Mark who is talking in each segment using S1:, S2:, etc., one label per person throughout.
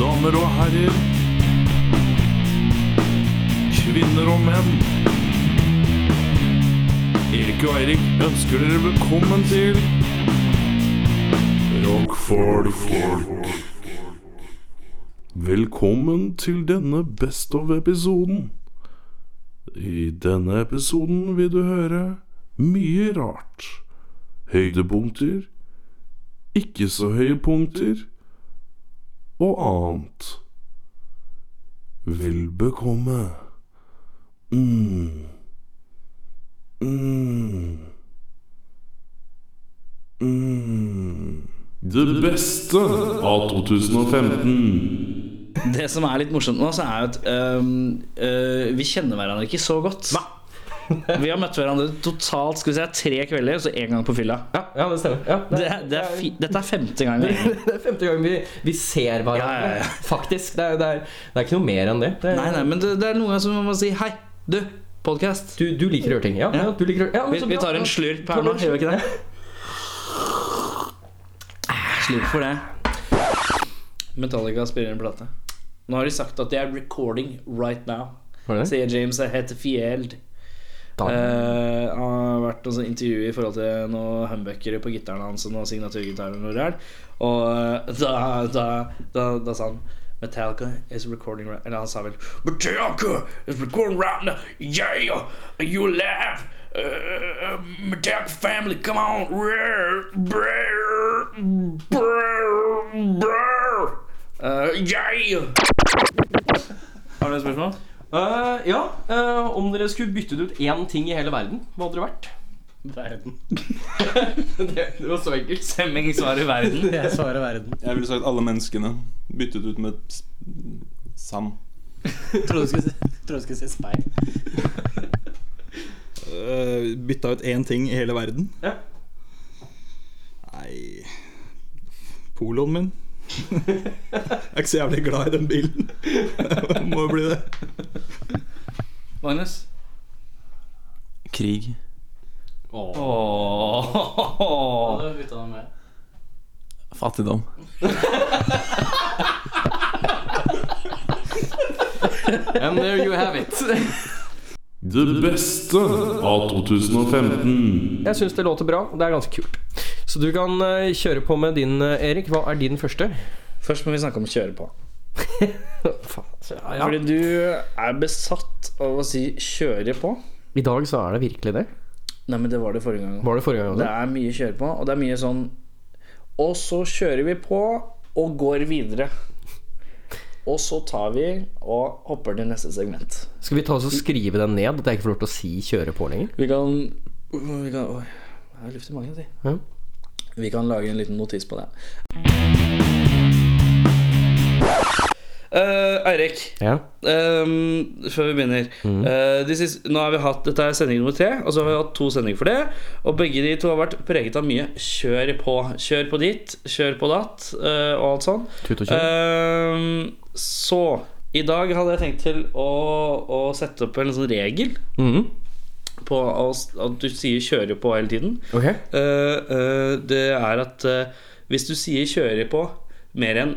S1: damer og herrer. Kvinner og menn. Erik og Eirik ønsker dere velkommen til Rockfolk. Velkommen til denne Best of-episoden. I denne episoden vil du høre mye rart. Høydepunkter, ikke så høye punkter og annet. Vel bekomme. Mm. Mm. Mm. Det beste av 2015.
S2: Det som er litt morsomt nå, så er jo at øhm, øh, vi kjenner hverandre ikke så godt. vi har møtt hverandre totalt skal vi si, tre kvelder, så én gang på fylla.
S3: Ja, ja det stemmer. Ja,
S2: Det er, det er fi, dette er femte gang.
S3: det er femte gang vi, vi ser hverandre,
S2: Ja, ja, ja.
S3: faktisk. Det er, det, er, det er ikke noe mer enn det. det er,
S2: Nei, nei, men det, det er noen ganger som man må si hei, du, podkast.
S3: Du, du liker å gjøre ting. Ja, ja. du liker å ja, men
S2: Vi,
S3: så
S2: vi
S3: bra.
S2: tar en slurp her nå, gjør vi ikke det? Slurp for det. Metallica spiller en plate. Nå har de sagt at det er recording right now,
S3: Var det det?
S2: sier James Hetfield.
S3: Da-
S2: Eh, han har vært noe sånn intervju i forhold til noen humbuckere på gitaren hans og noen signaturgitarer og noe der. Og eh, da, da, da, da sa han Metallica is recording right Eller han sa vel Metallica is recording right now Yeah, you laugh uh, Metallica family, come on Brr, brr, brr, brr. Eh, Yeah Har du et spørsmål?
S3: Eh, ja, eh, om dere skulle byttet ut én ting i hele verden, hva hadde det vært?
S2: Verden
S3: det, det var så enkelt.
S2: Stemming svarer verden Jeg svarer verden
S4: Jeg ville sagt alle menneskene. Byttet ut med s- sand.
S5: Trodde du skulle, trodde du skulle si speil.
S6: Øh, bytta ut én ting i hele verden?
S3: Ja.
S6: Nei Poloen min. jeg er ikke så jævlig glad i den bilen. Må jo bli det.
S2: Magnus
S4: Krig.
S3: Åh.
S2: Åh.
S5: Hadde bytta den med.
S4: Fattigdom.
S3: And there you have it.
S1: Det beste av 2015.
S3: Jeg syns det låter bra, og det er ganske kult. Så du kan eh, kjøre på med din, eh, Erik. Hva er din første?
S2: Først må vi snakke om kjøre på.
S3: Faen. altså. Ja, ja.
S2: Fordi du er besatt av å si 'kjøre på'.
S3: I dag så er det virkelig det.
S2: Nei, men det var det forrige gang òg.
S3: Var det forrige gang
S2: Det
S3: også?
S2: er mye kjøre på, og det er mye sånn Og så kjører vi på og går videre. Og så tar vi og hopper til neste segment.
S3: Skal vi ta oss og skrive den ned, at jeg ikke får lov til å si 'kjøre på' lenger?
S2: Vi kan, vi kan Oi, jeg har luft i magen, si.
S3: Ja.
S2: Vi kan lage en liten notis på det. Eh, Eirik.
S3: Ja. Mm.
S2: Ehm, før vi begynner Eh, de siste, Nå har vi hatt, Dette er sending nummer tre, og så har vi hatt to sendinger for det. Og begge de to har vært preget av mye kjør på. Kjør på dit, kjør på datt eh, og alt sånn.
S3: Tut og kjør.
S2: Ehm, så i dag hadde jeg tenkt til å, å sette opp en sånn regel
S3: Mhm.
S2: på å s- at du sier 'kjøre på' hele tiden.
S3: Ok.
S2: Eh, eh, det er at eh, hvis du sier 'kjøre på' mer enn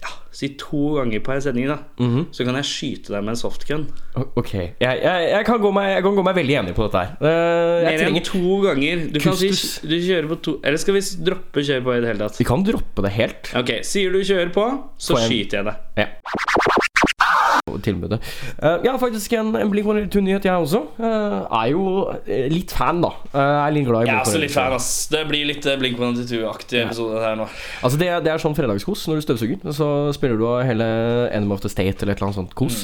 S2: ja, Si to ganger på en sending, da.
S3: Mhm.
S2: Så kan jeg skyte deg med en softgun.
S3: O- Ok. Jeg, jeg, jeg, kan gå meg, jeg kan gå meg veldig enig på dette her. Eh, jeg
S2: Mer enn
S3: trenger
S2: to ganger. Du kan si
S3: Kustus.
S2: du kjører på to Eller skal vi s- droppe kjøre på i det hele tatt?
S3: Vi kan droppe det helt,
S2: Ok, Sier du kjører på, så
S3: Får jeg en-
S2: skyter jeg deg.
S3: tilbudet. Eh, jeg har faktisk en, en Blink 182-nyhet, jeg også. Eh, er jo eh, litt fan, da. Eh, er litt glad i
S2: Jeg er
S3: Blink
S2: også litt fan, altså.
S3: 182.
S2: ass. Det blir litt eh, Blink-182-aktig episode her nå.
S3: Altså, det, er- det er sånn fredagskos. Når du støvsuger, så spiller du av hele Enemy of the State eller et eller annet sånt kos.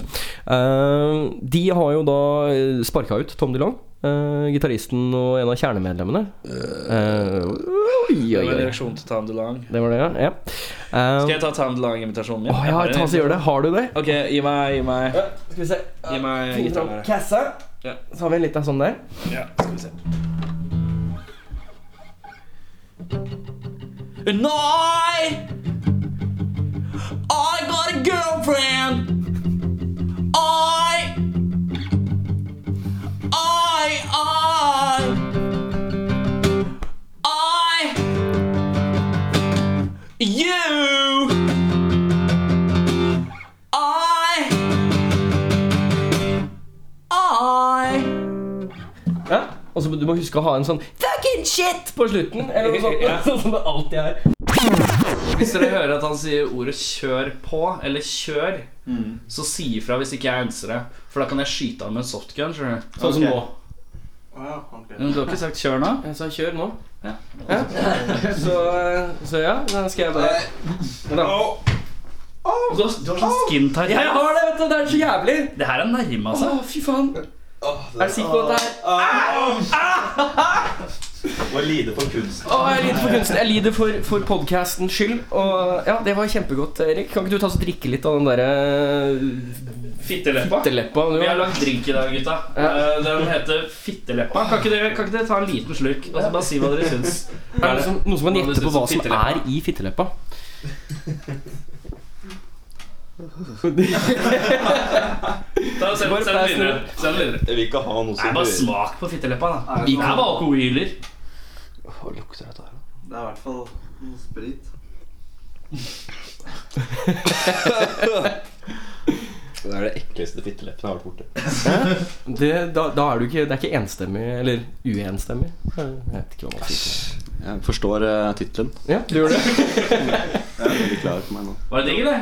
S3: Eh, de har jo da sparka ut Tom DeLong, uh, gitaristen og en av kjernemedlemmene. Eh, oi, oi,
S2: Det var en
S3: oi.
S2: reaksjon til Tam DeLong.
S3: Det var det, ja. ja. Eh,
S2: Skal jeg ta Tam DeLong-invitasjonen min?
S3: å, ja, ta så gjør det. Har du det?
S2: Ok, gi meg, gi meg,
S3: Skal vi se.
S2: gi meg
S3: Finne fram
S2: gitaren her.
S3: Eh, Kassa.
S2: Ja.
S3: Så har vi en liten sånn der.
S2: Ja, skal vi se. And I, I got a girlfriend. I, I, I, I, you,
S3: så du må huske å ha en sånn Fucking shit! på slutten. Eller noe sånt. Sånn som det alltid er.
S2: Hvis dere hører at han sier ordet 'kjør på' eller 'kjør', så si ifra hvis ikke jeg ønsker det. For da kan jeg skyte han med en softgun. skjønner du?
S3: Sånn som
S5: Ok.
S3: nå.
S5: Ah, ok.
S2: Men du har ikke sagt 'kjør' nå?
S3: Jeg sa kjør nå. Ja. Så, eh, så ja, da skal jeg bare da.
S2: Du har, du har sånn skin tight
S3: Jeg har det, vet du! Det er så jævlig!
S2: Det her er nærme,
S3: Å,
S2: altså.
S3: fy faen. Er du sikker på at det er Ah!
S4: Må Ah! lide for kunsten.
S3: Å, jeg lider for kunsten. Jeg lider for, for podcastens skyld. Og ja, det var kjempegodt, Erik. Kan ikke du ta og drikke litt av den eh, derre
S2: Fitteleppa.
S3: fitteleppa? Du
S2: Vi har
S3: har
S2: lagd drink i dag, gutta.
S3: Ja.
S2: Eh, Den heter Fitteleppa. Kan ikke, dere, kan ikke dere ta en liten slurk og så bare si hva dere syns?
S3: Er det noen som, noen som kan
S2: Hva
S3: gjette
S2: synes
S3: på
S2: du
S3: hva
S2: om
S3: som er
S2: fitteleppa?
S3: i fitteleppa?
S2: Da Send
S3: Bare
S2: send den
S3: pass
S2: videre. Send den videre.
S4: Jeg vil ikke ha noe
S2: Nei,
S4: som
S2: bare smak på fitteleppa, da.
S5: Er
S2: Det
S5: det
S2: er bare
S5: noe-
S2: alkohyler.
S4: Hva lukter dette her?
S5: Det er i hvert fall noe sprit.
S4: Det er det ekleste fitteleppene jeg har vært borti.
S3: Det, da, da er du ikke, det er ikke enstemmig, eller uenstemmig. Jeg vet ikke hva man sier.
S4: Jeg forstår uh, tittelen.
S3: Ja, du gjør det.
S7: Jeg er veldig klar for meg nå.
S2: Var det digg, det?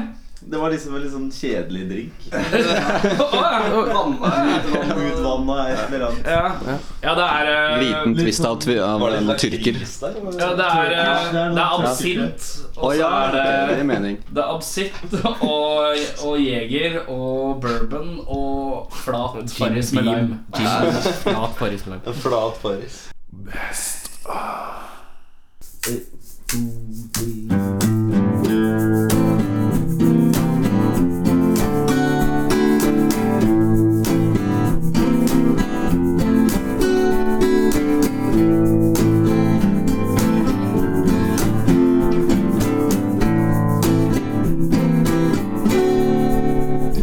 S7: Det var liksom en litt sånn kjedelig drink.
S5: Vanna
S7: Utvanna et eller annet.
S2: Ja, ja det er eh,
S8: Liten twist av, tvi- av
S4: Var det
S8: noen
S4: slags
S8: tyrker.
S2: Ja, det er, eh,
S7: det er noe
S2: det er absint,
S8: Å
S2: og så
S8: ja,
S2: er
S8: det
S2: det
S8: gir mening.
S2: Det er absint og, og jeger og bourbon og flat farris med lime.
S3: Ja, Paris med lime.
S7: En flat farris.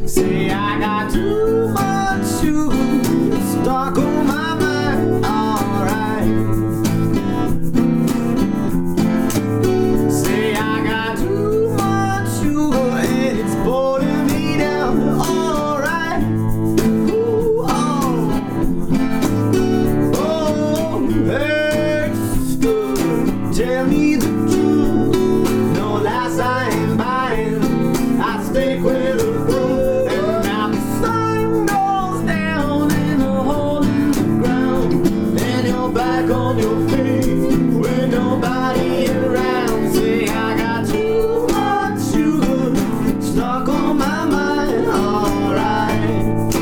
S8: Say I got too much to stuck on my mind, alright. Say I got too much to and it's boring me down, alright. Ooh, oh, oh, hurts good. Tell me the truth, no lies I am buying. I stick with the fool, and now the sun goes down in a hole in the ground, and you're back on your feet with nobody around. Say I got too much sugar stuck on my mind. Alright.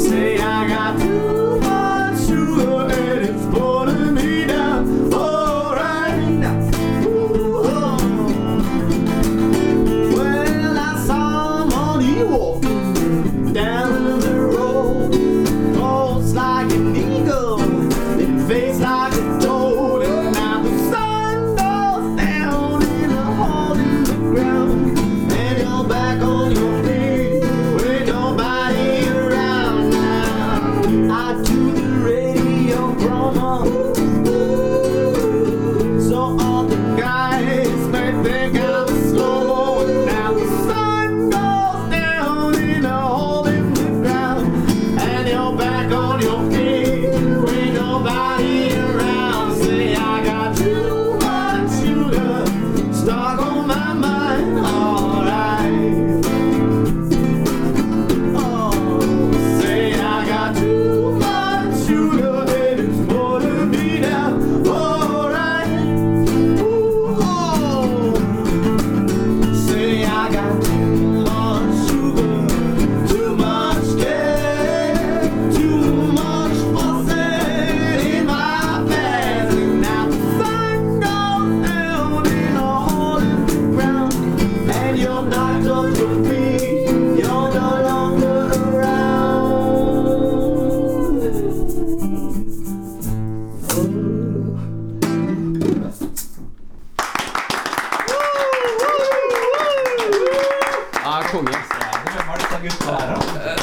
S8: Say I got too much sugar and it's pulling me down. Alright. Well, I saw money walking down the road. Pulse like an eagle, and face like a toad. And now the sun goes down in a hole in the ground. And you're back on your feet with nobody around now. I do the radio promo. So all the guys may think I'm slow. And now the sun goes down in a hole in the ground. And you're back on your feet with nobody around. Say, I got too much sugar stuck on my mind. Alright. Oh, say, I got too much sugar and it's pulling me down. Alright. Ooh, oh. Say, I got too much sugar. Too much care, too much fussing in my bed. And now the sun goes down in a hole in the ground. And you're knocked off your feet, you're no longer around.
S3: Ja, konge.
S2: Eh,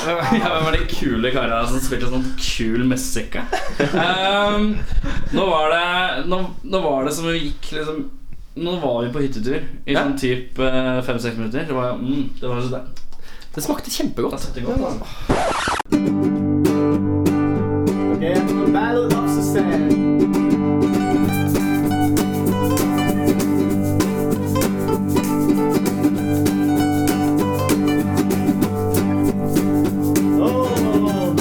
S2: Ja, Hvem var de kule kara som spilte sånn kul musikk? ja? Ehm, nå, var det, nå, nå var det som vi gikk liksom Nå var vi på hyttetur i sånn typ fem-seks minutter. Det var, mm, det var så deilig.
S3: Det smakte kjempegodt.
S2: Det var godt, altså.
S8: pile of lumps of sand. Oh.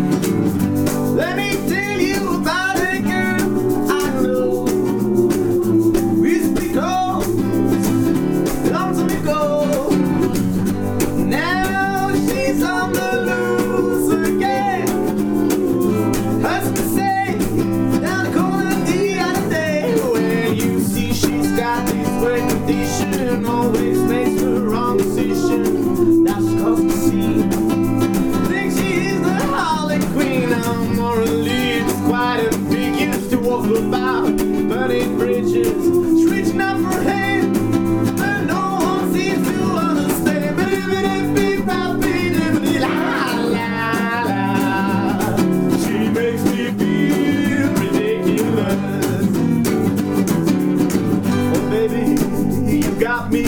S8: Let me tell you about a girl I know. We used to be close, long time ago. Now she's on the loose again. Husband say down the corner the other day. Well, you see she's got this great condition, always makes the wrong decision. Now she's close to see think she's the Harley Queen. I'm morally it's quite a big used to walk about burning bridges. She's rich enough for him, but no one seems to understand. La, la, la. She makes me feel ridiculous. Oh, baby, you got me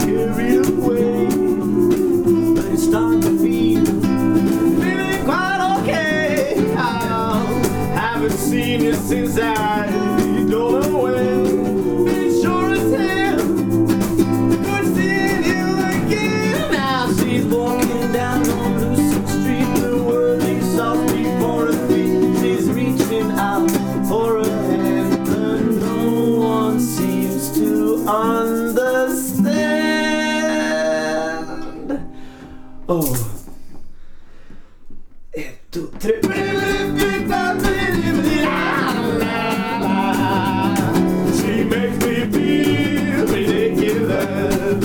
S8: carried away. But it's starting to feel feeling quite okay. I haven't seen you since I don't know when. Been sure as hell could seeing you again. Now she's walking down on Lucid Street. The world is soft before her feet. She's reaching out for a hand, but no one seems to understand. Oh. En, to, tre. She makes me feel ridiculous.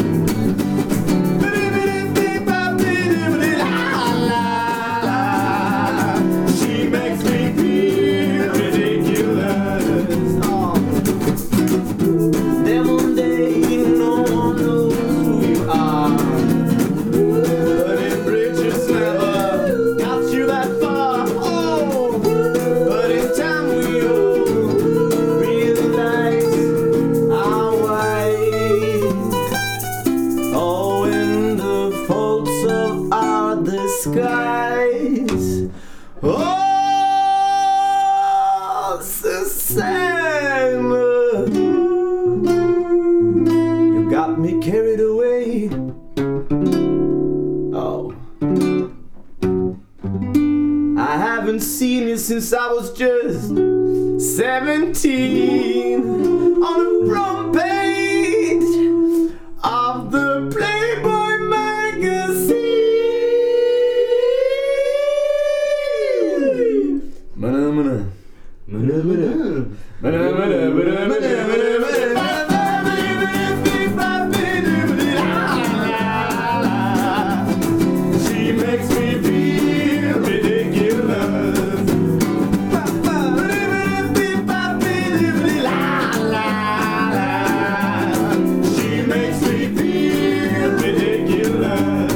S8: She makes me feel ridiculous. Oh. Then one day no one knows who you are. But if riches never got you that far, oh. But in time we all realize our ways. Oh, in the faults of our disguise. Oh, Susanna, you got me carried away. Oh, I haven't seen you since I was just 17 on the front page of the Playboy magazine. Mana, mana. Mana, mana. Mana, mana, mana, mana, mana, mana. She makes me feel ridiculous. She makes me feel ridiculous.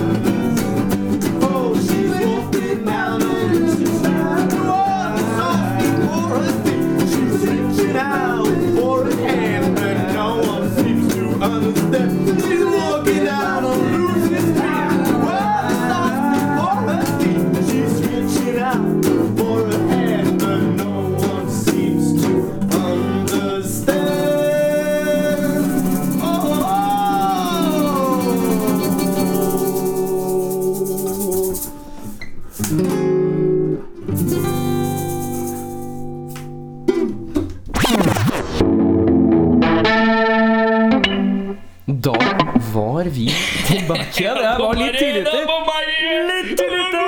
S8: Oh, she's walking down on Lucy's side. Oh, it's all She's reaching out for a hand, but no one seems to understand. She's walking down on Lucy's side. Oh, it's all She's reaching out for a hand, but no one seems to understand. Oh.
S3: Da var vi tilbake. Det var litt tidlig ute. Litt tidlig ute.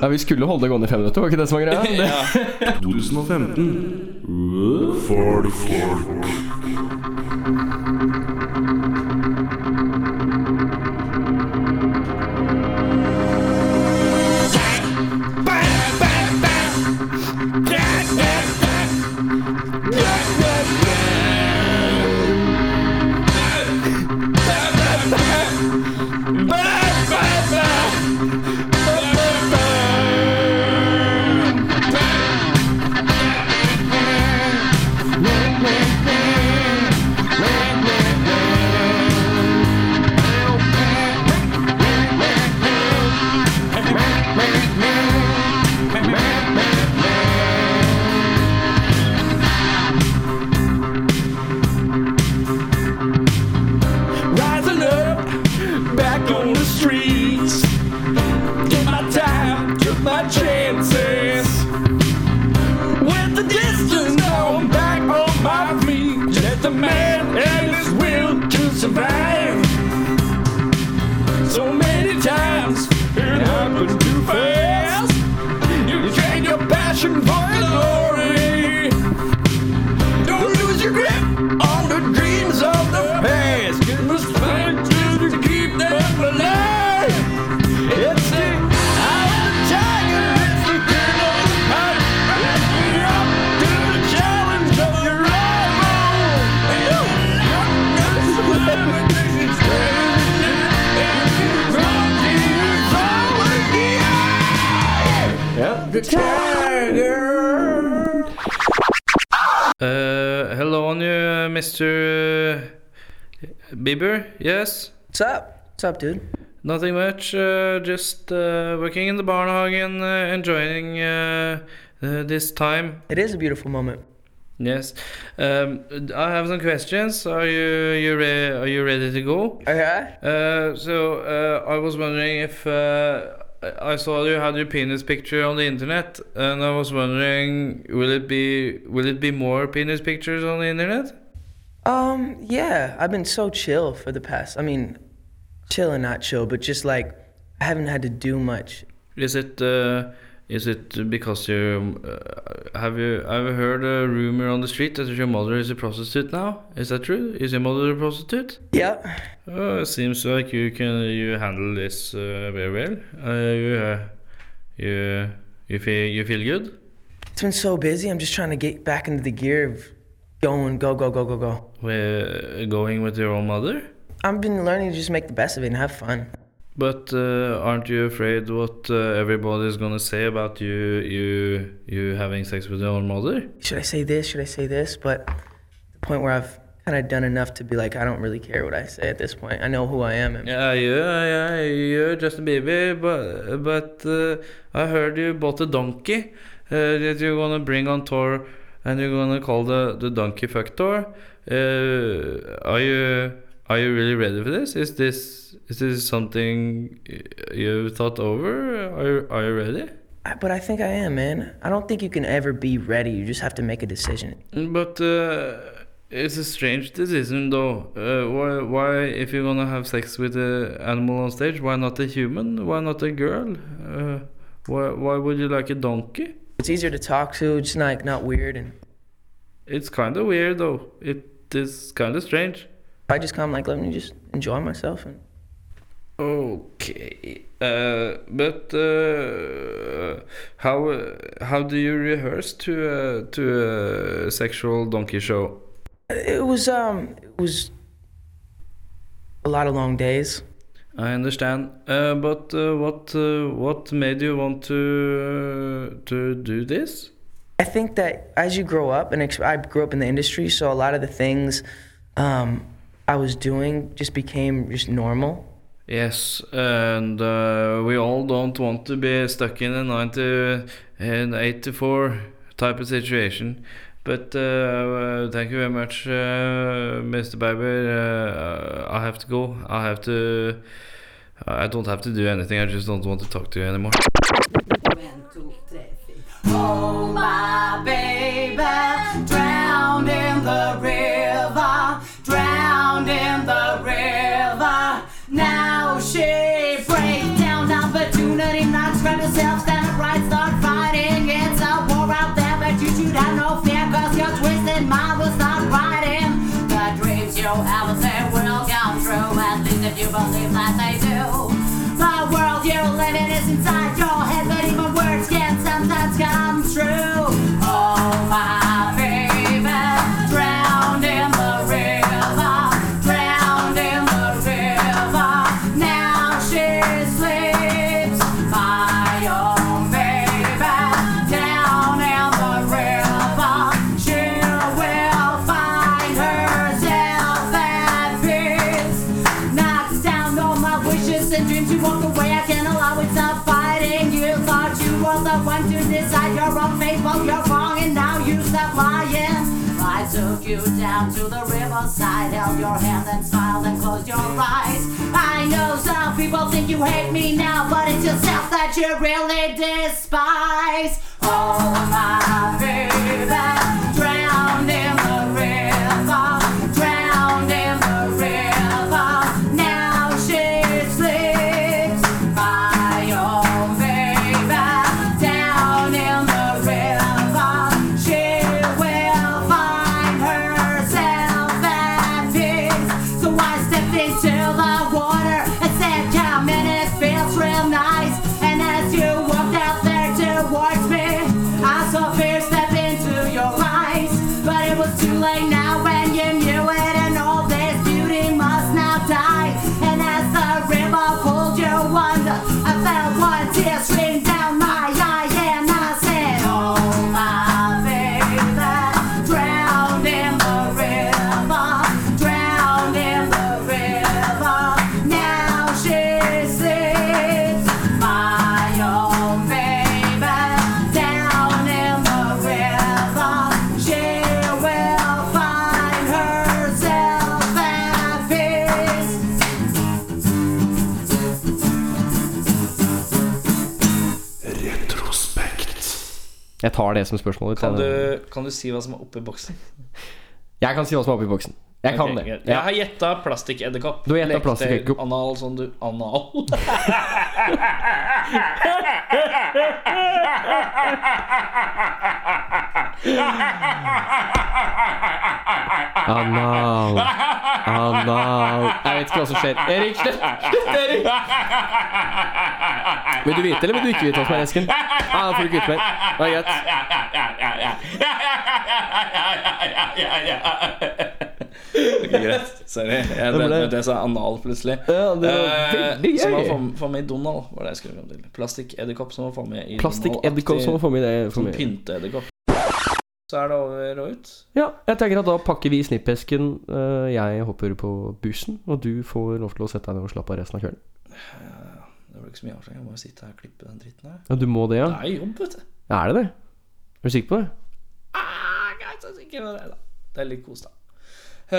S3: Ja, Vi skulle holde det gående i fem minutter, var ikke det som var greia?
S1: 2015. For folk.
S8: Bam!
S1: many times. It happened too fast. You trade your passion for glory. Don't lose your grip on the dreams of the past. It was fun to keep them alive. It's the eye of the tiger. It's the king of the pack. It's the up to the challenge of your rival. And you're not gonna survive it.
S2: Uh, hello, new Mr. Bieber. Yes.
S9: What's up? What's up, dude?
S2: Nothing much. Uh, just uh, working in the barnhagen, uh, enjoying uh, uh, this time.
S9: It is a beautiful moment.
S2: Yes. Um, I have some questions. Are you you re- are you ready to go?
S9: Okay.
S2: Uh, so uh, I was wondering if uh, I I saw you had your penis picture on the internet, and I was wondering will it be will it be more penis pictures on the internet?
S9: Um, yeah, I've been so chill for the past. I mean, chill and not chill, but just like I haven't had to do much.
S2: Is it uh, is it because you uh, have you I've heard a rumor on the street that your mother is a prostitute now? Is that true? Is your mother a prostitute?
S9: Yep.
S2: Uh, seems like you can you handle this uh, very well. Uh, you, uh, you you feel you feel good.
S9: It's been so busy. I'm just trying to get back into the gear of going, go, go, go, go, go.
S2: We're going with your own mother.
S9: I've been learning to just make the best of it and have fun.
S2: But uh, aren't you afraid what uh, everybody's gonna say about you you you having sex with your own mother?
S9: Should I say this? Should I say this? But the point where I've kind of done enough to be like, I don't really care what I say at this point. I know who I am. And
S2: Yeah, yeah, yeah, you're Justin Bieber, but but uh, I heard you bought a donkey uh, that you're gonna bring on tour, and you're gonna call the the donkey fuck tour. Uh, are you are you really ready for this? Is this is this something you've thought over? Are you, are you ready?
S9: I- But I think I am, man. I don't think you can ever be ready. You just have to make a decision.
S2: But uh, it's a strange decision, though. Uh, why, why, if you're gonna have sex with an animal on stage, why not a human? Why not a girl? Uh, why, why would you like a donkey?
S9: It's easier to talk to. It's not like not weird. And
S2: It's kind of weird, though. It is kind of strange.
S9: if I just come like, let me just enjoy myself. And
S2: Okay, uh, but uh, how uh, how do you rehearse to uh, to a sexual donkey show?
S9: it was um, it was a lot of long days.
S2: I understand. Uh, but uh, what uh, what made you want to uh, to do this?
S9: I think that as you grow up, and ex- I grew up in the industry, so a lot of the things um, I was doing just became just normal.
S2: Yes, and uh, we all don't want to be stuck in a 90 and 84 type of situation. But uh, uh, thank you very much, uh, Mr. Barber. Uh, I have to go. I have to. I don't have to do anything. I just don't want to talk to you anymore.
S10: One, two, three, four. Oh, my baby, drowned in the river, drowned in the river. Now she breaks down, opportunity knocks, grab yourself, stand upright, start fighting. It's a war out there, but you should have no fear, cause your twisted mind will start riding. The dreams you ever say will come true, at least if you believe that they do. The world you're living is inside your head, but even words can sometimes come true. Oh, my baby, drowned in the river, drowned in the river. Now she sleeps by your baby, down in the river. She will find herself at peace. Knocks down all my wishes and dreams. You walk away, I can't allow it. Stop fighting. You thought you were the one to decide your own fate. Well, you're wrong, and now you stop lying. I took you down to the riverside, held your hand and smiled and closed your eyes. I know some people think you hate me now, but it's yourself that you really despise. Oh, my baby, drowned in the river, drowned in the river. Now she sleeps was too late now when you knew it, and all this beauty must now die. And as the river pulled you under, I felt one tear stream down my eye, and I said, Oh, my baby, drowned in the river, drowned in the river. Now she sits, my own baby, down in the river. She will find herself at peace.
S3: Jeg tar det som spørsmål.
S2: Kan du, kan du si hva som er oppi boksen?
S3: Jeg kan si hva som er oppi boksen. Jeg kan
S2: Ok,
S3: det.
S2: greit. Jeg
S3: Ja.
S2: har gjetta plastikkedderkopp.
S3: Du har gjettet
S2: Lekte
S3: plastikkedderkopp.
S2: Anal som du Anal?
S3: Anal. Anal Jeg vet ikke hva som skjer. Erik, slutt! Slutt, Erik! Vil du vite, eller vil du ikke vite hva som er esken? Ja, da får du ikke vite mer. Det er greit.
S2: Ok, greit. Sorry. Jeg
S3: Det ble-
S2: ble... jeg sa anal plutselig.
S3: Ja, det var
S2: Eh,
S3: veldig gøy.
S2: Som var for, for meg i Donald, var det jeg skulle fram til. Plastikkedderkopp som var for meg i
S3: Plastikkedderkopp som må få med det. For
S2: Som
S3: meg.
S2: pynteedderkopp. Så er det over og ut.
S3: Ja, jeg tenker at da pakker vi snippesken. eh, Jeg hopper på bussen, og du får lov til å sette deg ned og slappe av resten av kvelden.
S2: Eh, Det var ikke så mye avslag. Jeg må jo sitte her og klippe den dritten her.
S3: Ja, du må det, ja?
S2: Det er jobb, vet du.
S3: Er det det? Er du sikker på det?
S2: Ah, greit, jeg er sikker på det, da. Det er litt kos, da. Eh,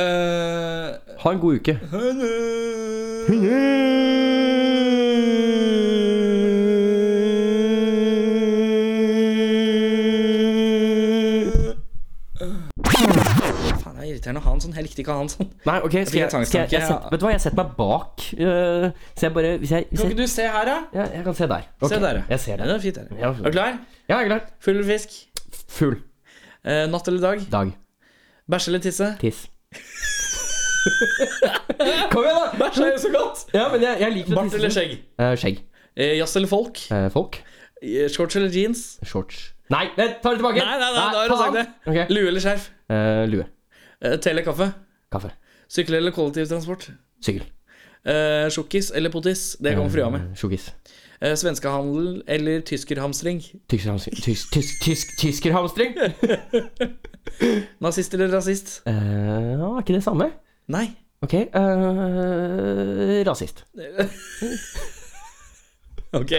S3: Ha en god uke.
S2: Faen, det er irriterende å ha en sånn. Jeg likte ikke å ha en sånn.
S3: Nei, ok, skal jeg,
S2: fikk en
S3: skal jeg, jeg,
S2: tvangstanke, ja.
S3: setter- Vet du hva, jeg setter meg bak. eh, så jeg bare hvis jeg, hvis
S2: Kan
S3: jeg,
S2: ikke du se her, da?
S3: ja, jeg kan se der.
S2: Se
S3: Ok,
S2: der, ja.
S3: Jeg ser
S2: Ja,
S3: det.
S2: det er fint her.
S3: Ja,
S2: Er du klar?
S3: Ja, jeg er klar.
S2: Full eller fisk?
S3: Fugl.
S2: Eh, natt eller dag?
S3: Dag.
S2: Bæsje eller tisse?
S3: Tiss. Kom igjen, da!
S2: Bæsj er jo så godt!
S3: Ja, men jeg, jeg liker å
S2: Bart
S3: tisse.
S2: eller skjegg?
S3: Eh, skjegg.
S2: Eh, jazz eller folk?
S3: Eh, folk.
S2: Eh, shorts eller jeans?
S3: Shorts. Nei, nei, ta det tilbake!
S2: Nei, nei, nei, da har du sagt det.
S3: faen. Ok.
S2: Lue eller skjerf?
S3: Eh, lue.
S2: Eh, te eller kaffe?
S3: Kaffe.
S2: Sykle eller kollektivtransport?
S3: Sykkel.
S2: Eh, Sjokkis eller potis? Det kommer frua med.
S3: Eh, Sjokkis.
S2: Eh, svenskehandel eller tyskerhamstring?
S3: Tyskerhamstring. Tys, tys, tys, tyskerhamstring?
S2: Nazist eller rasist?
S3: Eh, ja, er ikke det samme?
S2: Nei.
S3: Ok. eh, rasist.
S2: Ok.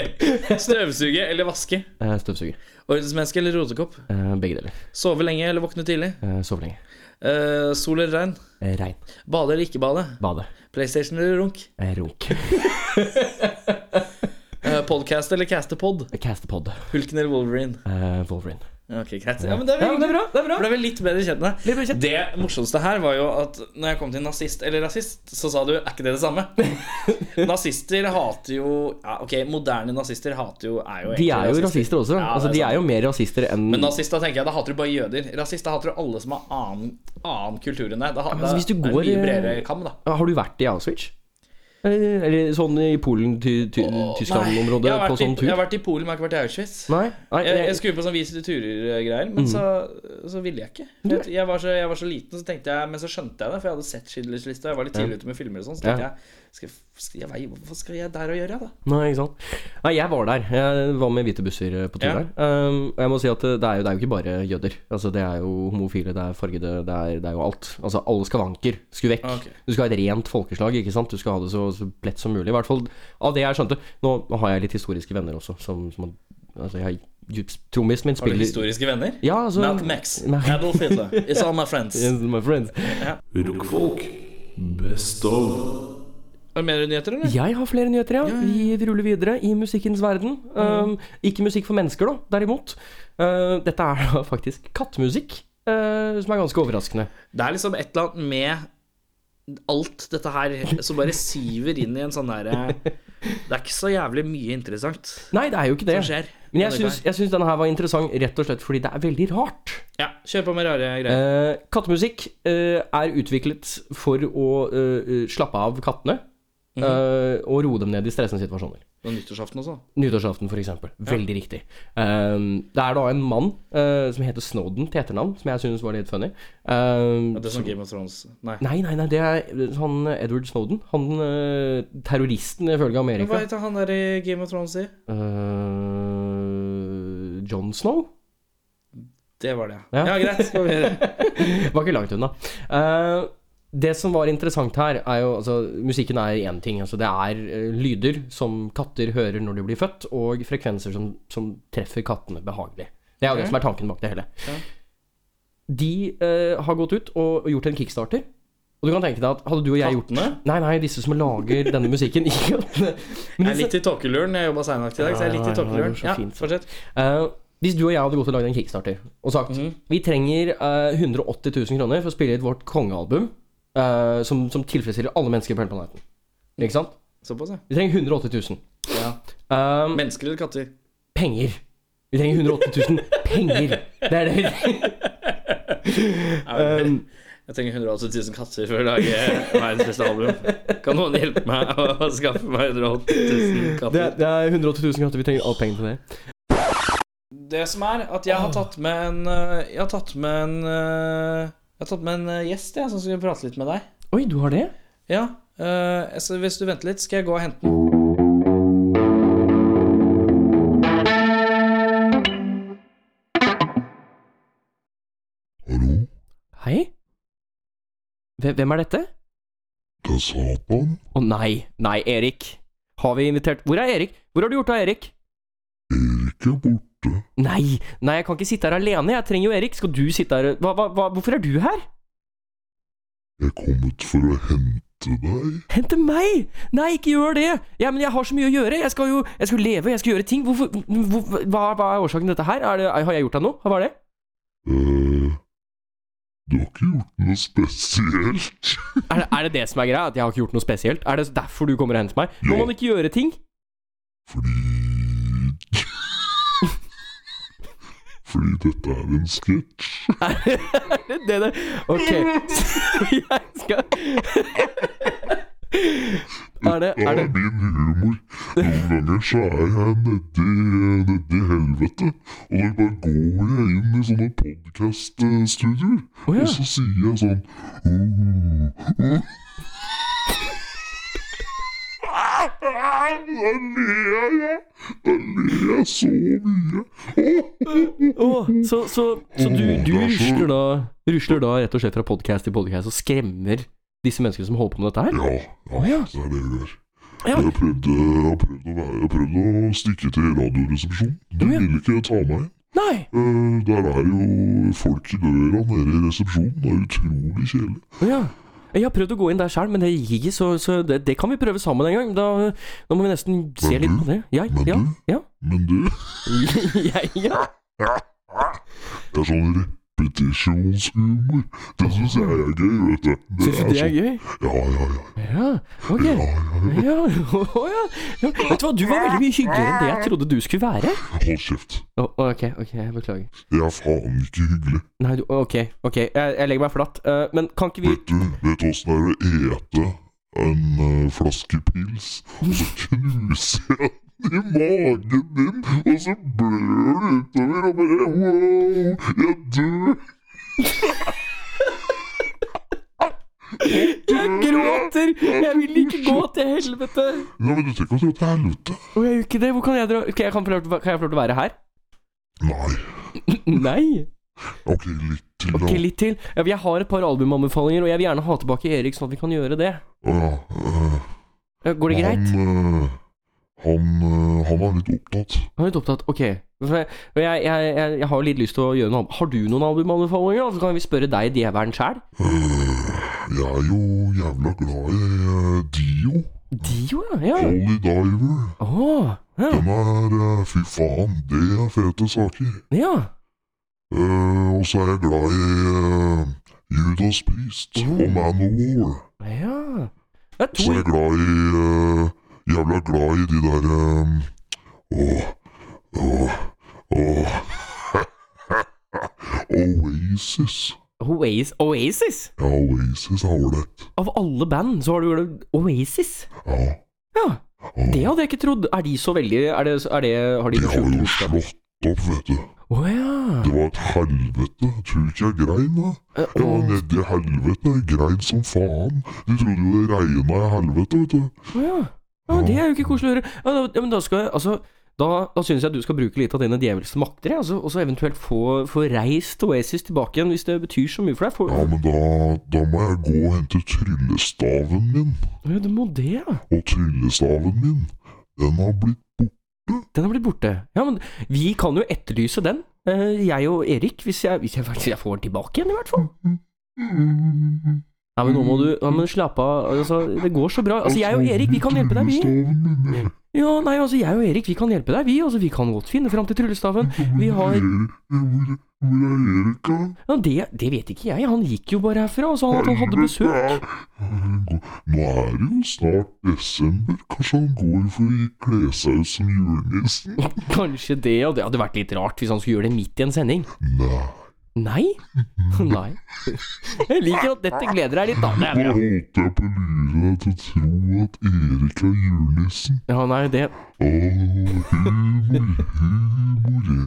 S2: Støvsuge eller vaske?
S3: Eh, støvsuger.
S2: Ordensmenneske eller rotekopp?
S3: Eh, begge deler.
S2: Sove lenge eller våkne tidlig?
S3: Eh, sove lenge.
S2: Eh, sol eller regn?
S3: Eh, regn.
S2: Bade eller ikke bade?
S3: Bade.
S2: PlayStation eller runk?
S3: Eh, runk.
S2: Eh, podcast eller castepod?
S3: Castepod.
S2: Hulken eller Wolverine?
S3: Eh, Wolverine.
S2: Ok, greit. Ja, men det er
S3: Ja, men det er
S2: veldig
S3: bra. Det er bra.
S2: ble vi litt bedre kjent med deg. Det morsomste her var jo at når jeg kom til nazist eller rasist, så sa du er ikke det det samme? Nazister hater jo ja, Ok, moderne nazister hater jo er jo
S3: De er jo
S2: egentlig
S3: rasister også.
S2: Ja, det
S3: altså,
S2: er
S3: de
S2: sant.
S3: er jo mer rasister enn
S2: Men nazist, da tenker jeg, da hater du bare jøder. Rasist, da hater du alle som har annen, annen kultur enn deg. Da,
S3: men
S2: da
S3: altså, hvis du
S2: er
S3: går,
S2: det mye
S3: eh,
S2: bredere kam, da.
S3: Har du vært i Auschwitz? Eh, Eller sånn i Polen, ty, ty,
S2: Nei, jeg
S3: Tyskland-området
S2: har
S3: på
S2: vært i-
S3: sånn tur?
S2: Jeg har vært i Polen, men jeg har ikke vært i Auschwitz.
S3: Nei? Nei Mm.
S2: Jeg, jeg skulle på sånn Vise til turer-greier, men så, så ville jeg ikke. Jeg, jeg, var så, jeg var så liten, så tenkte jeg, men så skjønte jeg det, for jeg hadde sett Schindlers liste. og Jeg var litt tidlig ute med filmer og sånn, så tenkte
S3: Ja.
S2: jeg skal, skal jeg vei, Hva skal jeg der å gjøre, da?
S3: Nei, ikke sant. Nei, jeg var der. Jeg var med hvite busser på tur
S2: Ja.
S3: der. Um, og jeg må si at det er, jo, det er jo ikke bare jøder. Altså, det er jo homofile, det er fargede, det er, det er jo alt. Altså, alle skavanker skulle vekk.
S2: Ok.
S3: Du skal ha et rent folkeslag, ikke sant. Du skal ha det så, så lett som mulig. I hvert fall av det jeg skjønte. Nå har jeg litt historiske venner også, som, som har- Altså, jeg har Trommisen min
S2: Har du
S3: spiller
S2: historiske venner?
S3: Ja, altså
S2: Malcolm X,
S3: Nei.
S2: Adolf Hitler, It's all my friends.
S3: Yes, my friends.
S4: Rockfolk. Best of.
S2: Har du mer nyheter, eller?
S3: Jeg har flere nyheter, ja. Vi vi ruller videre i musikkens verden.
S2: Mm.
S3: Um, ikke musikk for mennesker, da, derimot. Uh, dette er da faktisk kattemusikk, uh, som er ganske overraskende.
S2: Det er liksom et eller annet med alt dette her som bare siver inn i en sånn derre Det er ikke så jævlig mye interessant
S3: Nei, det er jo ikke det.
S2: som skjer.
S3: Men jeg
S2: denne
S3: syns, jeg syns denne her var interessant rett og slett fordi det er veldig rart.
S2: gangen. Ja, kjør på med rare greier.
S3: Eh, kattemusikk eh, er utviklet uh,
S2: Mm.
S3: for å eh, slappe av kattene eh, og roe dem ned i stressende situasjoner.
S2: Det var nyttårsaften også.
S3: Nyttårsaften, for eksempel. Veldig riktig. Ehm, det er da en mann eh, som heter Snowden til etternavn, som jeg synes var litt funny. Ehm,
S2: Ja, det
S3: som-
S2: er sånn Game of Thrones Nei.
S3: Nei, nei, nei, det er han eh, Edward Snowden. Han eh, terroristen ifølge
S2: Men Hva
S3: Amerika.
S2: heter han der i Game of Thrones i?
S3: Eh, John Snow?
S2: Det var det,
S3: Ja.
S2: ja. greit. Skal vi
S3: var ikke langt unna. Eh, det som var interessant her, er jo altså Musikken er én ting. Altså, det er eh, lyder som katter hører når de blir født, og frekvenser som, som treffer kattene behagelig. Det er jo
S2: Ok.
S3: det som er tanken bak det hele.
S2: Ja.
S3: De eh, har gått ut og, og gjort en kickstarter. Og du kan tenke deg at hadde du og jeg gjort
S2: Kattene?
S3: Nei, nei, disse som lager denne musikken. Ikke kattene. Men
S2: Jeg er
S3: disse-
S2: litt i tåkeluren. Jeg jobba seinvakt i dag, så jeg er litt i tåkeluren. Ja, fortsett.
S3: Eh, hvis du og jeg hadde gått og lagd en kickstarter og sagt vi trenger eh, 180 000 kroner for å spille inn vårt kongealbum eh, som, som tilfredsstiller alle mennesker på hele planeten. Ikke sant?
S2: Såpass, ja.
S3: Vi trenger 180 000.
S2: ja.
S3: Um,
S2: Mennesker eller katter?
S3: Penger. Vi trenger 180 000 penger. Det er det vi trenger. Um,
S2: jeg trenger 180 000 katter for å lage verdens beste album. Kan noen hjelpe meg å skaffe meg 180 000 katter?
S3: Det, er- det er 180 000 kroner. Vi trenger all penger til det.
S2: Det som er at jeg har tatt med en øh, Jeg har tatt med en øh, Jeg har tatt med en øh, gjest jeg, som skal prate litt med deg.
S3: Oi, du har det?
S2: Ja, øh, så Hvis du venter litt, skal jeg gå og hente den.
S3: Hei? Hve- Hvem er dette?
S11: Hva sa han?
S3: Å nei, nei, Erik. Har vi invitert Hvor er Erik? Hvor har du gjort av Erik?
S11: Erik er borte.
S3: Nei, nei, jeg kan ikke sitte her alene. Jeg trenger jo Erik. Skal du sitte her hva, hva, hva, Hvorfor er du her?
S11: Jeg er kommet for å hente deg.
S3: Hente meg! Nei, ikke gjør det! Ja, men jeg har så mye å gjøre. Jeg skal jo jeg skal jo leve, jeg skal gjøre ting. Hvorfor hvor, hva, hva er årsaken til dette her? Er det, har jeg gjort deg noe? Hva var det?
S11: Eh, du har ikke gjort noe spesielt.
S3: Er det, er det det som er greia? At jeg har ikke gjort noe spesielt? Er det derfor du kommer og henter meg? Må man ikke gjøre ting?
S11: Fordi dette er en sketsj.
S3: Er det det der? Ok. Så jeg skal Er det,
S11: Det
S3: er
S11: er
S3: det
S11: min humor. Noen ganger så er jeg nedi nedi helvete, og da bare går jeg inn i sånne podkast-studioer, og så sier jeg sånn «Åh, åh». Da ler jeg! Da ler jeg så mye.
S3: Åh, så, så, så du, du
S11: Åh, det er så-
S3: rusler, da, rusler da rett og slett fra podcast til podcast og skremmer disse menneskene som holder på med dette her?
S11: Ja,
S3: Åh, ja.
S11: det er det jeg gjør.
S3: Ja.
S11: Jeg prøvde, jeg prøvde å være, jeg prøvde å stikke til radioresepsjonen. De ville ikke ta meg inn. Eh,
S3: Nei.
S11: der er jo folk i døra nede i resepsjonen. Det er utrolig kjedelig.
S3: Å ja. Jeg har prøvd å gå inn der sjøl, men det gikk ikke, så, så det, det kan vi prøve sammen en gang. Da, da må vi nesten se litt på det. Jeg, ja, ja.
S11: Men du,
S3: Jeg, ja.
S11: det er sånn repetisjonshumor. Det syns jeg er gøy, vet du. sånn-
S3: Syns du det er gøy?
S11: Ja, ja, ja.
S3: Ja, ok. Ja, å ja. ja. Vet du hva, du var veldig mye hyggeligere enn det jeg trodde du skulle være.
S11: Hold kjeft.
S3: Å, ok, ok, jeg beklager.
S11: Jeg er faen ikke hyggelig.
S3: Nei, du, ok, ok, jeg, jeg legger meg flatt. Eh, men kan ikke vi
S11: Du vet åssen det er å ete en eh, flaske pils, og så knuser jeg den i magen din, og så blør det utover, og bare wow, jeg dør.
S3: Jeg gråter! Jeg vil ikke gå til helvete!
S11: Ja, men du trenger ikke å dra til helvete.
S3: Å, jeg gjør ikke det. Hvor kan jeg dra? Ok, jeg kan, få lov til, kan jeg få lov til å være her?
S11: Nei.
S3: Nei?
S11: Ok, litt til, da.
S3: Ok, litt til. Ja, Jeg har et par albumanbefalinger, og jeg vil gjerne ha tilbake Erik, sånn at vi kan gjøre det.
S11: Å ja. eh,
S3: Ja, Går det greit?
S11: Han, eh, han, eh, han er litt opptatt.
S3: Jeg er litt opptatt. Ok. For Jeg, jeg, jeg, jeg, jeg har jo litt lyst til å gjøre noe annet. Har du noen albumanbefalinger? da? Så kan vi spørre deg, djevelen sjæl.
S11: Jeg er jo jævla glad i eh, Dio.
S3: Dio, ja.
S11: Holy Diver.
S3: Mm. Åh, ja.
S11: Den er eh, Fy faen, det er fete saker.
S3: ja.
S11: Eh, og så er jeg glad i eh, Judas Priest og Manowar.
S3: Ja. Jeg
S11: Så er jeg glad i eh, Jævla glad i de der eh, Åh, åh, åh Oasis.
S3: Oasis. Oasis?
S11: Ja, Oasis er ålreit.
S3: Av alle band så har du gjort Oasis?
S11: Ja.
S3: Ja. Det hadde jeg ikke trodd. Er de så veldig er det, er det, Har de
S11: De
S3: noe
S11: har
S3: skjult
S11: jo
S3: bursdag?
S11: slått opp, vet du.
S3: Å ja.
S11: Det var et helvete. Tror du ikke jeg grein, da?
S3: Eh,
S11: Jeg var nedi helvete. Jeg grein som faen. De trodde jo det regna i helvete, vet du.
S3: Å ja. ja men det er jo ikke koselig å høre. Ja, da, ja, men da skal jeg Altså, da, da syns jeg du skal bruke litt av dine djevelske makter, jeg, altså, og så eventuelt få, få reist Oasis tilbake igjen, hvis det betyr så mye for deg. For,
S11: Ja, men da, da må jeg gå og hente tryllestaven min.
S3: ja, du må det, ja.
S11: Og tryllestaven min, den har blitt
S3: Den har blitt borte. Ja, men vi kan jo etterlyse den. Eh, Jeg og Erik, hvis jeg, hvis jeg, hvis jeg får den tilbake igjen, i hvert fall. Ja, men nå må du ja, men Slapp av. Altså, det går så bra. Altså, jeg og Erik, vi kan hjelpe deg, vi. Ja, nei, altså, jeg og Erik, vi kan hjelpe deg, vi. Altså, vi kan godt finne fram til tryllestaven. Vi har
S11: Hvor, hvor er Erik, da?
S3: Ja, det, det vet ikke jeg. Han gikk jo bare herfra og sa at han hadde besøk.
S11: Nå er det jo snart desember. Kanskje han går for å kle seg ut som julenissen?
S3: Kanskje det, og det hadde vært litt rart hvis han skulle gjøre det midt i en sending. Nei. Nei? Nei. Jeg liker at dette gleder deg litt, da.
S11: Nå
S3: Det er bra.
S11: holdt jeg på å lure deg til å tro at Erik er julenissen.
S3: Ja, nei, det
S11: Å, humor, humor.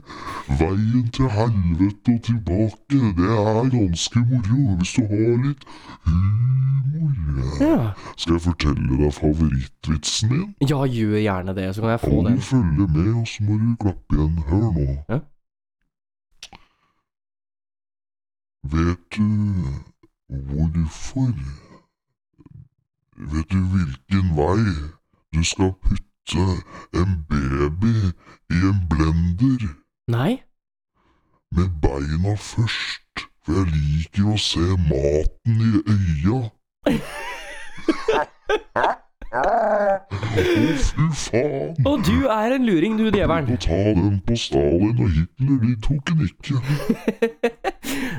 S11: Veien til helvete og tilbake, det er ganske moro hvis du har litt humor.
S3: Ja.
S11: Skal jeg fortelle deg favorittvitsen min?
S3: Ja, gjør gjerne det, så kan jeg få
S11: Må
S3: den.
S11: du følge med, og så må du klappe igjen. Hør nå.
S3: Ja.
S11: Vet du hvorfor Vet du hvilken vei du skal putte en baby i en blender?
S3: Nei?
S11: Med beina først, for jeg liker å se maten i øya. Å, fy faen!
S3: Å, du er en luring, du djevelen.
S11: Å ta den på Stalin og Hitler, de tok den ikke.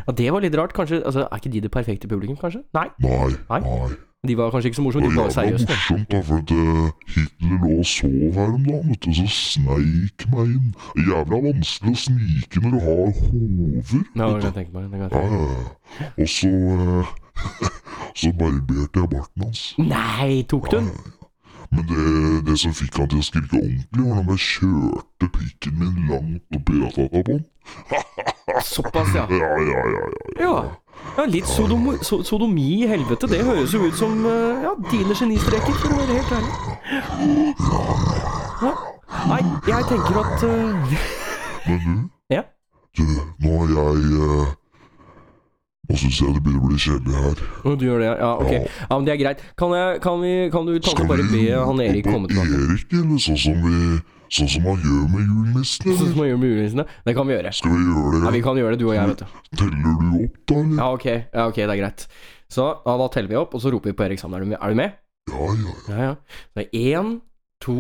S3: Ja, det var litt rart, kanskje. Altså, er ikke de det perfekte publikum, kanskje? Nei.
S11: Nei,
S3: Nei. De var kanskje ikke så
S11: Det var
S3: morsomme, de var
S11: jævla
S3: seriøse.
S11: morsomt, da, for at eh, Hitler lå og sov her om dagen, vet du, så sneik meg inn. Det er Jævla vanskelig å snike når du har hover.
S3: Ja, det kan jeg tenke meg. Det kan jeg
S11: Ja,
S3: tenke
S11: ja,
S3: meg.
S11: ja. Og så eh, Så barberte jeg barten hans.
S3: Nei, tok du den?
S11: Men det, det som fikk han til å skrike ordentlig, var når jeg kjørte pikken min langt opp i ratata på han.
S3: Såpass, ja.
S11: Ja, ja, ja, ja.
S3: Ja. ja litt sodom, so, sodomi i helvete. Det høres jo ut som eh, ja, dine genistreker, for å være helt ærlig. Ja. Nei, jeg tenker at eh,
S11: Men du,
S3: Ja?
S11: du nå er jeg eh, Nå syns jeg det begynner å bli kjedelig her.
S3: Å, Du gjør det, ja. Ok. Ja, men Det er greit. Kan, jeg, kan, vi, kan du ta
S11: Skal
S3: og bare be
S11: vi
S3: han Erik komme tilbake?
S11: Erik, eller sånn som vi Sånn som han gjør med julenissen?
S3: Sånn som han gjør med julenissene? Det kan vi gjøre.
S11: Skal vi gjøre det?
S3: Ja, vi kan gjøre det, du og jeg, vet du.
S11: Teller du opp, da? eller?
S3: Ja, ok, ja, ok, det er greit. Så ja, da teller vi opp, og så roper vi på Erik sammen. Er du med? Er du med?
S11: Ja, ja.
S3: Ja, ja. Så det er én, to,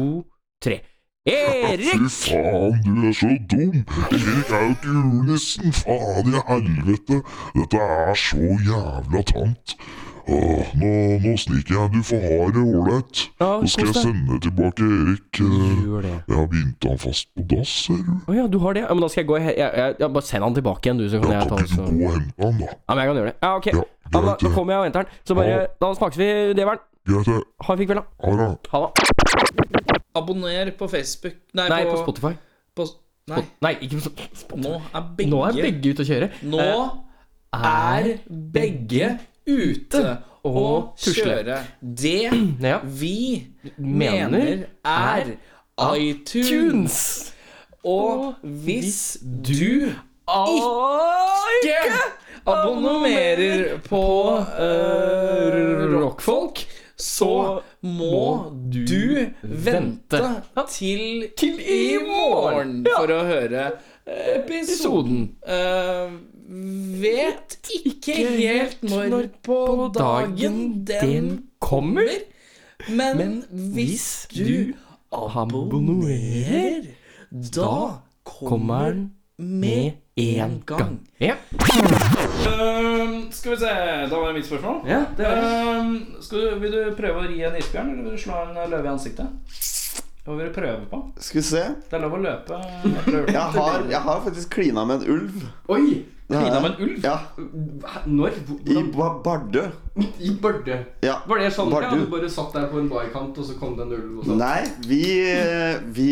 S3: tre. Erik!
S11: Fy faen, du er så dum! Erik er jo ikke julenissen! Faen i helvete! Dette er så jævla tamt. Åh, nå, nå sniker jeg. Du får ha det ålreit.
S3: Ja,
S11: Nå skal
S3: kos
S11: jeg
S3: deg.
S11: sende tilbake Erik. eh,
S3: Gjør det.
S11: Jeg har bindt han fast på dass, ser du.
S3: Å ja, du har det? Ja, men da skal jeg gå jeg, jeg, jeg, ja, Bare send han tilbake igjen, du, så kan jeg ta også.
S11: Gå og hente han, da.
S3: Ja, men jeg kan gjøre det. Ja, ok. Ja, men da, da kommer jeg og henter han. Så bare Da snakkes vi, djevelen.
S11: Greit, det.
S3: Ha en fin kveld, da.
S11: Ha det.
S3: Ha det.
S2: Abonner på Facebook Nei,
S3: Nei, på Spotify.
S2: På, nei.
S3: Nei, ikke på Spotify.
S2: Nå er begge,
S3: Nå er begge ute å kjøre. Eh,
S2: Nå er begge ute å
S3: og tusle.
S2: kjøre. Det
S3: Ja.
S2: vi
S3: Mener
S2: mener er
S3: er
S2: iTunes. Og hvis du ikke abonnerer på eh, rockfolk, så må du vente til, i morgen for å høre episoden. Eh, vet ikke helt når på dagen den
S3: kommer,
S2: men hvis du abonnerer, da kommer den med én gang.
S3: Ja.
S2: Ehm, skal vi se, da var det mitt spørsmål.
S3: Ja, det var det.
S2: Ehm, skal du, vil du prøve å ri en isbjørn, eller vil du slå en løve i ansiktet? Hva vil du prøve på?
S7: Skal vi se.
S2: Det er lov å løpe.
S7: Jeg har, jeg har faktisk klina med en ulv.
S2: Oi!
S7: Det har
S2: Klina
S7: jeg.
S2: med en ulv?
S7: Ja.
S3: Når?
S7: I Ba- Bardø.
S3: I Børde.
S7: Ja.
S3: Var det sånn
S7: Bardu.
S3: ja, du bare satt der på en barkant, og så kom det en ulv? Og sånn?
S7: Nei, vi, vi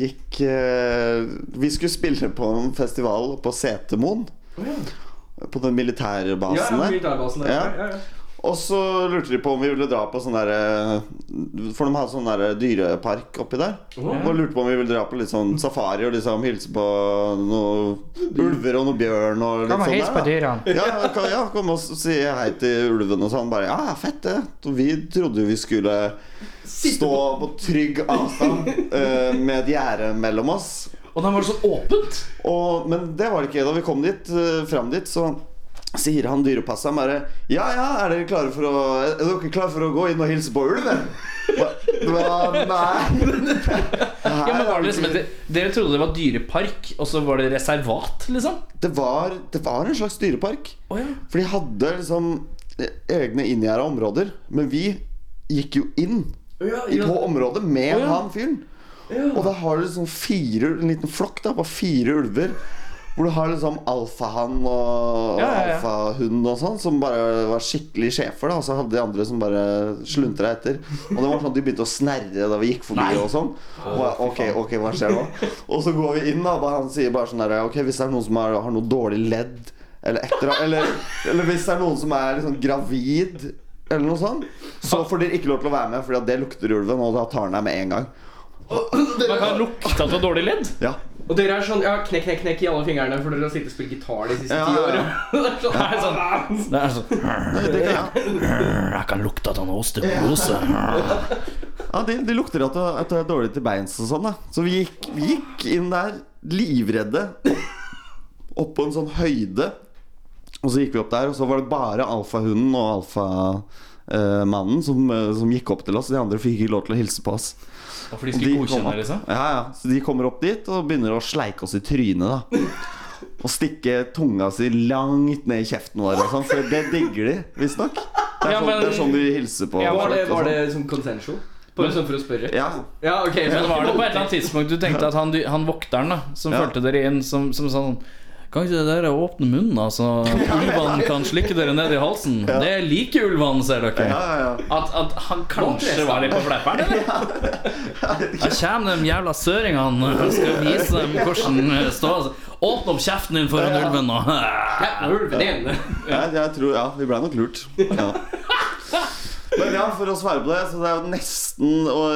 S7: gikk eh, Vi skulle spille på en festival på Setermoen. På den
S3: Ja,
S7: militærbasen
S3: ja,
S7: der.
S3: militærbasen der.
S7: Ja.
S3: Ja. Ja, ja.
S7: Og så lurte de på om vi ville dra på sånn der eh, For de har sånn der dyrepark oppi der. Og lurte på om vi ville dra på litt sånn safari og liksom hilse på noen ulver og noe bjørn. Og litt
S12: Kom og
S7: sånn
S12: hils på
S7: der, da.
S12: dyrene.
S7: Ja, kom, ja, kom og si hei til ulven og sånn. Bare ja, fett det. Og Vi trodde jo vi skulle stå på trygg avstand eh, med et gjerde mellom oss.
S2: Og da var det så åpent!
S7: men det var det ikke. Da vi kom dit, eh, fram dit, så sier han dyrepasseren bare Ja, ja, er dere klare for å Er dere klare for å gå inn og hilse på ulven? Hva? Hva? Nei.
S2: Ja, men var det liksom, et- dere trodde det var dyrepark, og så var det reservat, liksom?
S7: Det var, det var en slags dyrepark. For de hadde liksom egne inngjerda områder. Men vi gikk jo inn i- på området med
S8: Å, ja.
S7: han fyren. Og da har du liksom fire, en liten flokk da, på fire ulver. Hvor du har liksom alfahann og
S8: Ja, ja, ja.
S7: alfahund og sånn, som bare var skikkelig sjefer. da Og så hadde de andre som bare sluntra etter. Og det var sånn at de begynte å snerre da vi gikk forbi og sånn. Og jeg, ok, ok, hva skjer nå? Og så går vi inn, da, og han sier bare sånn der Ok, hvis det er noen som har, har noe dårlig ledd, eller etter eller, eller hvis det er noen som er liksom gravid, eller noe sånt, så får dere ikke lov til å være med, for det lukter ulven, og da tar den deg med en gang.
S3: Man kan lukte
S2: at du har dårlig ledd.
S7: Ja.
S3: Og dere er sånn ja, knekk, knekk, knekk i alle fingrene, for dere har sittet og spilt gitar de siste
S2: Ja,
S3: ti
S2: ja,
S3: åra.
S2: ja.
S3: det er sånn, det er sånn.
S2: Det er sånn hm, Jeg kan lukte at han har osteoporose.
S7: Ja, de, de lukter at det- at det er dårlig til beins og sånn, da. Så vi gikk, vi gikk inn der livredde, opp på en sånn høyde. Og så gikk vi opp der, og så var det bare alfahunden og alfamannen som, eh, som gikk opp til oss. De andre fikk ikke lov til å hilse på oss.
S2: Og for de skulle
S7: kom
S2: godkjenne,
S7: opp-
S2: liksom?
S7: Ja, ja. Så de kommer opp dit og begynner å sleike oss i trynet, da. Og stikke tunga si langt ned i kjeften vår og sånn, for det digger de, visstnok. Det, er
S3: Ja,
S7: sånn-
S3: men-
S7: det er sånn de hilser på.
S3: ja, var,
S7: folk
S3: det,
S7: og
S3: var
S7: sånn.
S3: det sånn consensual? Bare sånn for å spørre?
S7: Ja.
S3: ja ok
S2: Men var det på et eller annet tidspunkt du tenkte at han, han vokteren da som
S3: Ja.
S2: fulgte dere inn, som, som sa sånn Kan ikke dere åpne munnen, altså? Ulvene kan slikke dere ned i halsen. Det liker ulvene, ser dere. At, at han kanskje var litt på fleiperen, eller? Da kommer de jævla søringene og skal vise dem hvordan det står. Åpne opp kjeften din foran ulven nå.
S7: Ja, jeg tror, ja, vi ble nok lurt. Ja. Men ja, for å svare på det, så det er jo nesten å,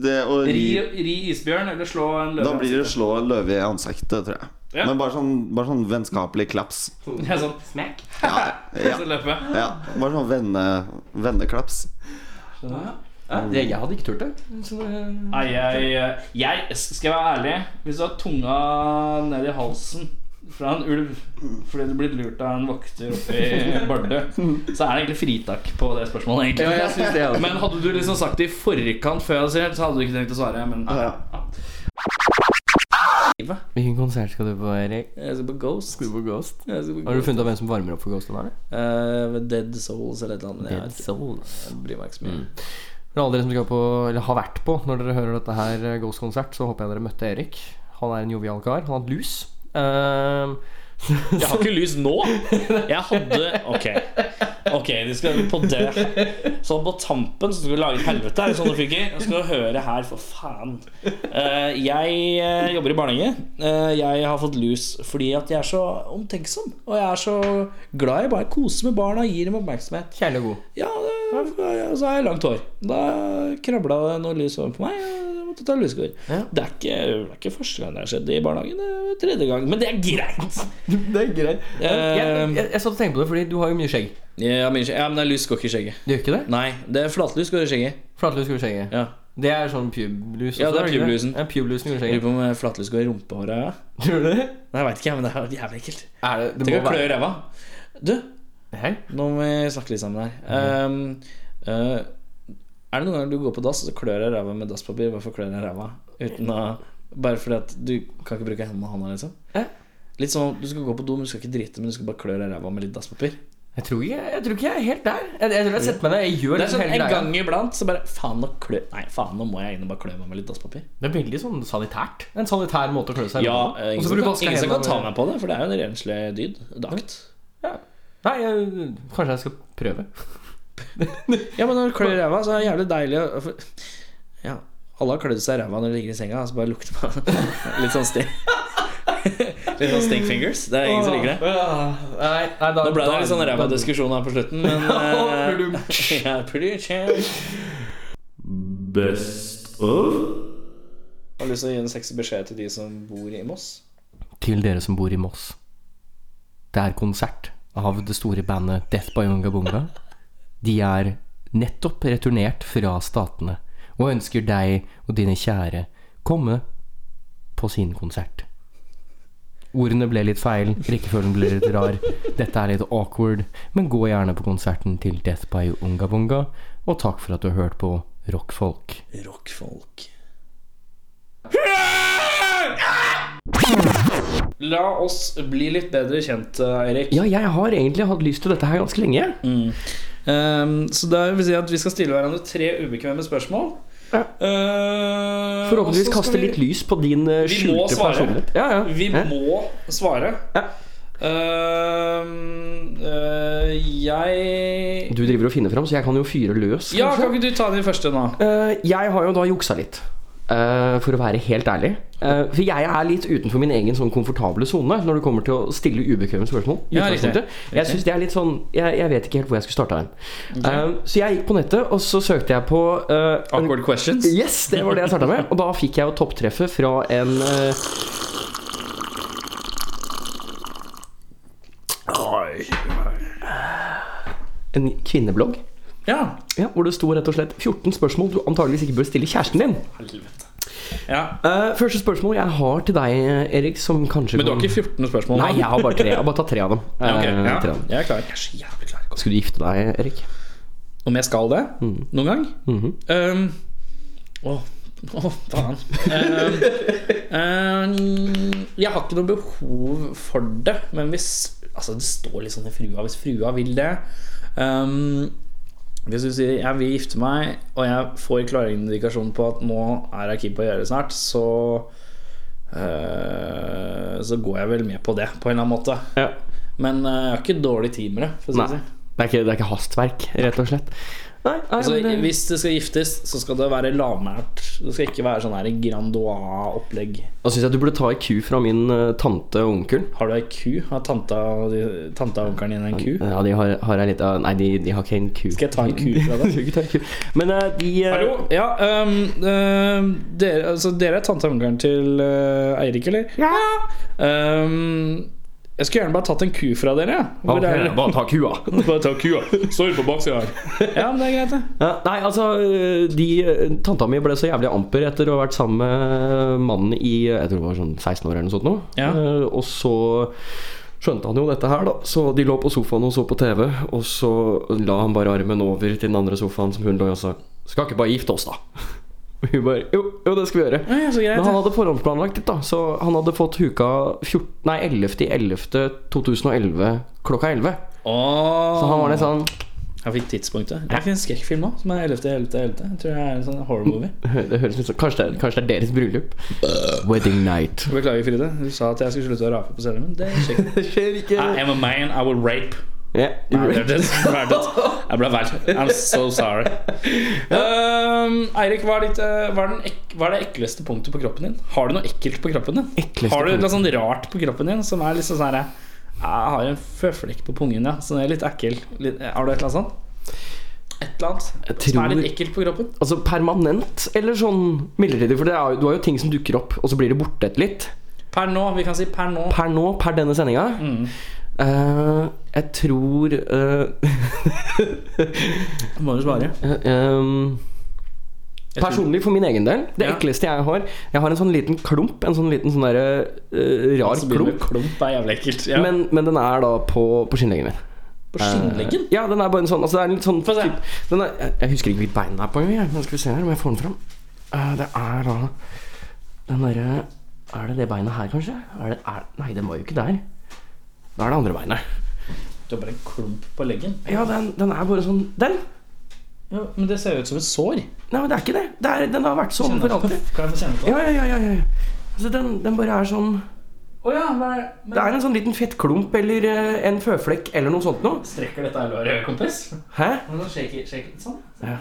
S7: det, å
S2: Ri,
S7: ri
S2: ri isbjørn eller slå en løve.
S7: Da blir det slå en løve i ansiktet, tror jeg.
S2: Ja.
S7: Men bare sånn, bare sånn vennskapelig klaps.
S2: Ja, sånn smack.
S7: Ja.
S2: Så løper jeg.
S7: Ja, bare sånn venne, venneklaps.
S3: Hæ? Det- jeg hadde ikke turt det.
S2: Nei, jeg, jeg Skal jeg være ærlig Hvis du har tunga ned i halsen fra en ulv fordi du er blitt lurt av en vokter oppe i Bardu, så er det egentlig fritak på det spørsmålet. egentlig
S3: Ja, jeg synes det, altså.
S2: Men hadde du liksom sagt det i forkant før jeg hadde sagt det, så hadde du ikke tenkt å svare. Men ja.
S3: Hvilken konsert skal du på, Erik?
S2: Jeg skal på Ghost.
S3: Skal du på Ghost?
S2: Jeg skal på
S3: Har du
S2: Ghost.
S3: funnet ut hvem som varmer opp for Ghost? Eller?
S2: Eh, Dead Souls eller et eller annet. men jeg
S3: Dead Mm.
S2: vet ikke. Jeg bryr meg ikke så mye.
S3: For alle dere som skal på, eller har vært på når dere hører dette her eh, Ghost-konsert, så håper jeg dere møtte Erik. Han er en jovial kar. Han har hatt lus. Eh,
S2: Jeg har ikke lys nå. Jeg hadde Ok, Ok, de skal på det. Så på tampen så skal vi lage et helvete her. Sånn det funker. Jeg skal høre her, for faen. Eh, jeg eh, jobber i barnehage. Eh, jeg har fått lus fordi at jeg er så omtenksom. Og jeg er så glad i bare å kose med barna, gir dem oppmerksomhet.
S3: Kjærlig og god.
S2: Ja, det- og så har jeg langt hår. Da krabla det noe lys over på meg. og jeg Måtte ta lusekår. Det, er ikke, det er ikke første gang det har skjedd i barnehagen. Det er tredje gang. Men det er greit. Eh,
S3: det er greit. Jeg, jeg, jeg satt og tenkte på det, fordi du har jo mye skjegg.
S2: Ja, men, ikke- ja, men det er lys går ikke i skjegget.
S3: Det gjør ikke det?
S2: Nei, det er flatlus går i skjegget.
S3: Flatlus går i skjegget.
S2: Ja.
S3: Det er sånn pubelus.
S2: Ja,
S3: også,
S2: det er
S3: ikke
S2: publusen.
S3: Ja, publusen går i
S2: Lurer
S3: skjegget.
S2: på om flatlus går i rumpehåret. Ja.
S3: Tror du det?
S2: Nei, jeg vet ikke, men det er jævlig ekkelt.
S3: Er det, det
S2: Tenk å
S3: må
S2: klø i
S3: være-
S2: ræva. Du,
S3: Hei.
S2: nå må vi snakke litt sammen her. Um, uh, er det noen ganger du går på dass og så klør deg i ræva med dasspapir? Hvorfor klør deg i ræva? Uten å, bare fordi at du kan ikke bruke hendene og hånda, liksom? Litt sånn, Du skal gå på do, men du skal ikke drite, men du skal bare klø deg i ræva med litt dasspapir.
S3: Jeg tror ikke jeg, tror ikke jeg er helt der. Jeg, jeg tror jeg setter meg ned. Jeg gjør liksom
S2: det er sånn
S3: hele
S2: En
S3: greia.
S2: gang iblant så bare Faen, nå klø Nei, faen, nå må jeg inn og bare klø meg med litt dasspapir.
S3: Det er veldig sånn sanitært. En sanitær måte å klø seg
S2: Ja,
S3: på.
S2: eh,
S3: Og
S2: ingen
S3: så
S2: som
S3: får du
S2: kan,
S3: vaske
S2: ingen som kan
S3: hendene
S2: ta
S3: med-
S2: meg på det, for det er jo en renslig dyd. en Akt.
S3: Nei, jeg, kanskje jeg skal prøve.
S2: Ja, men når du klør i ræva, så er det jævlig deilig å for- Ja, alle har klødd seg i ræva når de ligger i senga, og så bare lukter man litt sånn stink. Litt sånn stink fingers. Det er ingen som liker det.
S3: Nei, nei, da,
S2: Nå ble
S3: da-
S2: det litt sånn ræva diskusjon her på slutten, men eh, ja, pretty chill.
S12: Best of?
S2: Har lyst til å gi en sexy beskjed til de som bor i Moss.
S3: Til dere som bor i Moss. Det er konsert av det store bandet Death by Unga Bunga. De er nettopp returnert fra statene og ønsker deg og dine kjære komme på sin konsert. Ordene ble litt feil, rekkefølgen ble litt rar. Dette er litt awkward, men gå gjerne på konserten til Death by Unga Bunga, og takk for at du har hørt på Rockfolk.
S2: Rockfolk. La oss bli litt bedre kjent, eh, Eirik.
S3: Ja, jeg har egentlig hatt lyst til dette her ganske lenge.
S2: Um, så det vil si at vi skal stille hverandre tre ubekvemme spørsmål. Eh,
S3: Forhåpentligvis
S2: og så skal
S3: kaste
S2: vi-
S3: litt lys på din eh,
S2: Vi må
S3: skjulte
S2: svare.
S3: personlighet. Ja, ja.
S2: Vi
S3: Ja.
S2: må svare. Um, eh, jeg
S3: Du driver og finner fram, så jeg kan jo fyre løs.
S2: Ja,
S3: kanskje.
S2: kan ikke du ta den første nå?
S3: Eh, jeg har jo da juksa litt. eh, for å være helt ærlig. Eh, for jeg er litt utenfor min egen sånn komfortable sone når det kommer til å stille ubekvemme spørsmål. i
S2: Ja, riktig.
S3: utgangspunktet. Jeg synes det er litt sånn jeg, jeg vet ikke helt hvor jeg skulle starta den. Eh, så jeg gikk på nettet, og så søkte jeg på eh,
S2: Awkward questions?
S3: Yes, det var det jeg starta med. Og da fikk jeg jo topptreffet fra en eh, En kvinneblogg.
S2: Ja.
S3: Hvor det sto rett og slett 14 spørsmål du antageligvis ikke bør stille kjæresten din.
S2: Helvete.
S3: Eh, første spørsmål jeg har til deg, Erik, som kanskje
S2: Men du har
S3: kan-
S2: ikke 14 spørsmål? nå?
S3: Nei, jeg har bare tre. Jeg har bare tatt tre av dem.
S2: Ja, ok,
S3: Eh,
S2: ja.
S3: tre av dem.
S2: Jeg er klar. Jeg er så jævlig klar.
S3: Skal du gifte deg, Erik? Mm. Mhm.
S2: Om jeg skal det? Noen gang? Um, Å, å, faen. Um, um, jeg har ikke noe behov for det, men hvis Altså, det står litt sånn i frua hvis frua vil det. Um, hvis du sier 'jeg vil gifte meg', og jeg får klare indikasjoner på at nå er jeg keen på å gjøre det snart, så eh, Så går jeg vel med på det, på en eller annen måte. Men eh, jeg har ikke dårlig tid med det. For å si
S3: Nei.
S2: det sånn.
S3: Det er, ikke, det er ikke hastverk, rett og slett.
S2: Altså,
S3: men det-
S2: Hvis det skal giftes, så skal det være lavmælt. Det skal ikke være sånn her Grandois-opplegg.
S3: Da syns jeg du burde ta ei ku fra min eh, tante og onkel.
S2: Har du ei ku? Har tanta og de- tanta og onkelen din en ku?
S3: Ja, de har, har ei lita Nei, de, de har ikke en ku.
S2: Skal jeg ta en ku fra deg?
S3: Du skal ikke ta en ku. Men eh, de eh,
S2: Hallo? Ja, øhm, øhm, dere, altså, dere er tante og onkelen til øh, Eirik, eller? Ja! jeg skulle gjerne bare tatt en ku fra dere. ja. Hvor
S3: Ok,
S2: er-
S3: bare ta kua.
S2: bare ta kua. Står på baksida her. Ja, men det er greit, det.
S3: Ja, nei, altså eh, de, Tanta mi ble så jævlig amper etter å ha vært sammen med mannen i eh, Jeg tror det var sånn 16 år eller noe sånt. Nå. Eh, Og så skjønte han jo dette her, da. Så de lå på sofaen og så på TV. Og så la han bare armen over til den andre sofaen som hun lå i, og sa Skal ikke bare gifte oss, da? Og hun bare Jo, jo det skal vi gjøre.
S2: Ja, så greit,
S3: Men han
S2: ja.
S3: hadde forhåndsplanlagt litt, da. Så han hadde fått huka 14, nei, 11.11.2011 klokka 11.
S2: Så
S3: han var litt sånn
S2: Han fikk tidspunktet. Jeg fikk en skrekkfilm òg, som er 11.11.11. Jeg tror det er en sånn horror movie.
S3: Det høres litt sånn Kanskje det, kanskje det er deres bryllup? Wedding night.
S2: Beklager, Fride. Du sa at jeg skulle slutte å rape på scenen min. Det skjer ikke. I am a man, I will rape. Nei, det er det som er det. Jeg ble vel. I'm so sorry. Um, Eirik, hva, er ditt, eh, hva, er den ek- hva er det ekleste punktet på kroppen din? Har du noe ekkelt på kroppen din? har du noe
S3: punkt?
S2: sånn rart på kroppen din som er liksom sånn her Jeg har en føflekk på pungen, ja. Så det er litt ekkel. Litt, har du et eller annet sånt? Et eller annet som er litt
S3: tror-
S2: ekkelt på kroppen?
S3: Altså permanent eller sånn midlertidig? For det er, jo- du har jo ting som dukker opp, og så blir det borte etter litt.
S2: Per nå. Vi kan si per nå.
S3: Per nå, per denne sendinga
S2: Mm.
S3: eh, Jeg tror eh,
S2: Må du svare?
S3: eh, um,
S2: Jeg tror-
S3: Personlig for min egen del. Det
S2: Ja.
S3: ekleste jeg har Jeg har en sånn liten klump. En sånn liten sånn derre eh, rar
S2: Altså,
S3: klump.
S2: begynner med klump er jævlig ekkelt. Ja.
S3: Men, men den er da på, på skinnleggen min.
S2: På skinnleggen?
S3: Eh, ja, den er bare en sånn, altså det er en litt sånn typ, den er, jeg- Jeg husker ikke hvilket bein det er på engang. jeg. Men Skal vi se her om jeg får den fram. Eh, det er da den derre Er det det beinet her, kanskje? Er det, er, nei, den var jo ikke der. Da er det andre beinet.
S2: Du har bare en klump på leggen.
S3: Ja, den, den er bare sånn Der!
S2: Ja, men det ser jo ut som et sår.
S3: Nei, men det er ikke det. det er, den har vært sånn for alltid.
S2: Kan jeg få kjenne på
S3: Ja, ja, ja, ja, ja. Altså, den, den bare er sånn
S2: Å ja, men, men
S3: Det er en sånn liten fettklump eller eh, en føflekk eller noe sånt noe.
S2: Strekker dette her låret, kompis?
S3: Hæ?
S2: Men nå shaker, shaker litt sånn.
S3: Ja.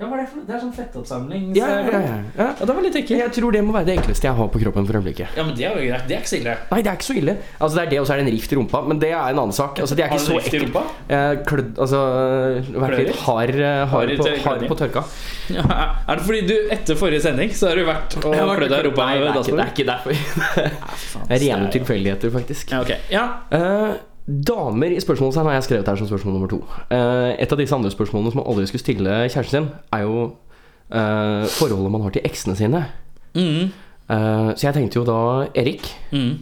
S2: Ja, hva er det for noe? Det er sånn fettoppsamling.
S3: Ja, ja, ja, ja. ja. Det var litt ekkelt. Jeg tror det må være det ekleste jeg har på kroppen for øyeblikket.
S2: Ja, men det er jo greit. Det er ikke så ille.
S3: Nei, det er ikke så ille. Altså, det er det, og så er det en rift i rumpa. Men det er en annen sak. Altså, det er ikke
S2: Har du
S3: så
S2: rift i
S3: ekkelt.
S2: rumpa?
S3: Eh, Klødd Altså, vært litt hard, eh, hard,
S2: Hard i
S3: på,
S2: tørr-
S3: hard på tørka.
S2: Ja, er det fordi du etter forrige sending så har du vært og
S3: Jeg har vært-
S2: klødd deg i rumpa?
S3: Nei, det er ikke- det er
S2: derfor.
S3: Det er Rene tilfeldigheter, faktisk.
S2: Ja, ok. ja.
S3: Eh, damer i spørsmålstegn har jeg skrevet her som spørsmål nummer to. Eh, et av disse andre spørsmålene som man aldri skulle stille kjæresten sin, er jo eh, forholdet man har til eksene sine. Eh, så jeg tenkte jo da, Erik
S2: Mm.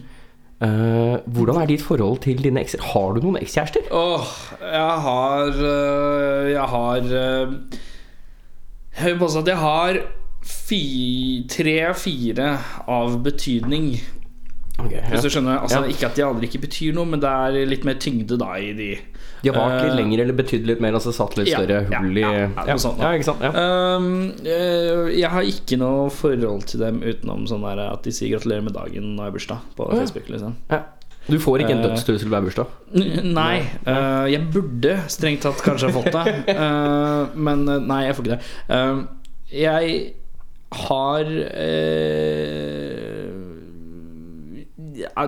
S3: eh, Hvordan er ditt forhold til dine ekser? Har du noen ekskjærester?
S2: Åh, jeg har øh, Jeg har øh, Jeg vil påstå at jeg har fi- tre-fire av betydning. Hvis du skjønner, altså
S3: Ja.
S2: Ikke at de andre ikke betyr noe, men det er litt mer tyngde da i de.
S3: De har vart litt
S2: Eh,
S3: lenger eller betydd litt mer? Altså satt litt
S2: ja,
S3: større
S2: ja,
S3: hull i
S2: ja, ja, noe sånt, da.
S3: ja, ikke sant? Ja.
S2: Um, eh, jeg har ikke noe forhold til dem utenom sånn der at de sier 'gratulerer med dagen' når jeg har bursdag på
S3: Å, ja.
S2: Facebook. liksom
S3: Du får ikke en
S2: Eh,
S3: dødstrussel hver bursdag?
S2: N- Nei. eh, jeg burde strengt tatt kanskje ha fått det, eh, men eh, nei, jeg får ikke det. Eh, jeg har eh,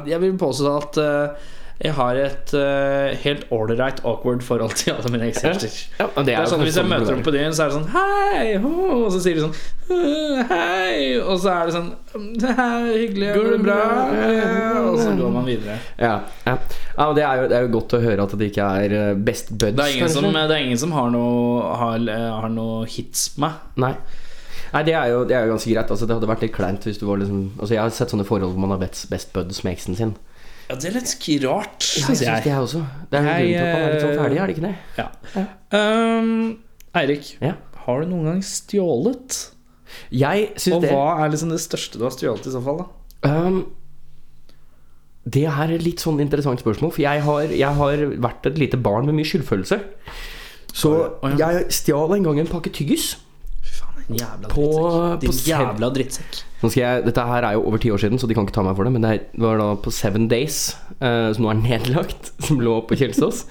S2: Jeg vil påstå at eh, jeg har et eh, helt ålreit awkward forhold til alle mine ekskjærester.
S3: Ja, men det er
S2: Det er
S3: jo
S2: sånn, hvis jeg
S3: sånn det
S2: møter
S3: burde
S2: dem på byen, så er det sånn Hei! ho», Og så sier de sånn «Øh, Hei! Og så er det sånn «Hei, Hyggelig. Går det bra? Eh, Og så går man videre.
S3: Ja, ja. ja men det, er jo, det er jo godt å høre at det ikke er eh, best buds.
S2: Det er ingen
S3: kanskje.
S2: som, eh, det er ingen som har, noe, har, eh, har noe hits på meg.
S3: Nei. Nei, det er, jo, det er jo ganske greit. Altså, det hadde vært litt kleint hvis du var liksom Altså, jeg har sett sånne forhold hvor man har best, best buds med eksen sin.
S2: Ja, det er litt rart,
S3: Ja, jeg
S2: syns
S3: synes
S2: jeg.
S3: det, jeg også. Det er jo grunnen
S2: Jeg,
S3: til at man er litt sånn ferdig, er det ikke det?
S2: Ja. Ehm, Eirik, har du noen gang stjålet?
S3: Jeg synes
S2: Og
S3: det-
S2: hva er liksom det største du har stjålet i så fall? da?
S3: Ehm, det her er et litt sånn interessant spørsmål, for jeg har, jeg har vært et lite barn med mye skyldfølelse. Så jeg stjal en gang en pakke tyggis.
S2: Jævla
S3: På,
S2: Din
S3: på Sev-
S2: jævla drittsekk.
S3: Nå skal jeg, dette her er jo over ti år siden, så de kan ikke ta meg for det. Men det her var da på Seven Days, eh, som nå er nedlagt, som lå på Kjelsås.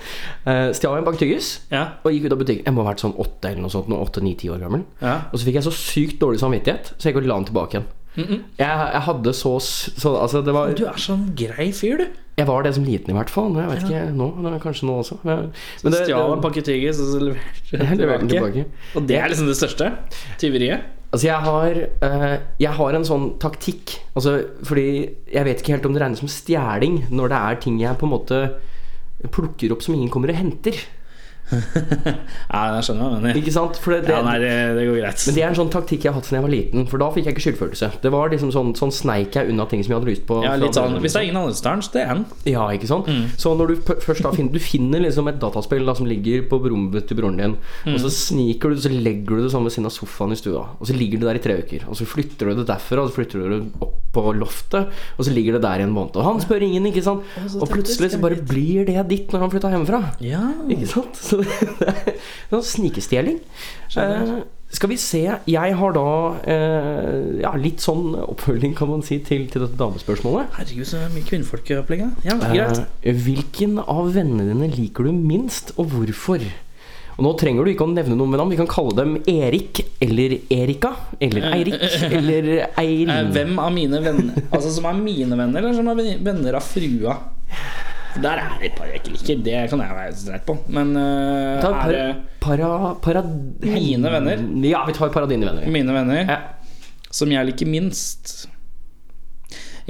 S3: Eh, stjal en pakke tyggis og gikk ut av butikken. Jeg må ha vært sånn åtte eller noe sånt, nå, åtte, ni, ti år gammel.
S2: Ja.
S3: Og så fikk jeg så sykt dårlig samvittighet, så jeg gikk og la den tilbake igjen. Jeg, jeg hadde så, s- så altså det var,
S2: Du er sånn grei fyr, du.
S3: Jeg var det som liten i hvert fall. Men jeg vet
S2: Ja.
S3: ikke nå, men kanskje nå også. Men,
S2: Du
S3: men det-
S2: stjal
S3: det-
S2: en pakke tyggis, og så leverte du
S3: Jeg
S2: den
S3: leverte den
S2: tilbake.
S3: tilbake.
S2: Og det er liksom det største? Tyveriet?
S3: Altså jeg har, eh, jeg har en sånn taktikk altså, Fordi jeg vet ikke helt om det regnes som stjæling Når det er ting jeg på en måte plukker opp som ingen kommer og henter
S2: Ja, jeg skjønner hva du mener.
S3: Ikke sant? For det, det,
S2: Ja, nei, det, det går greit.
S3: men det er en sånn taktikk jeg har hatt siden jeg var liten For da fikk jeg ikke skyldfølelse Det var liksom sånn, sånn sneik jeg unna ting som jeg hadde lyst på
S2: Ja,
S3: fra
S2: litt sånn,
S3: andre-
S2: Hvis det er ingen annenstans, det er en. Mm.
S3: Ja, ikke sant? Så når du p- først da finner, du finner liksom et dataspill da, som ligger på rommet til broren din, og
S2: Mm.
S3: så sniker du det, så legger du det sånn ved siden av sofaen i stua, og så ligger det der i tre uker, og så flytter du det derfra, og så flytter du det opp på loftet, og så ligger det der i en måned. Og han spør ingen, ikke sant? Og plutselig så bare blir det ditt når han flytter hjemmefra.
S2: Ja.
S3: Ikke sant? Så det er sånn snikestjeling. Eh, skal vi se. Jeg har da eh, ja, litt sånn oppfølging, kan man si, til, til dette damespørsmålet.
S2: Herregud, så mye kvinnfolk i opplegget. Ja, greit.
S3: Eh, Hvilken av vennene dine liker du minst, og hvorfor? Og Nå trenger du ikke å nevne noen ved navn. Vi kan kalle dem Erik eller Erika. Eller Eirik eller Eirin.
S2: Eh, Hvem av mine venner Altså som er mine venner, eller som er ven- venner av frua? For Der er det et par jeg ikke liker. Det kan jeg være streit på. Men eh,
S3: Ta
S2: er
S3: par,
S2: det
S3: para, para,
S2: Mine venner?
S3: Ja, vi tar para dine venner. vi.
S2: mine venner som jeg liker minst?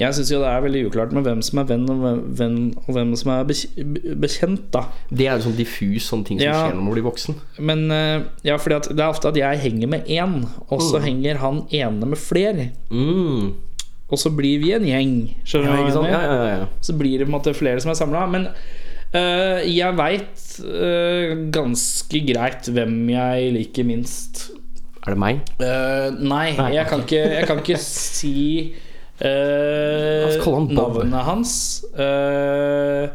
S2: Jeg syns jo det er veldig uklart med hvem som er venn, og hvem, venn, og hvem som er bekj- bekjent, da.
S3: Det er jo sånn diffus sånn ting som
S2: Ja.
S3: skjer når man blir voksen.
S2: Men eh, ja, fordi at det er ofte at jeg henger med én, og så
S3: Mm.
S2: henger han ene med flere. Og så blir vi en gjeng. Skjønner
S3: Ja,
S2: du hva
S3: ikke
S2: jeg
S3: sant?
S2: mener?
S3: Ja, ja, ja, ja.
S2: Så blir det på en måte flere som er samla. Men eh, jeg veit eh, ganske greit hvem jeg liker minst.
S3: Er det meg?
S2: Eh, nei,
S3: Nei.
S2: Jeg, kan ikke, jeg kan ikke si eh,
S3: La oss kalle han Bob.
S2: navnet hans. Eh,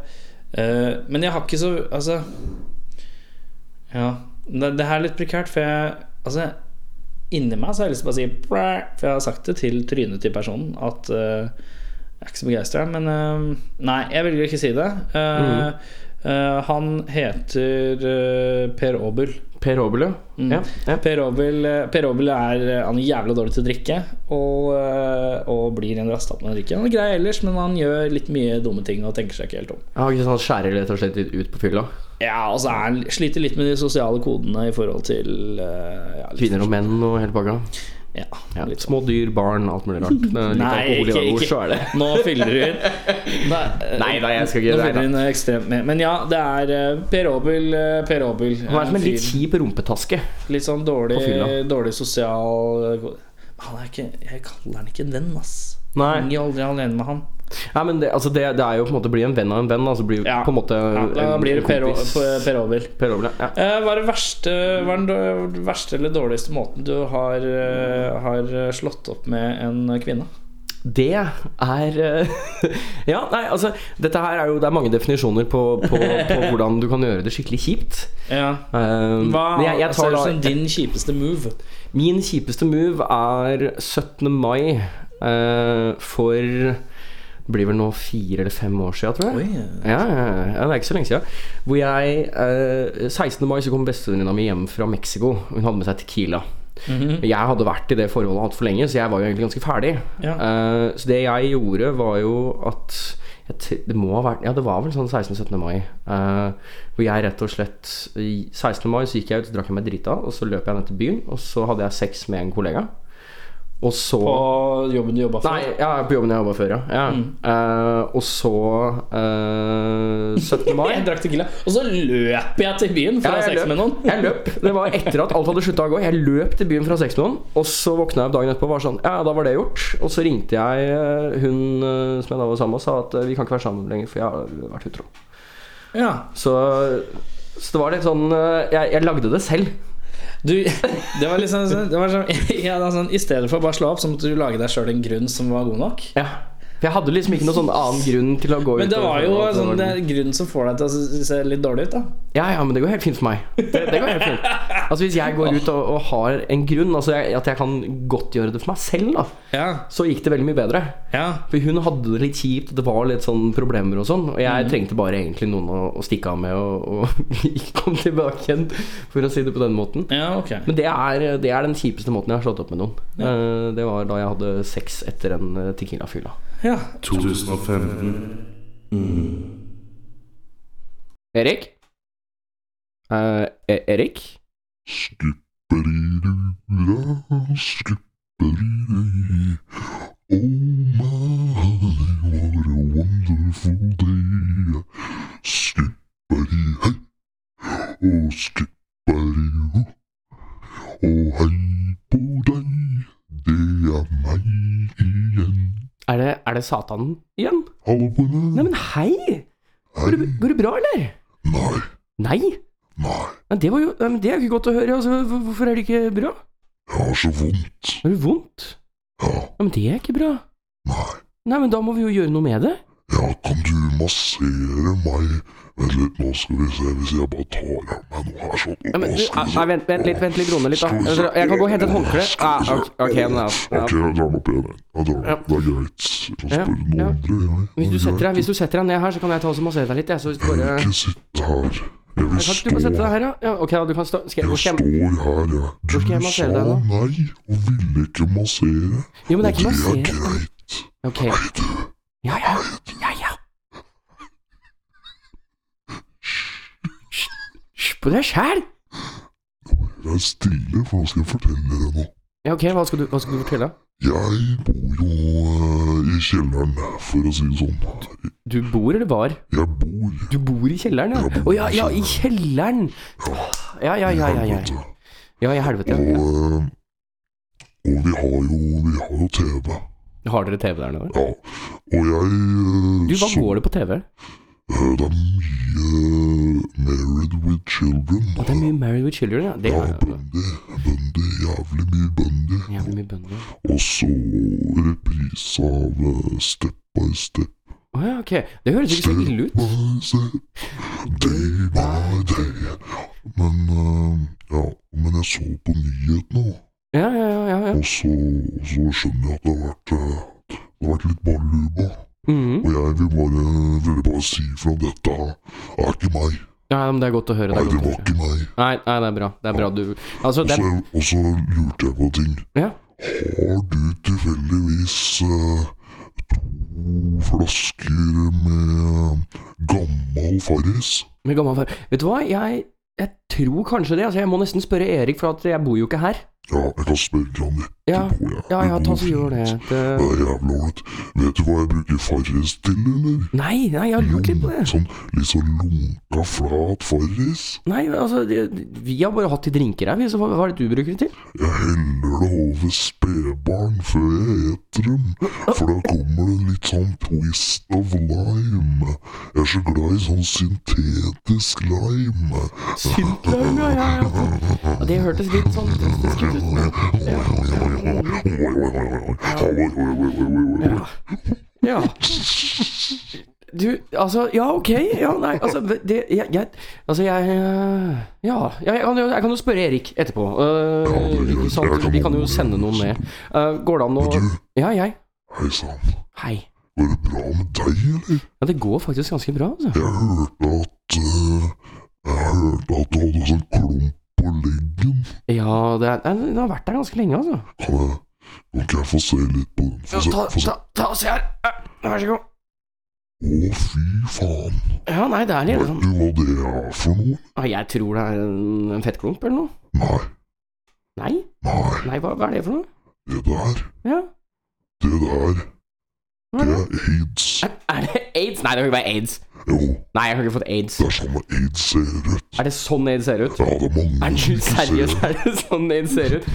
S2: Eh, men jeg har ikke så Altså Ja. Det, det her er litt prekært, for jeg Altså, inni meg så har jeg lyst til å bare si "Bræ", For jeg har sagt det til trynet til personen at eh, Jeg er ikke så begeistra, men eh, Nei, jeg velger å ikke si det. Eh,
S3: Mhm.
S2: eh, han heter eh, Per Aabel. Mm.
S3: Per Aabel, ja. Ja,
S2: Per Aabel, eh, per Aabel er, eh, han er jævla dårlig til å drikke og, eh, og blir en rastat når han drikker. Han er grei ellers, men han gjør litt mye dumme ting og tenker seg ikke helt om.
S3: Jeg har ikke sånn skjærer rett og slett litt ut på fylla.
S2: Ja, altså er, han- sliter litt med de sosiale kodene i forhold til eh, ja, litt-
S3: Kvinner og menn og hele pakka.
S2: Ja, sånn.
S3: Små dyr, barn, alt mulig rart. Det er litt alkohol i det, hvor så er det?
S2: Nå fyller du ut. Nei, eh,
S3: Nei, nei, jeg skal ikke-
S2: Nå
S3: nei,
S2: fyller du inn ekstremt med. Men ja, det er eh, Per Aabel. eh, Per Aabel
S3: Han er som en litt
S2: kjip rumpetaske. Litt sånn dårlig,
S3: på fylla.
S2: dårlig sosial eh, Han er ikke Jeg kaller han ikke en venn, ass.
S3: Nei.
S2: Henger aldri alene med han.
S3: Nei, men det, altså det, det er jo på en måte å bli en venn av en venn. Altså bli på en måte
S2: Ja, da
S3: en-
S2: blir
S3: en
S2: det Per,
S3: kompis.
S2: Aabel- per Aabel.
S3: Per Aabel, ja.
S2: Eh, Hva er det verste Hva er den dår- verste eller dårligste måten du har, eh, har slått opp med en kvinne?
S3: Det er eh, Ja, nei, altså Dette her er jo Det er mange definisjoner på, på, på hvordan du kan gjøre det skikkelig kjipt.
S2: Ja.
S3: Um,
S2: Hva
S3: men jeg, jeg tar
S2: ser ut
S3: da
S2: som din kjipeste move?
S3: Min kjipeste move er 17. mai eh, for det blir vel nå fire eller fem år siden, tror jeg. ja, ja, ja, det er ikke så lenge siden. Hvor jeg eh, 16. mai så kom bestevenninna mi hjem fra Mexico. Hun hadde med seg Tequila.
S11: Mm.
S2: Mhm.
S3: Jeg hadde vært i det forholdet altfor lenge, så jeg var jo egentlig ganske ferdig.
S2: Ja.
S3: Eh, så det jeg gjorde, var jo at jeg t- det må ha vært Ja, det var vel sånn 16-17. mai. eh, hvor jeg rett og slett i 16. mai så gikk jeg ut, så drakk jeg meg drita, og så løp jeg ned til byen, og så hadde jeg sex med en kollega. Og så
S2: På jobben du Mm. jobba for?
S3: Nei, ja, på jobben jeg jobba før, ja. ja. Eh, og så eh, 17. mai
S2: Jeg drakk tequila, og så løp jeg til byen for å ha
S3: jeg
S2: sex
S3: løp.
S2: med noen.
S3: Sånn. Jeg løp. Det var etter at alt hadde slutta å gå. Jeg løp til byen for å ha sex med noen. Og så våkna jeg opp dagen etterpå og var sånn Ja, da var det gjort. Og så ringte jeg eh, hun eh, som jeg da var sammen med, og sa at eh, vi kan ikke være sammen lenger, for jeg har vært utro.
S2: Ja.
S3: Så, så det var litt sånn eh, jeg, jeg lagde det selv.
S2: Du, det var liksom sånn- det var sånn, ja, det var sånn I stedet for å bare slå opp, så måtte du lage deg sjøl en grunn som var god nok.
S3: Ja. For jeg hadde liksom ikke noen sånn annen grunn til å gå
S2: Men
S3: ut.
S2: det
S3: og-
S2: var jo
S3: og- og-
S2: sånn, det er grunnen som får deg til å se litt dårlig ut, da.
S3: Ja, ja, men det går helt fint for meg. Det, det går helt fint Altså Hvis jeg går ut og, og har en grunn, altså jeg, at jeg kan godtgjøre det for meg selv, da så gikk det veldig mye bedre. For hun hadde det litt kjipt, det var litt sånn problemer og sånn. Og jeg trengte bare egentlig noen å, å stikke av med, og, og ikke komme tilbake igjen, for å si det på den måten. Men det er, det er den kjipeste måten jeg har slått opp med noen. Eh, Det var da jeg hadde sex etter en eh, Tequila-fylla.
S11: 2015.
S3: Mm. Erik? Eh, E- Erik?
S11: Oh my, what a wonderful day. Skippari hei, og skippari ho. Og hei på deg, det er meg igjen.
S3: Er det, er det Satanen igjen?
S11: Hallo på deg.
S3: Nei, men hei! Går det, går det bra, eller? Nei. Nei? Men det, var jo, nei, men det er jo ikke godt å høre. Altså, hvor- hvorfor er det ikke bra?
S11: Jeg har så vondt.
S3: Har du vondt?
S11: Ja.
S3: Men det er ikke bra. Nei. Nei, men da må vi jo gjøre noe med det.
S11: Ja, kan du massere meg? Vent litt, nå skal vi se hvis jeg bare tar av meg noe her sånn.
S3: Nei, men, du, nei, vent, vent litt, vent litt, grone litt, da. Jeg tror- jeg kan gå og hente et håndkle. Ah, ok, ok, men, ja.
S11: Ok, jeg drar meg opp igjen. jeg. Jeg drar meg opp. Det er greit. Jeg kan
S3: Ja,
S11: spørre noen
S3: ja.
S11: andre, jeg.
S3: Hvis du
S11: Det er
S3: setter deg,
S11: greit.
S3: hvis du setter deg ned her, så kan jeg ta og massere deg litt. Jeg, så hvis du bare...
S11: Jeg vil ikke sitte her. Jeg vil
S3: Kan ikke du bare sette
S11: stå
S3: deg her, da? Ja, ok, da, du kan stå. Skal jeg, hvor skal jeg...
S11: Står her, jeg.
S3: Hvor skal
S11: Du sa
S3: jeg massere deg, da?
S11: nei og ville ikke massere.
S3: Jo, men det er ikke
S11: Og
S3: massere.
S11: greit.
S3: Ok. Ja, ja. Ja, ja. Hysj på deg sjæl!
S11: Vær stille, for nå skal jeg fortelle dere noe.
S3: Ja, ok, hva skal du, hva skal du fortelle?
S11: Jeg bor jo eh, i kjelleren, for å si det sånn.
S3: Du bor eller var?
S11: Jeg bor.
S3: Du bor i kjelleren, ja? Å ja, ja, i kjelleren! Ja, ja, ja, ja. Ja, ja i helvete. ja.
S11: Og, eh, og vi har jo, vi har jo TV.
S3: Har dere TV der nede?
S11: Ja. Og jeg eh,
S3: Du, hva går det på TV?
S11: Det er mye eh, Married with Children.
S3: Å, det er mye Married with Children, ja. Det er
S11: Bundy, jævlig mye Bundy.
S3: Jævlig mye Bundy.
S11: Og så reprise av eh, Step by Step.
S3: Å ja, ok. Det høres ikke så ille ut.
S11: Day by day. Men eh, ja, men jeg så på nyhetene, da.
S3: Ja, ja, ja, ja, ja.
S11: Og så, og så skjønner jeg at det har vært, eh, det har vært litt baluba.
S3: Mhm.
S11: Og jeg vil bare, ville bare si fra at dette er ikke meg.
S3: Ja, men det er godt å høre.
S11: Nei,
S3: Det er
S11: det
S3: godt å
S11: var ikke meg.
S3: høre. Nei, nei, det er bra. Det er bra du Altså,
S11: Og
S3: det er
S11: så- Og så lurte jeg på en ting.
S3: Ja.
S11: Har du tilfeldigvis eh, to flasker med eh, gammel Farris?
S3: Med gammel far. Vet du hva, jeg, jeg tror kanskje det. Altså, jeg må nesten spørre Erik, for at jeg bor jo ikke her.
S11: Ja, jeg kan spørre deg om det.
S3: Ja, ja, ja ta så gjør det. det.
S11: Det er jævlig ålreit. Vet du hva jeg bruker Farris til, eller?
S3: Nei, nei, jeg har lurt litt på det.
S11: Sånn litt sånn lunka, flat Farris.
S3: Nei, altså, det, vi har bare hatt de drinker her, vi, så hva, hva er det du bruker det til?
S11: Jeg heller det over spedbarn før jeg eter dem, for da kommer det litt sånn twist of lime. Jeg er så glad i sånn syntetisk lime. eh,
S3: Syntlaug, ja, ja, ja. Ja, Det hørtes litt sånn testisk ut. Ja. Du, altså Ja, ok. Ja, nei, altså det, jeg, jeg Altså, jeg eh, Ja. Jeg kan, jo- jeg kan jo spørre Erik etterpå. Eh, ikke sant? Vi kan jo sende noen ned. Eh, går det an å Ja, jeg.
S11: Hei sann,
S3: Hei.
S11: går det bra med deg, eller?
S3: Ja, det går faktisk ganske bra, altså.
S11: Jeg hørte at eh, Jeg hørte at du hadde sånn klump på leggen.
S3: Ja, det er, den har vært der ganske lenge, altså.
S11: Kan jeg, kan ikke jeg få se litt på den? Få se,
S3: Ta,
S11: få se.
S3: ta, ta og se her. Eh, Vær så god.
S11: Å, fy faen.
S3: Ja, nei, det er litt
S11: Vet
S3: sånn
S11: du hva det er for noe?
S3: Ja, Jeg tror det er en, en fettklump eller noe.
S11: Nei.
S3: Nei?
S11: Nei.
S3: Nei, hva, hva er det for noe?
S11: Det der,
S3: Ja.
S11: det der,
S3: Hva er
S11: det
S3: det?
S11: er aids.
S3: Er det aids? Nei, det kan ikke være aids.
S11: Jo,
S3: Nei, jeg har ikke fått aids.
S11: det er sånn aids ser ut.
S3: Er det sånn aids ser ut?
S11: Ja, det er mange
S3: Er du
S11: som ikke ser
S3: seriøs? Er det sånn aids ser ut?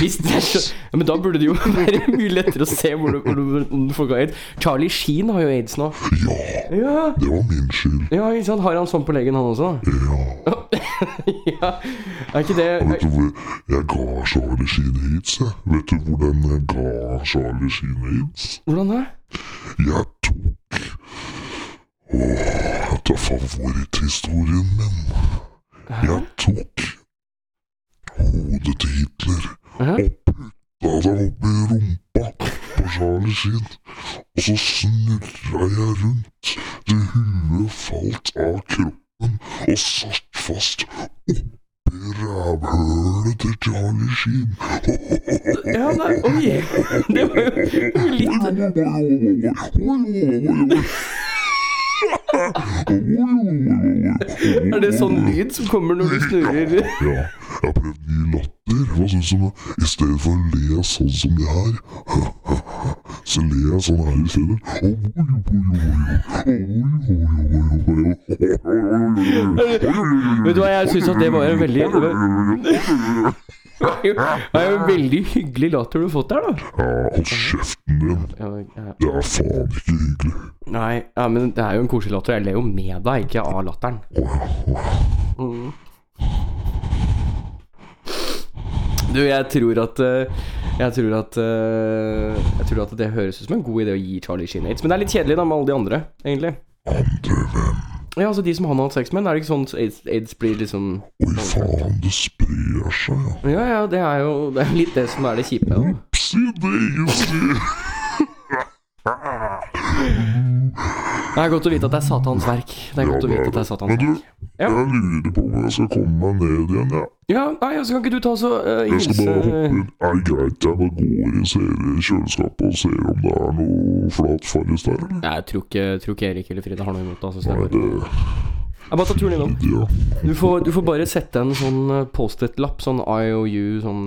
S3: Hvis det er sånn ja, Men da burde det jo være mye lettere å se hvor det- hvor det- om folk har aids. Charlie Sheen har jo aids nå. Ja.
S11: Det var min skyld.
S3: Ja, ikke sant. Har han sånn på leggen, han også? Ja. Er ikke
S11: Og vet
S3: det
S11: du hvor jeg ga Charlie Sheen aids, jeg? Vet du hvordan jeg ga Charlie Sheen aids?
S3: Hvordan da?
S11: Jeg tok Åh, dette er favoritthistorien min. Jeg tok hodet til Hitler og putta det opp i rumpa på Charlie Sheen. Og så snurra jeg rundt til huet falt av kroppen og satt fast oppi rævhølet til Charlie Sheen.
S3: Ja, nei, oi. Det var jo
S11: litt
S3: Er det sånn lyd som kommer når du snurrer?
S11: Ja, jeg har prøvd ny latter. Hva syns du om det? I stedet for å le sånn som det her, så ler jeg sånn her i stedet.
S3: Vet du hva, jeg syns at det var en veldig Det var jo- det er jo en veldig hyggelig latter du har fått der, da.
S11: Ja, hold kjeften din. Det er faen ikke hyggelig.
S3: Nei, ja, men det er jo en koselig latter. Jeg ler jo med deg, ikke av latteren. Mm. Du, jeg tror at eh, Jeg tror at eh, Jeg tror at det høres ut som en god idé å gi Charlie Sheen aids. Men det er litt kjedelig da med alle de andre, egentlig. Ja, altså de som han har hatt sex med. Er det ikke sånn at aids, aids blir liksom
S11: Oi, faen, det sprer seg, ja.
S3: Ja, ja, det er jo det er litt det som er det kjipe. da.
S11: Psi, daisy.
S3: Det er godt å vite at det er Satans verk. Det er godt å vite at det er Satans
S11: Men du,
S3: verk.
S11: jeg lurer på om jeg skal komme meg ned igjen, jeg.
S3: Ja, nei, altså kan ikke du ta så uh,
S11: Jeg skal
S3: hilse
S11: bare hoppe inn. Er det greit jeg bare går og ser i kjøleskapet og ser om det er noe flat farris der, eller?
S3: Nei, Jeg tror ikke, tror ikke Erik eller Frida har noe imot det. Altså, så
S11: Nei,
S3: det
S11: det
S3: går. Jeg bare tar turen innom. Du får, du får bare sette en sånn eh, Post-It-lapp, sånn IOU, sånn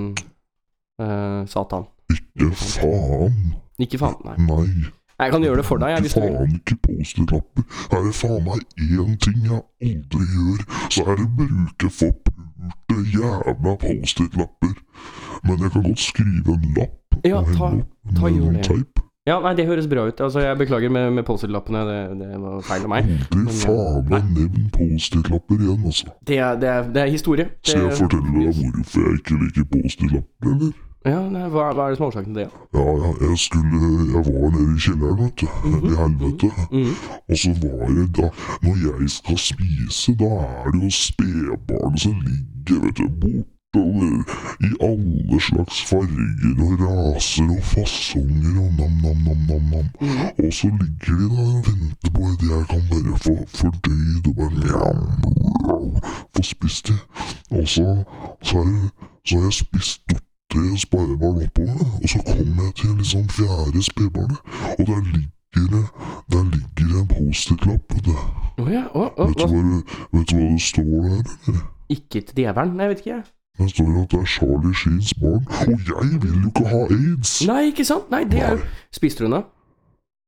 S3: eh, Satan.
S11: Ikke faen.
S3: Ikke faen, nei.
S11: Nei.
S3: Jeg kan gjøre det for deg, jeg, hvis du vil.
S11: Faen ikke Post-It-lapper. Er det faen meg én ting jeg aldri gjør, så er det å bruke forpulte jævla Post-It-lapper. Men jeg kan godt skrive en lapp
S3: Ja, ta, ta
S11: med
S3: gjør
S11: noen
S3: det.
S11: teip.
S3: Ja, nei, det høres bra ut. Altså, jeg beklager med, med Post-It-lappene, det, det var feil av meg.
S11: Aldri
S3: Men, eh,
S11: faen meg nevn Post-It-lapper igjen, altså.
S3: Det er, det er, det er historie.
S11: Skal jeg
S3: Det,
S11: fortelle deg hvorfor jeg ikke liker Post-It-lapper, eller?
S3: Ja, nei, hva, hva er det som er årsaken til det? da?
S11: Ja, ja, jeg skulle Jeg var nede i kjelleren, vet du.
S3: Mhm.
S11: I helvete. Og så var jeg da Når jeg skal spise, da er det jo spedbarnet som ligger, vet du, bortover i alle slags farger og raser og fasonger og nam-nam-nam-nam. Og så ligger de der og venter på at jeg kan bare få fordøyd og bare mjau, mjau, få spist det. Og så, så, er det, så har jeg spist opp tre speiderbarn oppover, og så kommer jeg til liksom fjerde spedbarnet, og der ligger det der ligger det en Post-It-lapp. vet du.
S3: Å ja, å, å,
S11: Vet, du hva
S3: hva?
S11: det- vet du hva det står der? eller?
S3: Ikke til djevelen? Nei, Jeg vet ikke, jeg.
S11: Det står at det er Charlie Sheens barn, og jeg vil jo ikke ha aids!
S3: Nei, ikke sant? Nei, det er jo Spiste du den, da?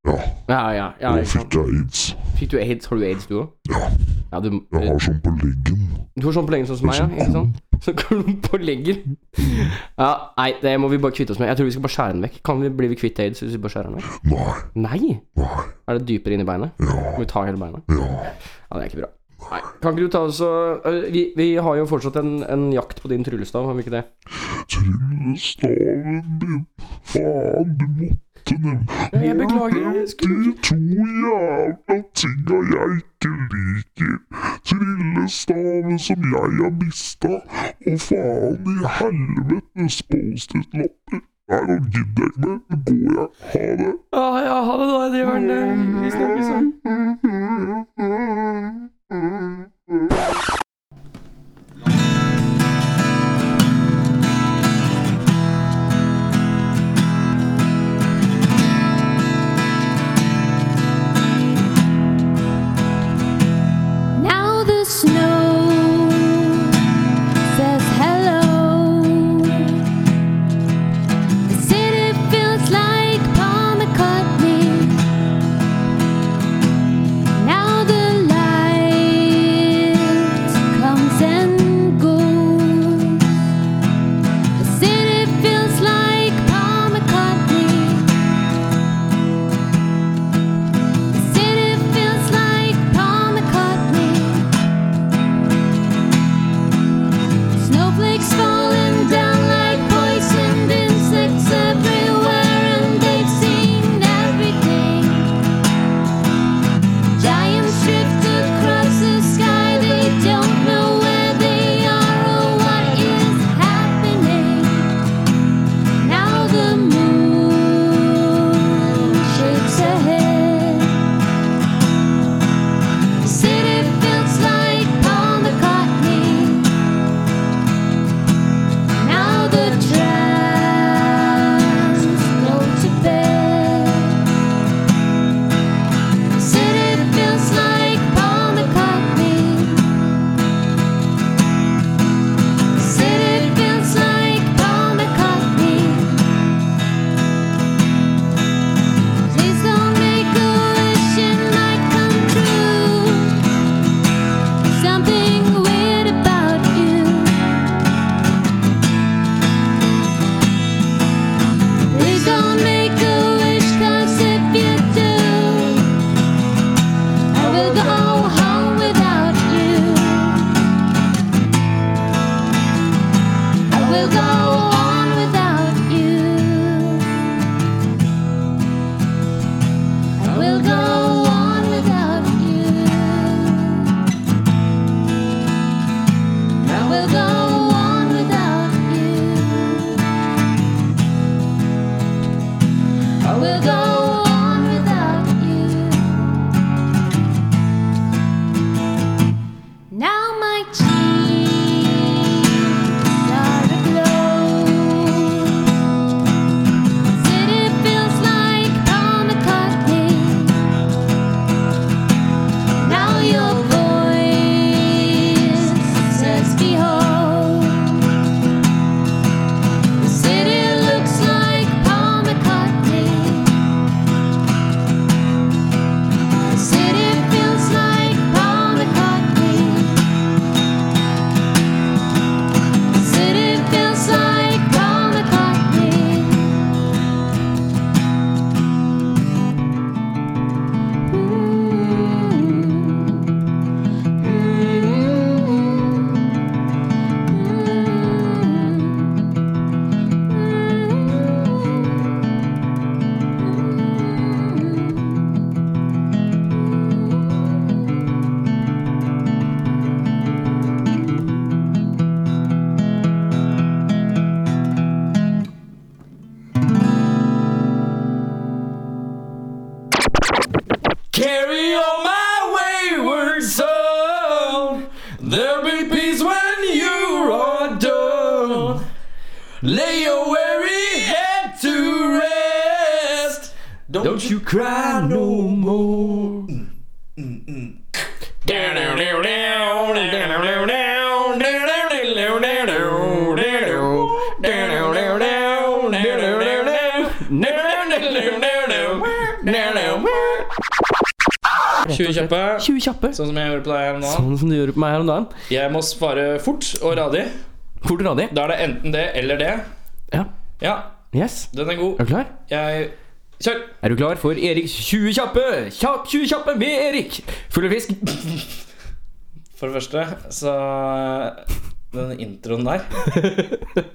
S11: Ja.
S3: Ja, ja. ja
S11: Nå
S3: ikke sant.
S11: fikk jeg aids.
S3: Fikk du aids? Har du aids, du òg?
S11: Ja.
S3: Ja, du,
S11: Jeg har sånn på leggen.
S3: du har sånn på leggen sånn som meg, ja? Ikke sant? Så klump på leggen. Ja, nei, det må vi bare kvitte oss med. Jeg tror vi skal bare skjære den vekk. Kan vi bli vi kvitt aids hvis vi bare skjærer den vekk?
S11: Nei.
S3: Nei? Er det dypere inni beinet?
S11: Ja.
S3: Må vi ta hele beinet?
S11: Ja.
S3: Ja, det er ikke bra. Nei. Kan ikke du ta oss og øh, vi, vi har jo fortsatt en, en jakt på din tryllestav, har vi ikke det?
S11: Tryllestaven min Faen, du måtte nevne Jeg beklager. De to jævla tinga jeg ikke liker. Tryllestaven som jeg har mista, og faen i helvetes Post-It-lapper. Nei, nå gidder jeg ikke mer. Nå går jeg. Ha det.
S3: Ja, ja, ha det, da, driveren. Vi snakkes, da.
S12: Now the snow says hello. The city feels like Paul McCartney. Now the lights Mm-hmm. Mm-hmm.
S1: Lay your weary head to rest. Don't, you cry no more. Tjue kjappe. Sånn som jeg gjør på deg her om dagen.
S3: Sånn som du gjør på meg her om dagen.
S2: Jeg må svare fort og radig.
S3: Fort og radig.
S2: Da er det enten det eller det.
S3: Ja.
S2: Ja,
S3: Yes.
S2: den er god.
S3: Er du klar?
S2: Jeg Kjør!
S3: Er du klar for Eriks 20 kjappe? Kjapp 20 kjappe med Erik! Full av fisk.
S2: For det første, så eh, Den introen der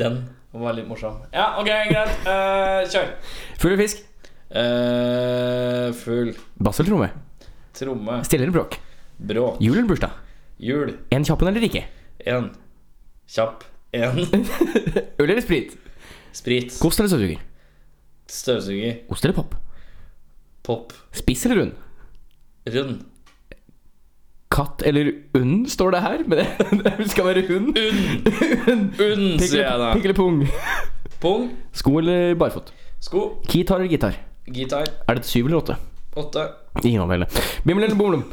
S2: Den var litt morsom. Ja, ok, greit. Eh, kjør.
S3: Full av fisk.
S2: Uh, fugl.
S3: Bass eller tromme?
S2: Tromme.
S3: Stille eller bråk?
S2: Bråk.
S3: Jul eller bursdag?
S2: Jul.
S3: En kjappen eller ikke?
S2: En. Kjapp. En.
S3: Øl eller sprit?
S2: Sprit.
S3: Kost eller støvsuger?
S2: Støvsuger.
S3: Ost eller pop?
S2: Pop.
S3: Spiss eller rund?
S2: Rund.
S3: Katt eller und, står det her. Men det det skal være hund.
S2: Und, Und,
S3: Pikk
S2: sier jeg
S3: eller,
S2: da.
S3: pikk eller pung?
S2: Pung.
S3: Sko eller barfot?
S2: Sko.
S3: Kitar eller gitar?
S2: Gitar.
S3: Er dette syv eller åtte?
S2: Åtte.
S3: Ingen av delene. Bimmel eller bomlom?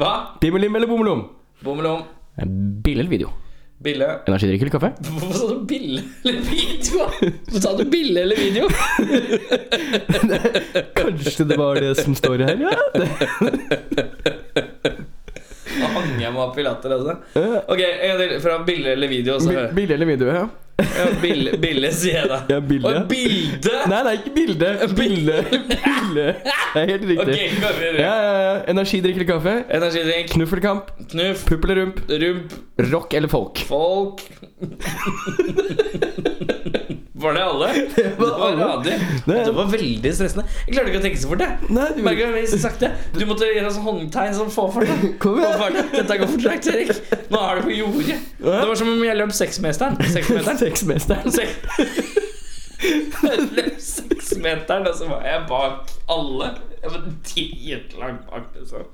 S2: Hva?
S3: Bimmelim eller bomlom?
S2: Bommelom.
S3: Bille eller video?
S2: Bille.
S3: Energidrikk eller kaffe?
S2: Hvorfor sa du bille eller video? Hvorfor sa du bille eller video?
S3: Kanskje det var det som står her, ja?
S2: Da hang jeg meg opp i latter, altså. Ok, en gang til. Fra bille eller video. Så hører jeg.
S3: Bilde Eh, eller video, ja.
S2: Ja, bille, bille, sier jeg da.
S3: Ja, bilde.
S2: Og bilde!
S3: Nei, nei, ikke bilde. Bilde. bilde. Det er helt riktig.
S2: Ok, går vi videre.
S3: ja, ja, ja. Energidrikk eller kaffe?
S2: Energidrikk.
S3: Knuff eller kamp?
S2: Knuff.
S3: Pupp eller rump?
S2: Rump.
S3: Rock eller folk?
S2: Folk. Var det alle? Det var, radig. Det var veldig stressende. Jeg klarte ikke å tenke så fort. jeg.
S3: Nei, du-
S2: Merker du hvis jeg sakte? Du måtte gjøre sånn håndtegn som få for deg.
S3: Kom igjen.
S2: Få for deg. Dette går for tregt, Erik. Nå er du på jordet. Det var som om jeg løp seksmeteren. Seksmeteren.
S3: Sexmesteren.
S2: Sek jeg løp seksmeteren, og så var jeg bak alle. Jeg var dritlangt bak, liksom.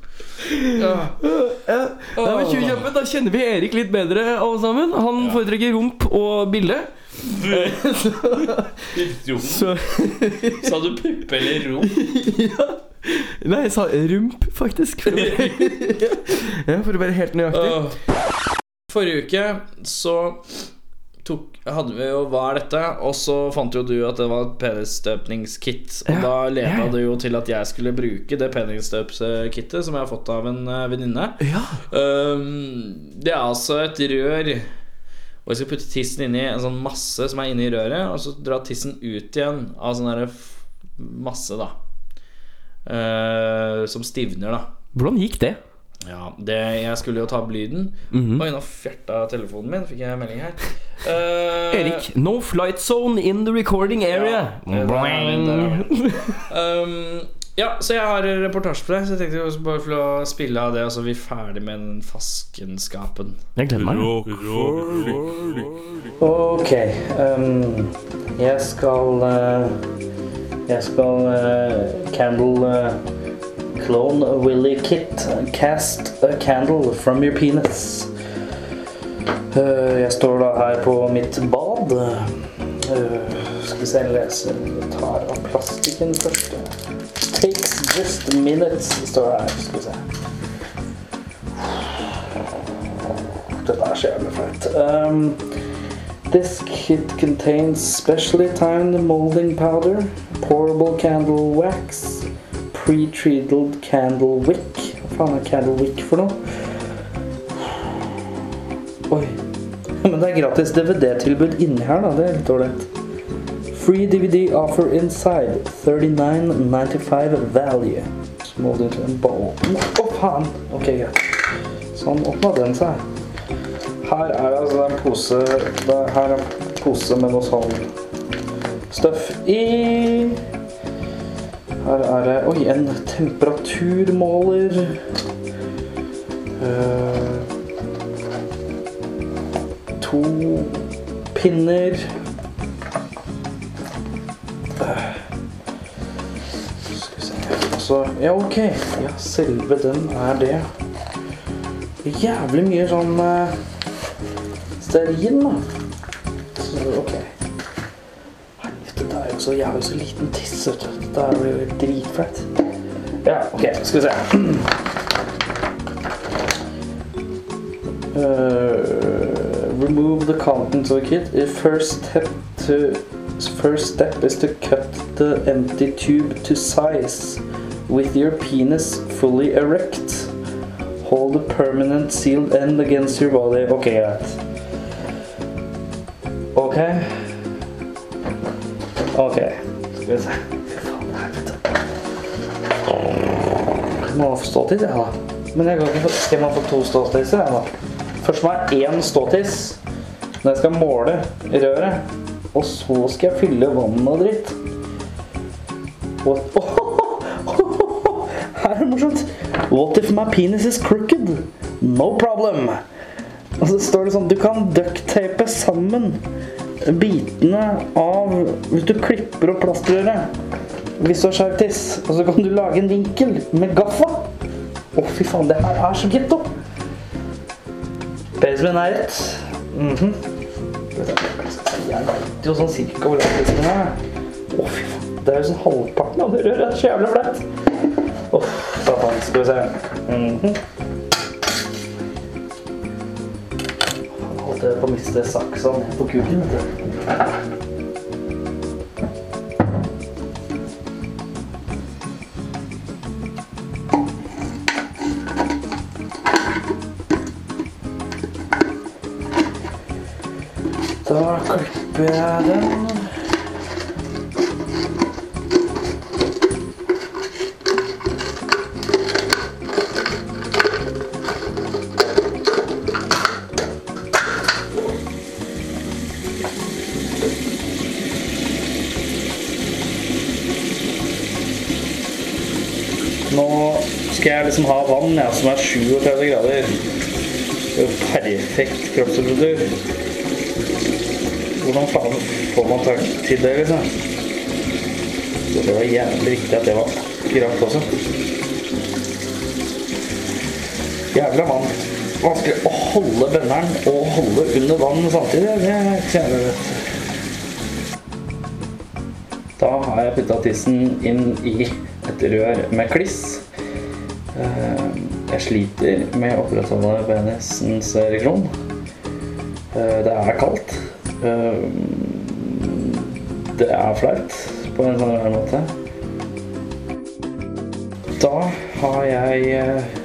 S2: Ja.
S3: Nei, men 20 kjappe, Da kjenner vi Erik litt bedre, alle sammen. Han foretrekker rump og bilde.
S2: Rom.
S3: Så
S2: Sa du puppe eller rom?
S3: Nei, jeg sa rump, faktisk. For å være, ja, for å være helt nøyaktig.
S2: Forrige uke så tok, hadde vi jo 'Hva er dette?', og så fant jo du at det var et penisstøpningskit. Og
S3: Ja,
S2: da leda
S3: ja, ja.
S2: det jo til at jeg skulle bruke det penisstøpskittet som jeg har fått av en eh, venninne.
S3: Ja.
S2: Um, det er altså et rør Og jeg skal putte tissen inni en sånn masse som er inni røret, og så dra tissen ut igjen av sånn derre f- masse, da. Eh, som stivner, da.
S3: Hvordan gikk det?
S2: Ja, det, jeg skulle jo ta opp lyden.
S3: Mhm.
S2: Oi, nå fjerta telefonen min, fikk jeg melding her. Eh,
S3: Erik, no flight zone in the recording area.
S2: Ja, der er vi, der er Um, ja, så jeg har reportasje på deg, så jeg tenkte jeg bare for å spille av det, og så er vi ferdig med den faskenskapen.
S3: Jeg gleder meg.
S2: Ok, um, jeg skal eh, Jeg skal eh, candle Clone Willy Kit Cast a candle from your penis Eh, Jeg står da her på mitt bad Eh, Skal vi se, lese tar av plastikken først Takes just minutes, står det her, skal vi se Dette er så jævlig flaut. Um, this kit contains specially timed molding powder, pourable candle wax, pre-treated candle wick. Hva faen er candle wick for noe? Oi. Men det er gratis DVD-tilbud inni her, da. Det er litt ålreit. Free DVD offer inside. 39,95 value. Så må du til en ball. Å, faen! Ok, greit. Sånn åpna den seg. Her er det altså en pose det, Her er en pose med noe sånn støff i. Her er det Oi, en temperaturmåler. Eh, to pinner. Eh, Skal vi se Og så Ja, OK. Ja, selve den er det. Jævlig mye sånn eh, stearin, da. så bare, ok. Helvete, det er jo så, jeg har jo så liten tiss, vet du. Det er jo dritflaut. Ja, ok, skal vi se. Uh, remove the contents of the kit. The first step to first step is to cut the empty tube to size with your penis fully erect. Hold the permanent sealed end against your body. Okay, right. Okay. Okay. Skal vi se. Jeg må få ståtiss, jeg, da. Men jeg kan ikke få, skal man få to ståtisser, jeg, da? Først må jeg ha én ståtiss. Når jeg skal måle røret. Og så skal jeg fylle vann og dritt. What? Her er det morsomt. What if my penis is crooked? No problem. Og så står det sånn Du kan ducktape sammen bitene av Hvis du klipper opp plastrøret hvis du har skeiv tiss, og så kan du lage en vinkel med gaffa. Å, fy faen, det her er så getto. Baseman er rett. Mhm. Jeg veit jo sånn cirka hvor lang tissen min er. Å, fy faen. Det er jo sånn halvparten av det røret. Det er så jævlig flaut. Uff, satan. Skal vi se. Mhm. holdt jeg på å miste saksa ned på kuken. vet du. Da klipper jeg den. Nå skal jeg liksom ha vann ja, som er 37 grader. Det er jo perfekt kroppstemperatur. Hvordan faen får man tak til det, liksom? Så det var jævlig viktig at det var akkurat også. Jævla vann. Vanskelig å holde benderen og holde under vann samtidig. Det er ikke så jævlig lett. Da har jeg putta tissen inn i et rør med kliss. Eh, Jeg sliter med å opprettholde penisens ereksjon. Eh, Det er kaldt. Eh, Det er flaut på en sånn rar måte. Da har jeg eh,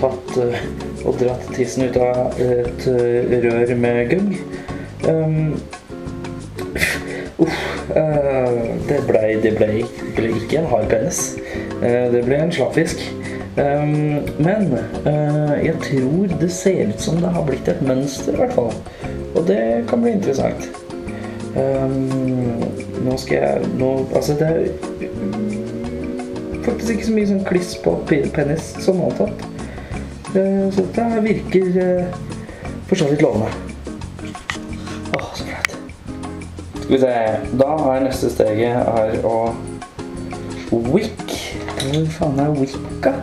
S2: tatt eh, og dratt tissen ut av et eh, rør med gugg. Um, Eh, det ble, det ble, det ble ikke en hard penis. Eh, det ble en slappfisk. Um, men eh, jeg tror det ser ut som det har blitt et mønster, i hvert fall. Og det kan bli interessant. Um, nå skal jeg nå, Altså, det er faktisk ikke så mye sånn kliss på pe- penis som antatt. Eh, så det her virker eh, for så vidt lovende. Åh, så flaut. Skal vi se. Da er neste steget er å Wick. Hvor faen er Wicca?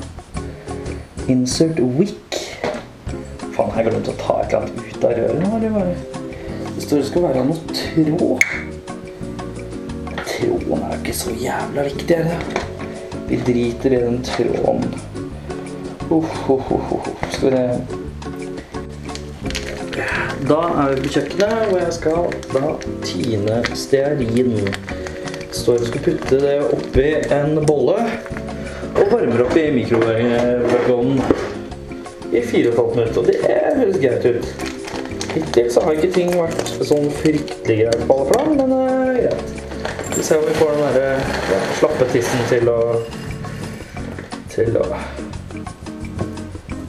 S2: Insert Wick. Faen, har jeg glemt å ta et eller annet ut av røret nå, eller bare Det står det skal være noe tråd. Tråden er jo ikke så jævla viktig, er det? Vi driter i den tråden. Uff, uff, uff, uff. Skal vi se da er vi på kjøkkenet, hvor jeg skal da tine stearin. Står og skal putte det oppi en bolle og varmer opp i mikrovågen i 4 15 minutter. Og det høres greit ut. Hittil så har ikke ting vært sånn fryktelig greit på alle plan, men eh, greit. Vi ser om vi får den derre ja, slappe tissen til å Til å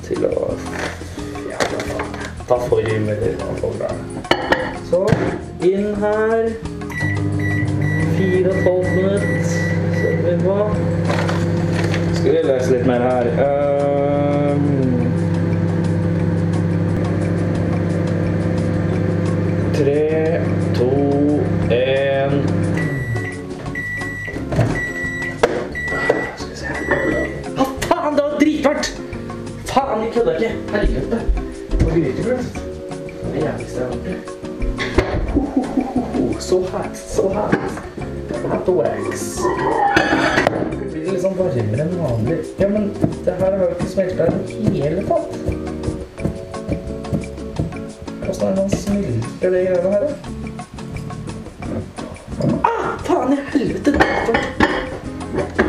S2: Til å da får vi melder hva folk er. Så inn her. Fire og et halvt minutt. Ser vi hva. Skal vi lese litt mer her. Ehm, tre, to, en. Skal vi se. Hva ah, faen, det var dritfælt! Faen, jeg kødda ikke. Helvete. Og grytegrøt. Det er det jævligste jeg har vært i. Ho, ho, ho.
S13: so hot, so hot. Hot wax. Det blir liksom varmere enn vanlig. Ja, men det her har jo ikke smelta i det hele tatt. Åssen er det man smelter det greiene her, da? Ah, faen i helvete! det er for-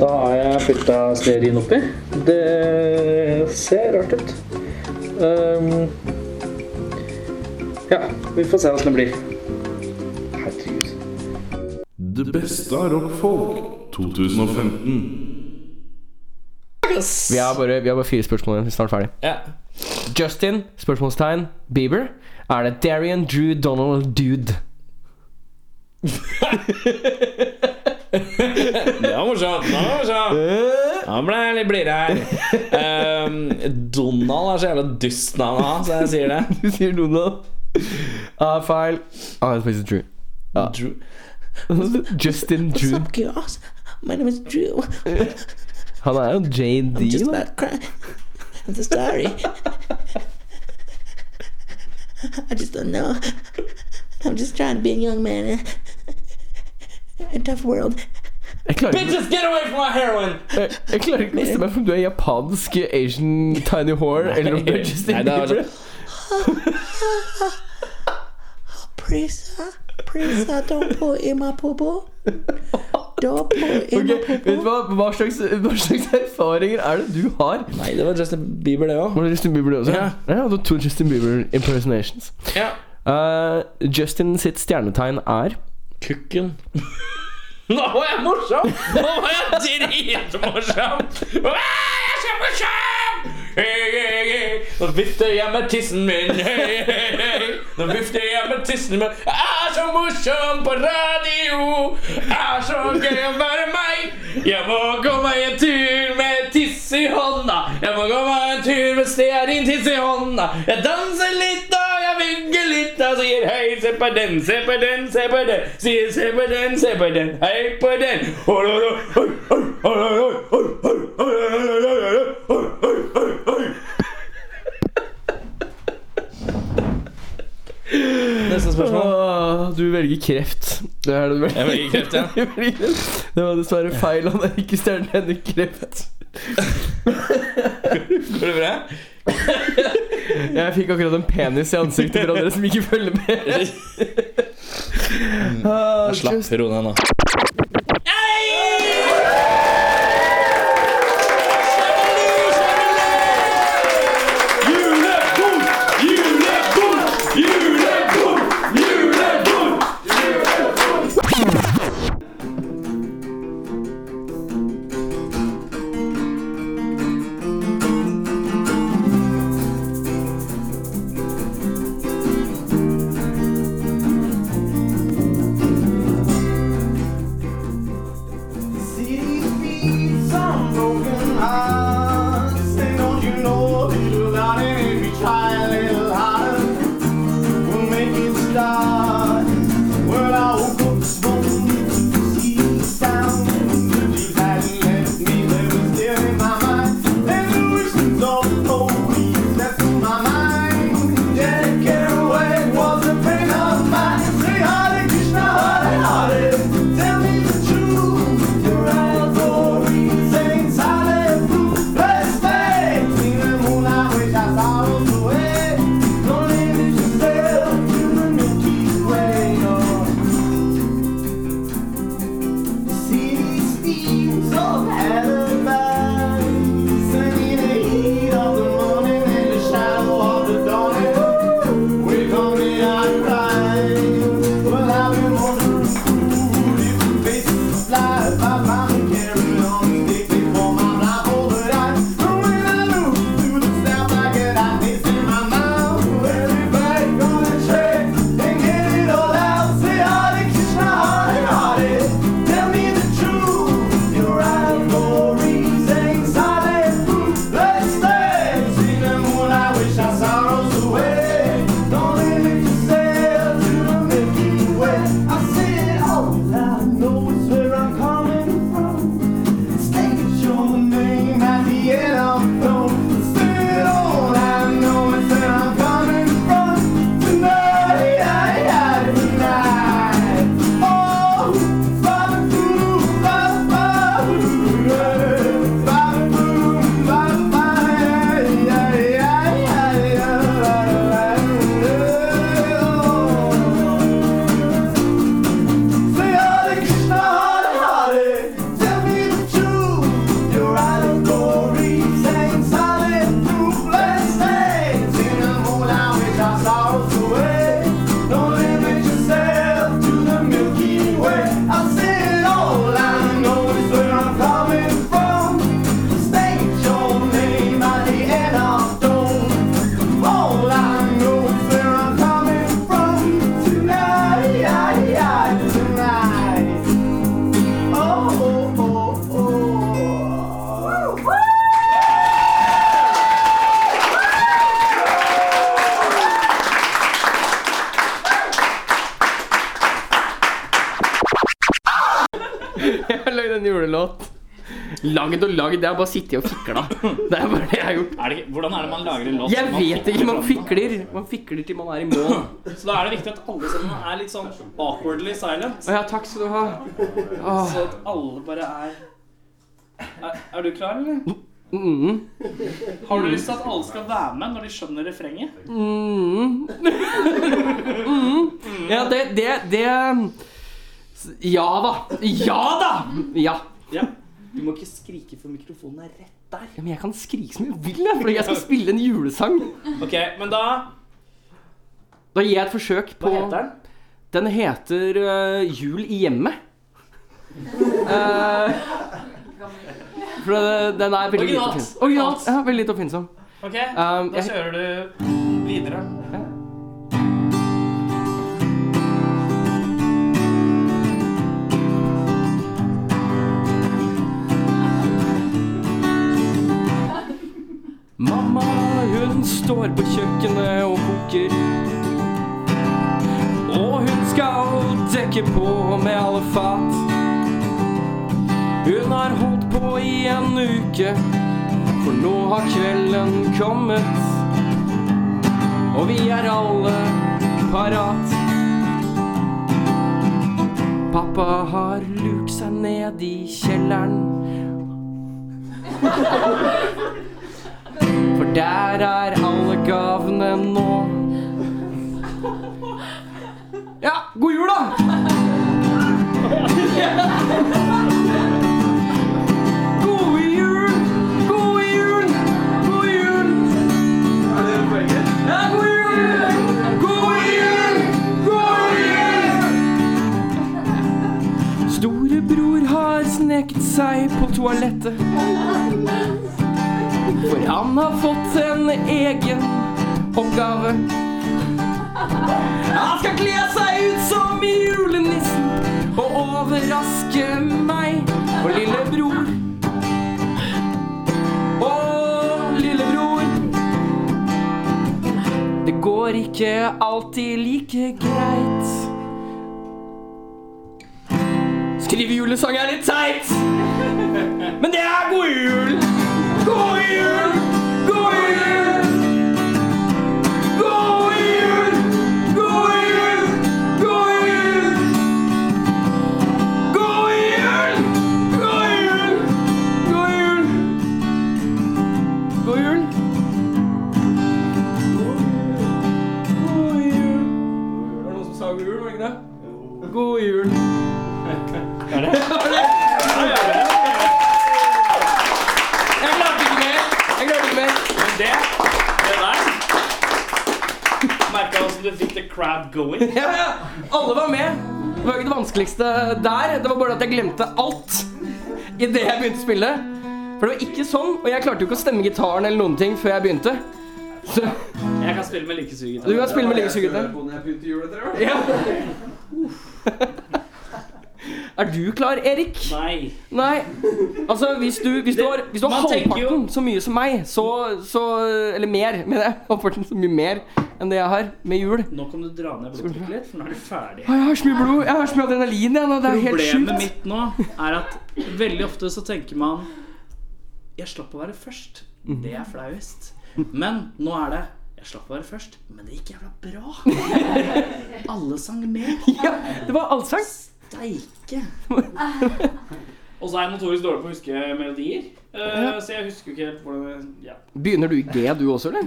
S13: Da har jeg putta stearin oppi. Det ser rart ut. Ehm, ja, vi får se åssen det blir.
S4: Det beste av rockfolk 2015.
S2: Mm.
S3: Vi har bare, vi har bare fire spørsmål igjen. Vi er snart ferdig.
S2: Ja.
S3: Justin, spørsmålstegn, Bieber. Er det Darian Drew Donald Dude?
S2: Det var morsomt. Det var morsomt.
S3: Eh?
S2: Nå ble jeg litt blidere her. Ehm, Donald er så jævla dustnavn, han, så jeg sier det.
S3: Du sier Donald. Ah, feil. Ah, det er faktisk Drew. Ja. Justin Drew.
S2: Ah. Girls, my name is Drew.
S3: Han er jo JD, da.
S10: I'm so sorry. I just don't know. I'm just trying to be a young man. A tough world.
S3: Jeg klarer ikke
S2: Bitches, get away from my heroin!
S3: jeg, jeg klarer ikke å bestemme meg for om du er japansk, asian, tiny whore eller om du er Justin
S2: Nei, det er altså-
S3: Bieber.
S12: Mm-hmm.
S10: Prisa, Prisa, don't put in my poo poo. Don't put in my poo
S3: Vet du hva, hva slags, hva slags erfaringer er det du har?
S2: Nei, det var Justin Bieber, det òg.
S3: Var det Justin Bieber det også?
S2: Ja.
S3: ja du har to Justin Bieber impersonations.
S2: Ja.
S3: Eh, Justin sitt stjernetegn er
S2: Kukken. Nå var jeg morsom! Nå var jeg dritmorsom! Ah, Jeg er så morsom! Hey, hey, hey. Nå vifter jeg med tissen min. Hey, hey, hey. Nå vifter jeg med tissen min. Jeg er så morsom på radio. Det er så gøy å være meg. Jeg må gå meg en tur med tiss i hånda. Jeg må gå meg en tur med stearintiss i hånda. Jeg danser litt og jeg vugger litt og sier hei, se på den, se på den, se på den. Sier se på den, se på den, hei på den. Oi, oi, oi, oi, oi, oi, oi, oi, oi, oi, oi, oi, oi, oi, oi, oi, oi. Neste
S3: spørsmål. du velger kreft. Det er det du velger.
S2: Jeg velger kreft, ja.
S3: Du velger kreft. Det var dessverre feil. Han er ikke stjernen Henrik Kreft.
S2: Går det bra?
S3: Jeg fikk akkurat en penis i ansiktet for dere som ikke følger med. Ah,
S2: Slapp ro ned nå.
S8: Tell me the truth, your allegory, Saint Silent Blue, let's stay in the moonlight with
S3: Lagd og lagd. Jeg har bare sittet og fikla. Det er bare det jeg har gjort.
S2: Er det, ikke- hvordan er det man lager en låt?
S3: Jeg
S2: Man
S3: vet ikke. Man
S2: fram den.
S3: fikler. Man fikler til man er i mål.
S2: Så da er det viktig at alle sammen er litt sånn awkwardly silent.
S3: Å ja, takk skal du ha. Åh.
S2: Så at alle bare er Er, er du klar, eller?
S3: Mm.
S2: Har du lyst til at alle skal være med når de skjønner refrenget?
S3: Mm. mm. Ja, det, det, det Ja da. Ja da! Ja.
S2: Ja. Du må ikke skrike, for mikrofonen er rett der.
S3: Ja, men jeg kan skrike som jeg vil, jeg, fordi jeg skal spille en julesang.
S2: Ok, men da
S3: Da gir jeg et forsøk på
S2: Hva heter den?
S3: Den heter øh, Jul i hjemmet. Eh, for det- den er veldig lite
S2: Originalt.
S3: oppfinnsom. Originalt. Ja, veldig lite oppfinnsom.
S2: Ok,
S3: Um,
S2: da
S3: jeg-
S2: kjører du videre.
S3: Mamma, hun står på kjøkkenet og koker. Og hun skal dekke på med alle fat. Hun har holdt på i en uke, for nå har kvelden kommet. Og vi er alle parat. Pappa har lurt seg ned i kjelleren. For der er alle gavene nå. Ja, god jul, da! God jul, god jul, god jul. Er det poenget? Ja, god jul! God jul, god jul! Storebror har sneket seg på toalettet. For han har fått en egen oppgave. Han skal kle seg ut som julenissen og overraske meg og lillebror. Og lillebror. Det går ikke alltid like greit. Skrive julesang er litt teit, men det er god jul! God jul! God jul! God jul! God jul! God jul! God jul! God jul! God jul! God jul! God jul! Var det noen som sa god jul, var det ikke det? God jul. Er det? Jeg klarte ikke mer. Jeg klarte ikke mer.
S2: Men det, det der Merka hvordan du fikk the crab going.
S3: Ja, ja. Alle var med. Det var ikke det vanskeligste der. Det var bare at jeg glemte alt idet jeg begynte å spille. For det var ikke sånn, og jeg klarte jo ikke å stemme gitaren eller noen ting før jeg begynte. Så
S2: Jeg kan spille med likesugegitar.
S3: Du kan spille med likesugegitar. Ja. Er du klar, Erik?
S2: Nei.
S3: Nei. Altså, hvis du, hvis du har, hvis du har
S2: Man tenker
S3: halvparten så mye som meg, så, så Eller mer, mener jeg. Halvparten så mye mer enn det jeg har med jul.
S2: Nå kan du dra ned blodtrykket litt, for nå er du ferdig.
S3: Å, jeg har så mye blod. Jeg har så mye adrenalin. Jeg, nå. det er helt
S2: Problemet
S3: sjukt.
S2: mitt nå er at veldig ofte så tenker man Jeg slapp å være først. Det er flauest. Men nå er det Jeg slapp å være først, men det gikk jævla bra. Alle sang med.
S3: Ja, det var allsang.
S2: Steike. Og så er jeg notorisk dårlig på å huske melodier. eh, Så jeg husker jo ikke helt hvordan jeg- ja.
S3: Begynner du i G, du også, eller?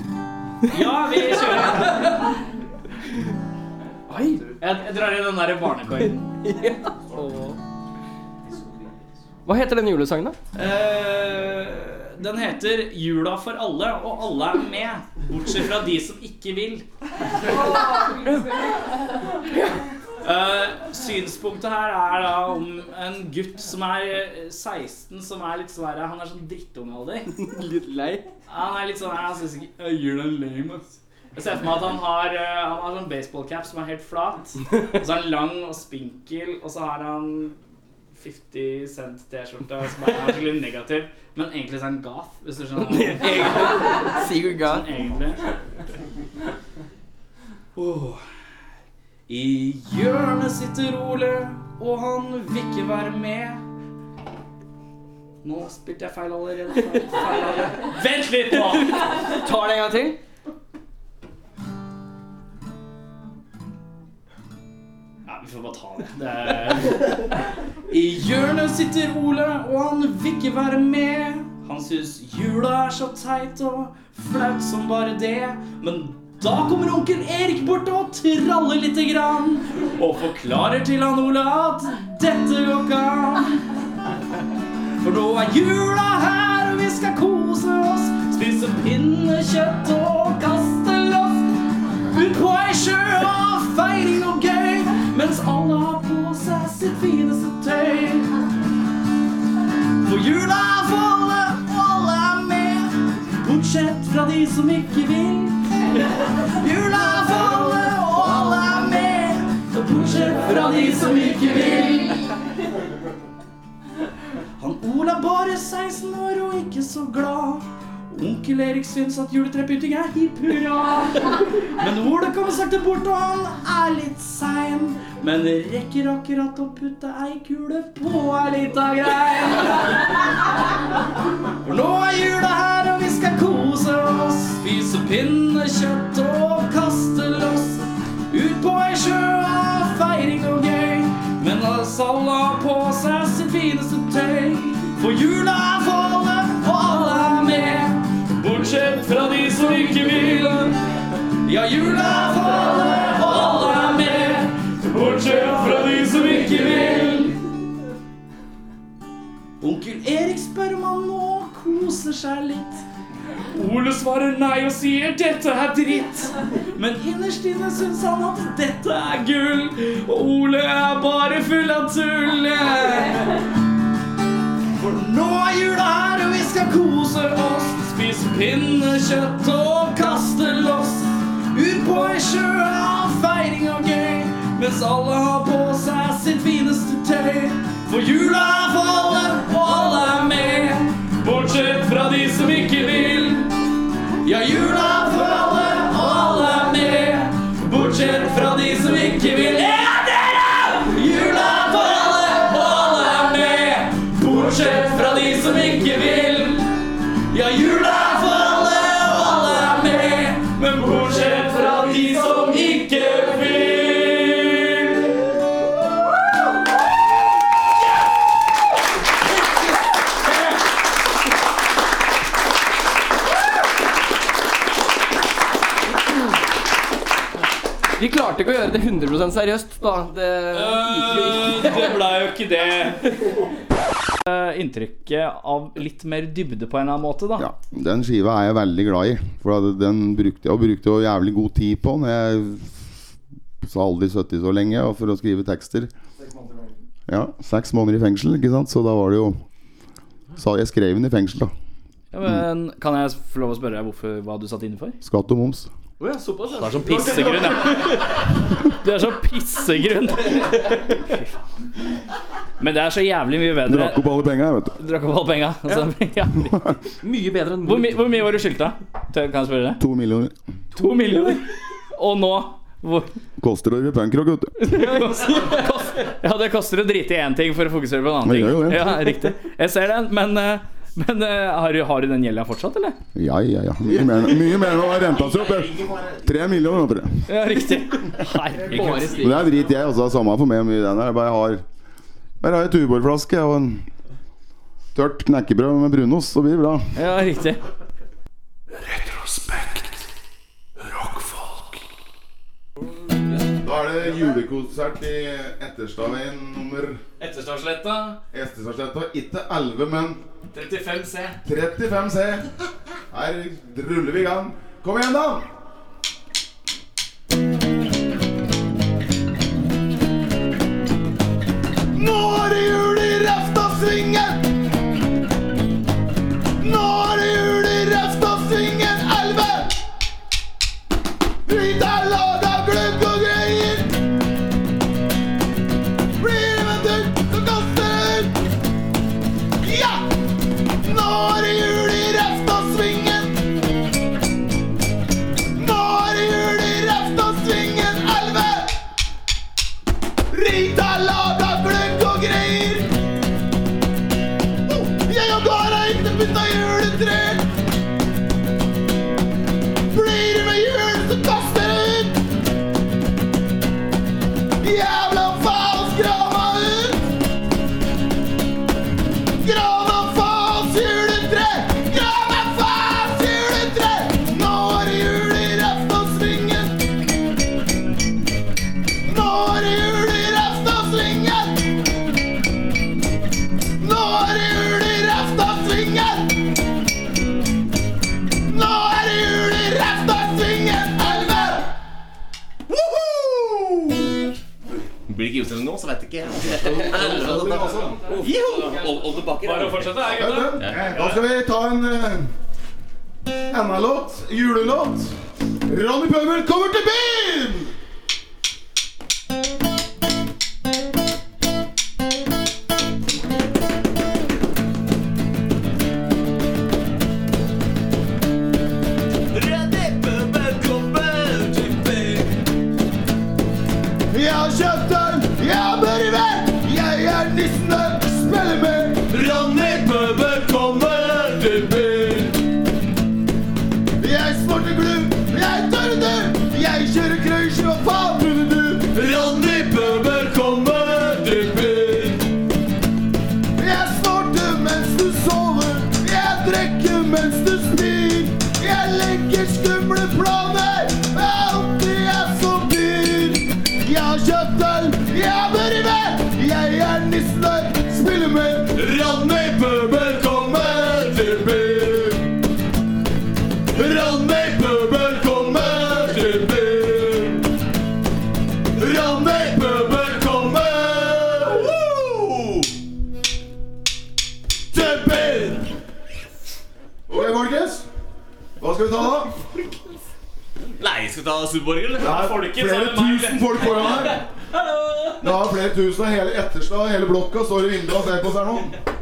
S2: ja, vi kjører. Jeg, jeg drar i den derre barnekoien.
S3: Hva heter den julesangen, da?
S2: Eh, den heter 'Jula for alle', og alle er med. Bortsett fra de som ikke vil. Eh, synspunktet her er da om en gutt som er eh, 16, som er litt sånn her, Han er sånn drittungealder.
S3: litt lei?
S2: Han er litt sånn her, Han synes ikke «Å, Jula er lame, ass. Jeg ser for meg at han har, eh, han har sånn baseballcap som er helt flat. Og så er han lang og spinkel, og så har han 50 cent T-skjorte som er er skikkelig negativ. Men egentlig så er han gath, hvis du skjønner. Egentlig.
S3: Sigurd Gath.
S2: Sånn egentlig. Åh. I hjørnet sitter Ole, og han vil ikke være med.
S14: Nå spilte jeg feil allerede. Feil, feil allerede. Vent litt nå! Tar det en gang til. Ja, vi får bare ta det. det er... I hjørnet sitter Ole, og han vil ikke være med. Han syns jula er så teit og flaut som bare det. Men da kommer onkel Erik bort og traller lite grann. Og forklarer til han Ole at dette går ikke an. For nå er jula her, og vi skal kose oss. Spise pinnekjøtt og kaste loff. Ut på ei sjø og feire noe gøy. Mens alle har på seg sitt fineste tøy. For jula er for alle, og alle er med. Bortsett fra de som ikke vil. Jula er for alle, og alle er med. Så bortsett fra de som ikke vil. Han Ola er bare 16 år og ikke så glad. Onkel Erik syns at juletrepynting er hipp hurra. Men Ola kommer sakte bort, og han er litt sein. Men rekker akkurat å putte ei kule på ei lita grein. For nå er jula her, og vi skal kose oss. Spise pinnekjøtt og kaste loss. Ut på ei sjø er feiring og gøy, men oss alle har på seg sitt fineste tøy. For jula er for alle, og alle er med, bortsett fra de som ikke vil. Ja, jula er for alle, og alle er med, bortsett fra de som ikke vil. Onkel Erik spør om han nå koser seg litt. Ole svarer nei og sier 'dette er dritt'. Men innerst inne syns han at dette er gull. Og Ole er bare full av tull. For nå er jula her, og vi skal kose oss. Spise pinnekjøtt og kaste loss. Ut på ei sjø av feiring og gøy. Mens alle har på seg sitt fineste tøy. For jula er for alle, og alle er med. Bortsett fra de som ikke vil. Ja, jula er for alle, og alle er med. Bortsett fra de som ikke vil. Ja, dere! Jula er for alle, og alle er med. Bortsett fra de som ikke vil. Ja, jula er for alle, og alle er med. Men bortsett fra de som ikke vil.
S15: Vi klarte ikke å gjøre det 100 seriøst, da. Det gikk jo ikke.
S14: Øh, Det ble jo ikke det.
S2: Eh,
S14: Inntrykket av litt mer dybde på en eller annen måte, da.
S16: Den skiva er jeg veldig glad i. For at den brukte jeg og brukte jo jævlig god tid på Når jeg sa aldri 70 så lenge og for å skrive tekster. Ja, Seks måneder i fengsel, ikke sant? så da var det jo sa Jeg skrev den i fengsel, da.
S2: Ja, men Kan jeg få lov å spørre deg hvorfor, hva du satt inne for?
S16: Skatt og moms.
S2: Oh, ja, såpass, Det er sånn pissegrunn, ja. Det er sånn pissegrunn. Men det er så jævlig mye bedre.
S16: Drakk opp alle penga, vet du.
S2: Drakk opp alle penga. Altså, jævlig.
S15: Mye bedre enn
S2: Hvor, my hvor mye var du skyldt, da? Tør- Kan jeg spørre deg?
S16: To millioner.
S2: To millioner? Og nå hvor?
S16: Koster å drive punkrock, vet du.
S2: Ja, det koster å drite i én ting for å fokusere på en annen
S16: Det
S2: ting.
S16: gjør jo det.
S2: Ja, riktig. Jeg ser den, men, eh, men eh, har, du, har du den gjelda fortsatt, eller?
S16: Ja, ja, ja. Mye mer, mye mer enn å ha renta seg opp. jeg. Tre millioner, vet du.
S2: Ja, riktig. Herregud.
S16: Men det er drit jeg også. Samme for meg hvor mye den er. Jeg Bare har Bare har ei tuborgflaske og en tørt knekkebrød med brunost, så blir det bra.
S2: Ja, riktig.
S16: Retrospekt. Rockfolk. Da er det julekonsert i Etterstadveien nummer
S14: Etterstadsletta
S16: Etterstadsletta. Ikke 11, men
S14: 35 C.
S16: 35 C. Her ruller vi i gang. Kom igjen, da!
S8: Nå er det jul i Reftasvingen! Nå er det jul i Reftasvingen 11! Drit er lada, gløgg og greier. Blir det eventyr, så kaster jeg ut. Ja! Nå er det jul i Reftasvingen.
S17: Oh,
S14: begynnelsen eller noe, så vet jeg ikke. Joho! Olde Bakker.
S18: Bare å fortsette, er
S14: Ja,
S18: gutta.
S17: Da skal vi ta en eh, enda låt. Julelåt. Ronny Pøbel kommer til byen! Jeg har kjøpt den, jeg har børre vær, jeg er nissen der, spiller med. Ronny Bøber kommer til byen. Jeg smarter glubb, jeg tørre dør, jeg kjører krøysj, hva faen trodde du? Ronny Bøber kommer til byen. Jeg snorter mens du sover, jeg drikker mens du spyr. Jeg legger skumle planer, det er alltid jeg som byr. Jeg har kjøpt øl, jeg har vært med Jeg er nissen der, spiller med Ronny Pøbel kommer til byen Ronny Pøbel kommer til byen Ronny Pøbel kommer Woo! til byen
S16: Ok, folkens. Hva skal vi ta da?
S14: Nei, skal vi ta Superborger, eller?
S16: Det er flere tusen folk foran her. Det er flere tusen av hele Etterstad og hele blokka står i vinduet og ser på oss her nå.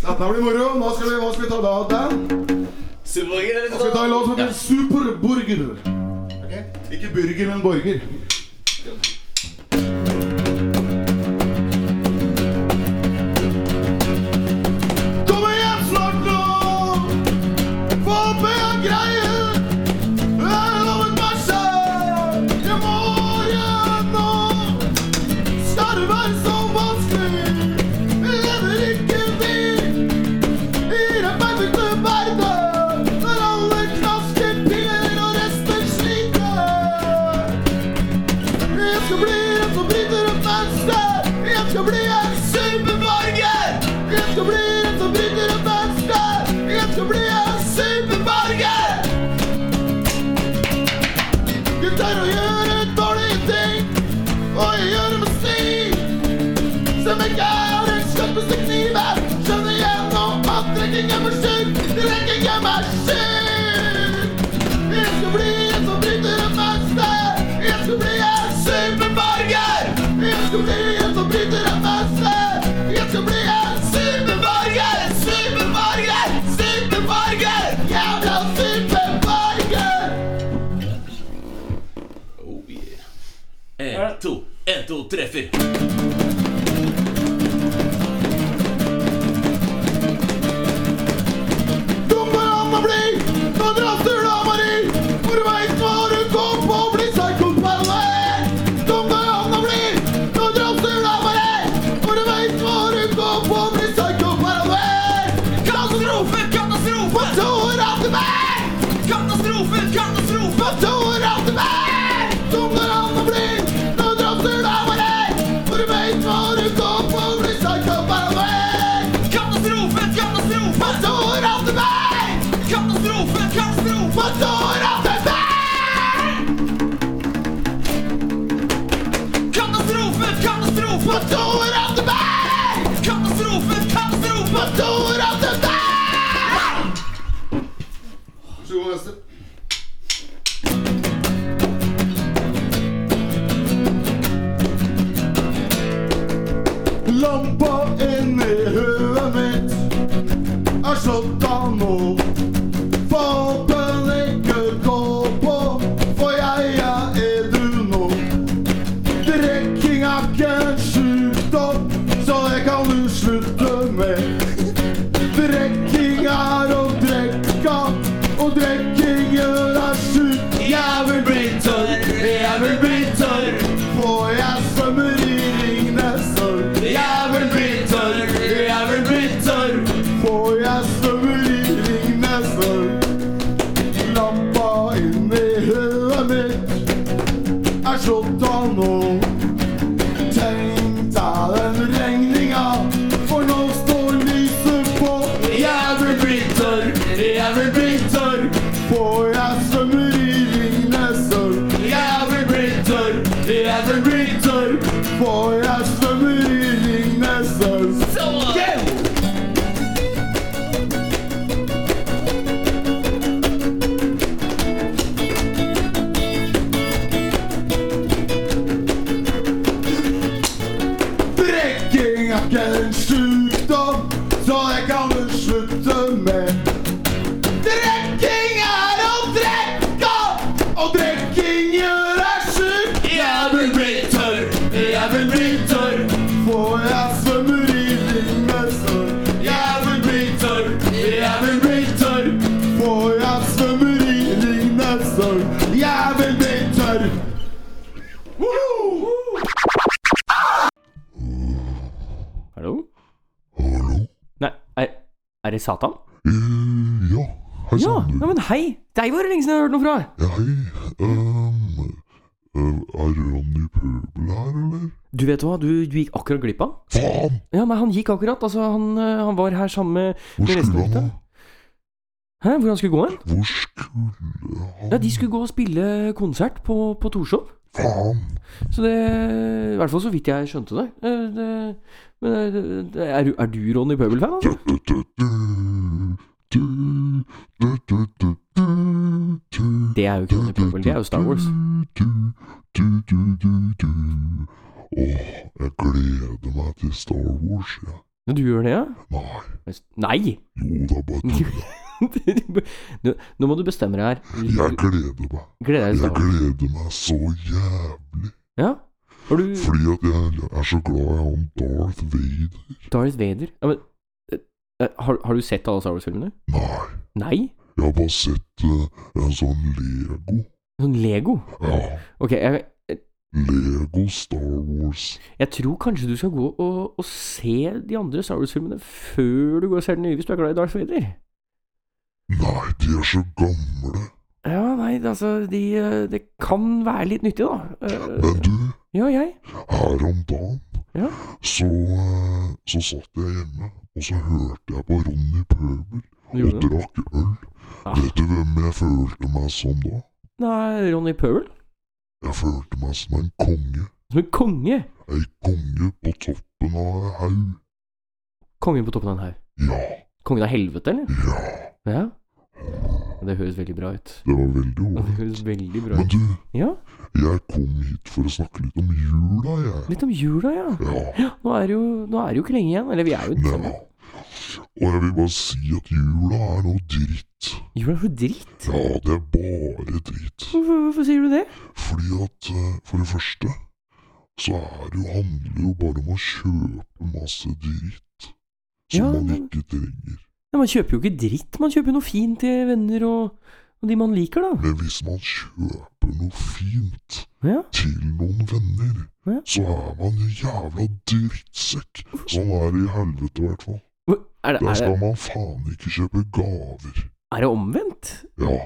S16: Så Dette blir moro. Nå skal vi, hva skal vi ta da, Dan?
S14: Superborger, eller?
S16: Nå skal vi ta en låt som
S14: Ja.
S16: heter Superburger. Ikke burger, men borger.
S17: Kommer hjem snart nå Få opp en greie Jeg har lovet meg selv Jeg må hjem nå Skal det være så vanskelig Jeg lever ikke vilt I den perfekte verden Der alle knasker piller Og resten sliter Jeg skal bli en som bryter opp mennesker Jeg skal bli en superborger Jeg skal bli en som bryter opp mennesker Jeg skal bli en superborger Jeg tør å gjøre dårlige ting Og jeg gjør det med stil Som ikke er av den skarpeste kniven Skjønner jeg nå at drekking er for sykt Drekking er meg sykt Jeg skal bli en som bryter opp mennesker Jeg skal bli en superborger Jeg skal bli en som bryter opp mennesker Jeg skal bli en superborger Superborger, superborger Jævla superborger
S14: En, to, en, to, tre, fire.
S17: Dummer han å bli Nå drafter du av Marie For du vet hva du kom på å bli Psykopater Dummer han å bli Nå drafter du av Marie For du vet hva du kom på å bli Psykopater Katastrofe, katastrofe Hva tror han til meg? Katastrofe, katastrofe Hva tror han til meg? Dummer han å bli Nå drafter du av Marie For du vet hva du kom på å bli Psykopater Katastrofe, katastrofe Hva tror han til meg? Katastrofe, katastrofe Hva står av det Katastrofe, katastrofe Hva står av det Katastrofe, katastrofe Hva står av det
S16: Vær så god, neste.
S17: Lampa inni huet mitt Er slått av nå Våpen ikke gå på For jeg er edru nå Drekking er ikke en sjukdom Så det kan du slutte med Drekking er å drekka Og drekking gjør deg sjuk Jeg vil bli tørr, jeg vil bli tørr For jeg svømmer i Ringnes sørg Jeg vil bli tørr, jeg vil bli tørr For jeg svømmer i Ringnes sørg Lampa inni høet mitt Er slått av nå Tenk deg den regninga For nå står lyset på Jeg vil bli tørr, jeg vil bli tørr For jeg svømmer i Ringnes sørg Jeg vil bli tørr, jeg vil bli tørr For jeg her!
S3: Hallo? Nei, er, er det Satan?
S11: ja. Hei
S3: ja,
S11: sann,
S3: nei, men hei! Deg var det lenge siden jeg har hørt noe fra!
S11: Ja, hei. Um, er Ronny Pøbel her, eller?
S3: Du vet hva, du, du gikk akkurat glipp av
S11: Faen!
S3: Ja, nei, han gikk akkurat. Altså, han, eh, han var her sammen med
S11: Hvor
S3: med resten
S11: skulle
S3: av
S11: han
S3: gutta. Hæ, hvor han skulle gå hen?
S11: Hvor skulle
S3: Ja, de skulle gå og spille konsert på, på Torshov.
S11: Faen!
S3: Så det I hvert fall så vidt jeg skjønte det. Eh, det men eh, det- det- er, du- er du Ronny Pøbel-fan, altså? Det er jo ikke Ronny Pøbel, det er jo Star Wars.
S11: Åh, jeg gleder meg til Star Wars, ja.
S3: Ja, du gjør det, ja? Nei.
S11: Jo da, bare
S3: tull. Nå, nå må du bestemme deg her.
S11: Jeg gleder meg.
S3: Gleder deg
S11: Jeg
S3: til Star Wars.
S11: gleder meg så jævlig.
S3: Ja? Har du
S11: Fordi at jeg er så glad i han Darth Vader.
S3: Darth Vader? Ja, men eh, eh, har, har du sett alle Star Wars-filmene?
S11: Nei.
S3: Nei?
S11: Jeg har bare sett eh, en sånn Lego.
S3: Sånn Lego?
S11: Ja.
S3: Ok, jeg, jeg,
S11: Lego Star Wars.
S3: jeg tror kanskje du skal gå og, og se de andre Star Wars-filmene før du går og ser den nye, hvis du er glad i Darth Vader.
S11: Nei, de er så gamle.
S3: Ja, nei, altså de, eh, Det kan være litt nyttig, da. Eh,
S11: Men du,
S3: Ja, jeg.
S11: her om dagen
S3: Ja.
S11: så, eh, så satt jeg hjemme, og så hørte jeg på Ronny Pøbel og
S3: Gjorde du?
S11: drakk øl. Vet du hvem jeg følte meg som da?
S3: Nei, Ronny Pøbel?
S11: Jeg følte meg som en konge.
S3: Som en konge?
S11: Ei konge på toppen av en haug.
S3: Kongen på toppen av en haug?
S11: Ja.
S3: Kongen av helvete, eller? Ja. ja. Det høres veldig bra ut.
S11: Det var veldig
S3: Ja, Det
S11: ålreit.
S3: høres veldig bra
S11: Men
S3: ut.
S11: du,
S3: Ja,
S11: jeg kom hit for å snakke litt om jula, jeg.
S3: Litt om jula, ja. ja nå, er det jo, nå er det jo ikke lenge igjen. Eller vi er jo ikke sammen.
S11: Og jeg vil bare si at jula er noe dritt.
S3: Jula er noe dritt?
S11: Ja, det er bare dritt.
S3: Hvorfor, hvorfor sier du det?
S11: Fordi at eh, for det første så er det jo, handler det jo bare om å kjøpe masse dritt som
S3: Ja,
S11: man
S3: men-
S11: ikke trenger.
S3: Ja, man kjøper jo ikke dritt. Man kjøper jo noe fint til venner og, og de man liker, da.
S11: Men hvis man kjøper noe fint
S3: Ja.
S11: til noen venner, så er man en jævla drittsekk. Sånn er det i helvete, i hvert fall.
S3: Er det,
S11: Der
S3: er
S11: skal
S3: det,
S11: man faen ikke kjøpe gaver.
S3: er det omvendt?
S11: Ja.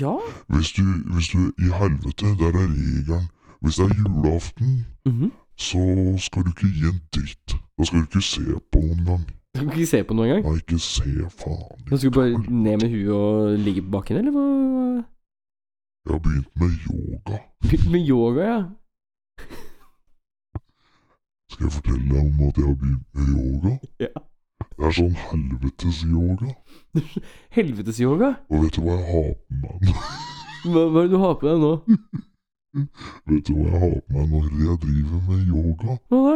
S3: Ja.
S11: Hvis du, hvis du I helvete, der er regelen. Hvis det er julaften,
S3: Mhm.
S11: så skal du ikke gi en dritt. Da skal du ikke se på noen gang.
S3: Skal vi ikke se på noe engang?
S11: Nei, ikke se, faen.
S3: Da skal du bare ned med huet og ligge på bakken, eller hva?
S11: Jeg har begynt med yoga.
S3: Begynte med yoga, ja.
S11: Skal jeg fortelle deg om at jeg har begynt med yoga?
S3: Ja.
S11: Det er sånn helvetes yoga.
S3: Helvetesyoga.
S11: Og vet du hva jeg har på meg nå?
S3: Hva, hva er det du har på deg nå?
S11: Vet du hva jeg har på meg når jeg driver med yoga?
S3: Hva da?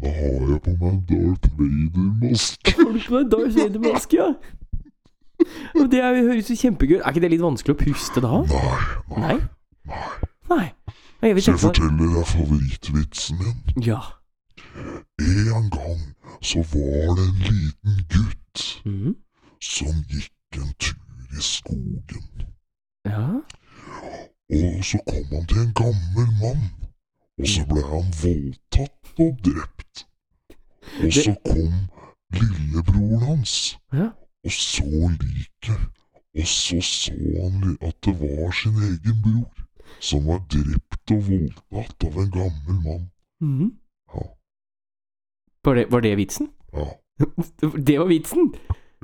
S11: Da har jeg på meg Darth Vader-maske.
S3: Har du på deg Darth Vader-maske, ja? Og det er, høres jo kjempegøy Er ikke det litt vanskelig å puste da? Nei. Nei. Nei. Jeg
S11: Skal jeg
S3: vil tenke på
S11: fortelle deg favorittvitsen min?
S3: Ja.
S11: En gang så var det en liten gutt
S3: Mm.
S11: som gikk en tur i skogen.
S3: Ja?
S11: Og så kom han til en gammel mann, og så ble han voldtatt og drept. Og så kom lillebroren hans og så liket, og så så han li- at det var sin egen bror som var drept og voldtatt av en gammel mann.
S3: Mhm. Var det, var det vitsen?
S11: Ja.
S3: Det var vitsen?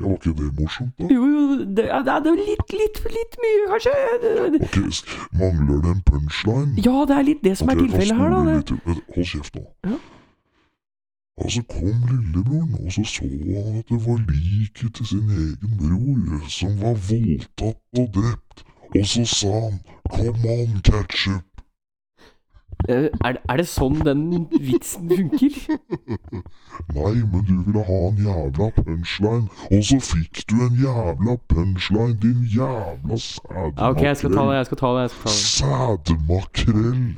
S11: Ja, var ikke det morsomt, da?
S3: Jo, jo, det, ja, det er- det er litt, litt, litt mye, kanskje? Det- det-
S11: Ok, s- Mangler det en punchline?
S3: Ja, det er litt det som er
S11: Ok, da
S3: tilfellet her, da.
S11: snur vi
S3: Det.
S11: litt til- Hold kjeft nå.
S3: Ja.
S11: Og så kom lillebroren, og så så han at det var liket til sin egen bror som var voldtatt og drept. Og så sa han 'Come on, ketchup'.
S3: Eh, Er, det- er det sånn den vitsen funker?
S11: Nei, men du ville ha en jævla punchline, og så fikk du en jævla punchline, din jævla sædmakrell.
S3: Ja, ok, jeg skal ta det, jeg skal ta det. Jeg skal ta det.
S11: Sædmakrell.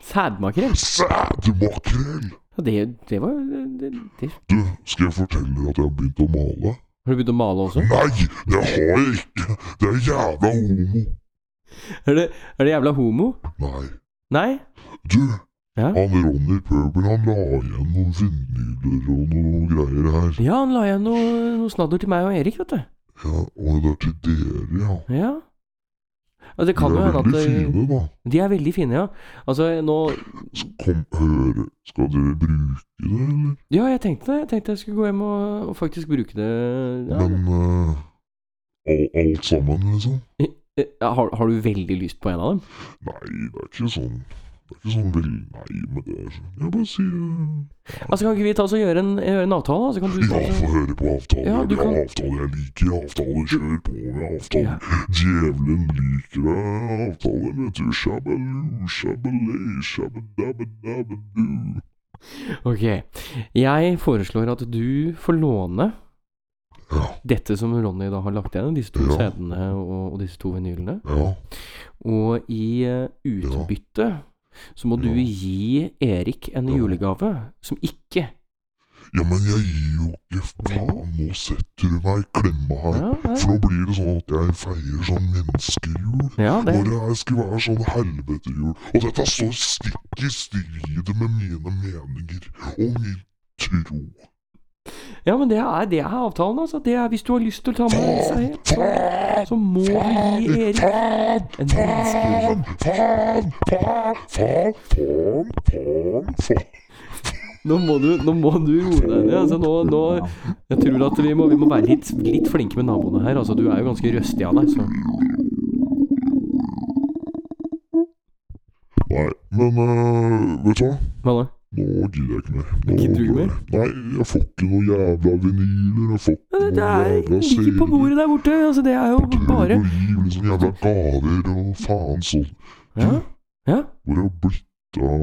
S3: Sædmakrell?
S11: Sædmakrell!
S3: Ja, det, det var det, det.
S11: Du, skal jeg fortelle deg at jeg har begynt å male?
S3: Har du begynt å male også?
S11: Nei, det har jeg ikke! Det er jævla homo.
S3: Er det, er det jævla homo?
S11: Nei.
S3: Nei?
S11: Du, han Ronny Pøbel, han la igjen noen vinyler og noe greier her.
S3: Ja, han la igjen noe, noe snadder til meg og Erik, vet du.
S11: Ja, og det er til dere, ja.
S3: Ja. Og det kan
S11: De
S3: jo
S11: er
S3: hende at
S11: veldig fine, da.
S3: De er veldig fine, ja. Altså, nå
S11: Kom, høre, skal dere bruke det, eller?
S3: Ja, jeg tenkte det. Jeg tenkte jeg skulle gå hjem og, og faktisk bruke det. Ja.
S11: Men eh, al- alt sammen, liksom?
S3: Eh, Har, har du veldig lyst på en av dem?
S11: Nei, det er ikke sånn Det er ikke sånn veldig nei med det. altså. Jeg bare sier
S3: Altså, Kan ikke vi ta oss og gjøre en, gjøre en avtale? Altså, kan du ta
S11: ja,
S3: oss og-
S11: få høre på avtaler.
S3: Ja,
S11: Ja,
S3: du kan-
S11: avtaler. Jeg liker avtaler. Kjør på med avtaler. Djevelen liker deg, avtaler, vet du. Shabbaloo, shabbalay, shabbadabbadabadoo.
S3: Ok. Jeg foreslår at du får låne dette som Ronny da har lagt igjen, disse to
S11: Ja.
S3: CD-ene og, og disse to vinylene.
S11: Ja.
S3: Og i eh, utbytte så må du gi Erik en julegave som ikke
S11: Ja, men jeg gir jo ikke faen. Nå setter du meg i klemma her. For nå blir det sånn at jeg feier sånn menneskejul.
S3: det-
S11: Når det her skulle være sånn helvetejul. Og dette står stikk i strid med mine meninger og min tro.
S3: Ja, men det er, det er avtalen, altså. Det er hvis du har lyst til å ta med deg disse her, så, så må du gi Erik en menneskejul.
S11: Faen, faen, faen, faen, faen, faen.
S3: Nå må du, nå må du roe deg ned. Altså, nå, nå, jeg tror at vi må, vi må være litt, litt flinke med naboene her. Altså, du er jo ganske røstig av deg, så
S11: Nei, men eh, vet du hva?
S3: Hva da?
S11: Nå gidder jeg ikke mer. Nå
S3: Gidder du ikke mer?
S11: Nei, jeg får ikke noe jævla vinyler. Jeg får ikke
S3: Det
S11: noe
S3: er
S11: jævla
S3: ligger på bordet der borte. Altså, det er jo bare
S11: Liv, liksom jævla gaver og faen sånn.
S3: Ja? Ja?
S11: Hvor er det blitt av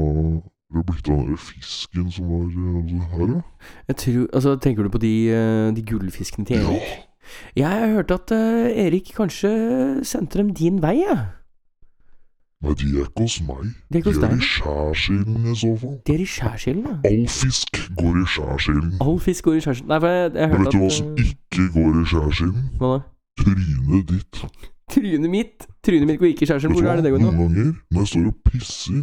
S11: Hvor er det blitt av den der fisken som var eh, her, da?
S3: Jeg tror, altså, Tenker du på de, eh, de gullfiskene til Erik? Jeg hørte at eh, Erik kanskje sendte dem din vei, jeg.
S11: Nei, de er ikke hos meg.
S3: De er ikke hos deg.
S11: i skjærsilden i så fall.
S3: De er i skjærsilden, ja.
S11: All fisk går i skjærsilden.
S3: All fisk går i skjærsilden. Nei, for jeg, jeg
S11: Men
S3: hørte
S11: vet
S3: at
S11: du hva som
S3: eh,
S11: ikke går i skjærsilden?
S3: Hva da?
S11: Trynet ditt.
S3: Trynet mitt! Trynet mitt går ikke i skjærsilden.
S11: Vet du
S3: Hvor er
S11: hva?
S3: det det går nå?
S11: Noen ganger når jeg står og pisser,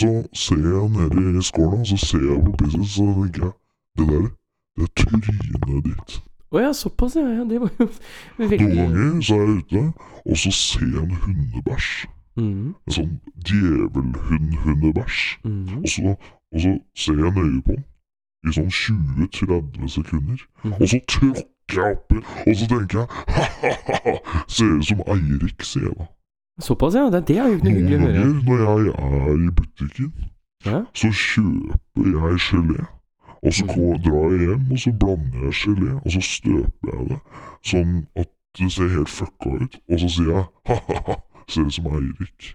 S11: så ser jeg nede i skåla, så ser jeg på pisset, så tenker jeg Det der, det er trynet ditt.
S3: Å ja, såpass, ja. ja. Det var jo
S11: Noen
S3: veldig
S11: ganger så er jeg ute, og så ser jeg en hundebæsj.
S3: Mhm.
S11: En sånn djevelhund-hundebæsj.
S3: Mhm.
S11: Og, så, og så ser jeg nøye på den i sånn 20-30 sekunder,
S3: Mhm.
S11: og så tråkker jeg oppi, og så tenker jeg ha-ha-ha, ser ut som Eirik, sier jeg da.
S3: Såpass, ja. Det, det er jo ikke noe hyggelig å
S11: Noen
S3: høre.
S11: ganger når jeg er i butikken, så kjøper jeg gelé. Og
S3: Mm.
S11: så går, drar jeg hjem, og så blander jeg gelé, og så støper jeg det sånn at det ser helt fucka ut. Og så sier jeg ha-ha-ha, ser ut som Eirik.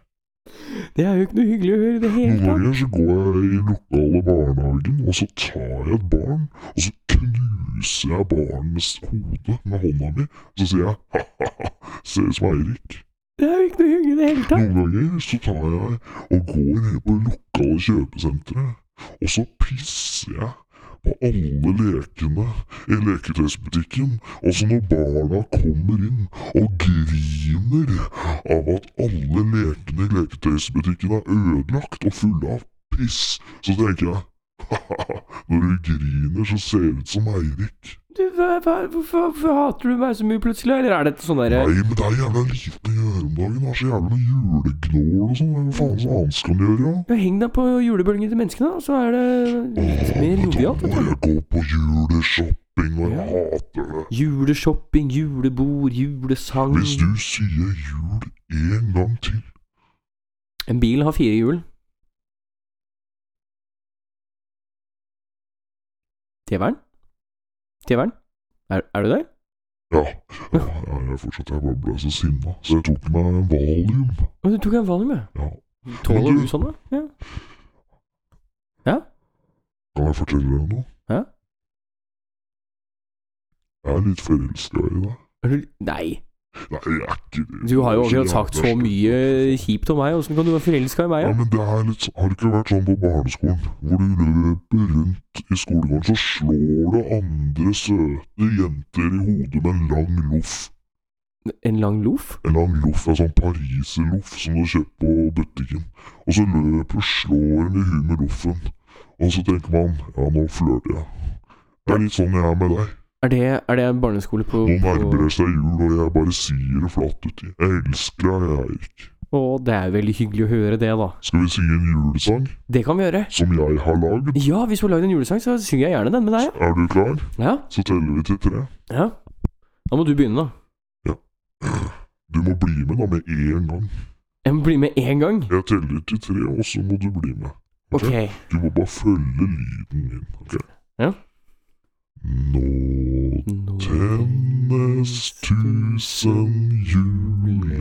S3: Det er jo ikke noe hyggelig å høre i det hele
S11: Noen
S3: tatt.
S11: ganger så går jeg i lokale barnehagen, og så tar jeg et barn, og så knuser jeg barnets hode med hånda mi, så sier jeg ha-ha-ha, ser ut som Eirik.
S3: Det er jo ikke noe hyggelig i det hele tatt.
S11: Noen ganger så tar jeg og går ned på lokale kjøpesentre, og så pisser jeg på alle lekene i leketøysbutikken. Og så når barna kommer inn og griner av at alle lekene i leketøysbutikken er ødelagt og fulle av piss, så tenker jeg ha-ha, når du griner, så ser du ut som Eirik.
S3: Du, hva, hva, hvorfor, hvorfor hater du meg så mye plutselig? Eller er dette sånn derre
S11: Nei, men det er jævla lite å gjøre om dagen. Det er så jævla mye julegnål og sånn. Hva faen så annet skal man gjøre? da?
S3: Ja, Heng deg på julebølgen til menneskene, da, så er det litt mer jovialt. vet du.
S11: Jeg går på juleshopping, og jeg hater det.
S3: Juleshopping, julebord, julesang
S11: Hvis du sier jul en gang til
S3: En bil har fire hjul. Tevern? Tevern? Er, er du der?
S11: Ja, ja, ja jeg er fortsatt her, bare ble så sinna. Så jeg tok meg en valium.
S3: Å, du tok en valium, ja.
S11: Ja.
S3: Tåler
S11: Men
S3: du sånn, da? Ja.
S11: Kan jeg fortelle deg noe?
S3: Hæ?
S11: Jeg er litt forelska i deg.
S3: Er du Nei.
S11: Nei, jeg er ikke det.
S3: Du har jo akkurat sagt så mye kjipt om meg. Åssen kan du være forelska i meg?
S11: Ja,
S3: Ja?
S11: men det er litt, Har det ikke vært sånn på barneskolen, hvor du løper rundt i skolegården, så slår det andre søte jenter i hodet med en lang loff?
S3: En lang loff?
S11: En lang loff, en sånn pariserloff som du har kjøpt på butikken. Og så løper og slår en i huet med loffen. Og så tenker man ja, nå flørter jeg. Det er litt sånn jeg er med deg.
S3: Er det, er det barneskole på,
S11: Nå
S3: på
S11: nærmer det seg jul, og jeg bare sier det flatt uti. Jeg elsker deg, Eirik.
S3: Å, det er veldig hyggelig å høre det, da.
S11: Skal vi synge en julesang?
S3: Det kan vi gjøre.
S11: Som jeg har lagd.
S3: Ja, hvis du har lagd en julesang, så synger jeg gjerne den med deg. ja.
S11: Er du klar?
S3: Ja.
S11: Så teller vi til tre.
S3: Ja. Da må du begynne, da.
S11: Du må bli med da med en gang.
S3: Jeg må bli med én gang?
S11: Jeg teller til tre, og så må du bli med.
S3: Ok.
S11: Du må bare følge lyden min. ok?
S3: Ja.
S11: Nå tennes tusen julelyk.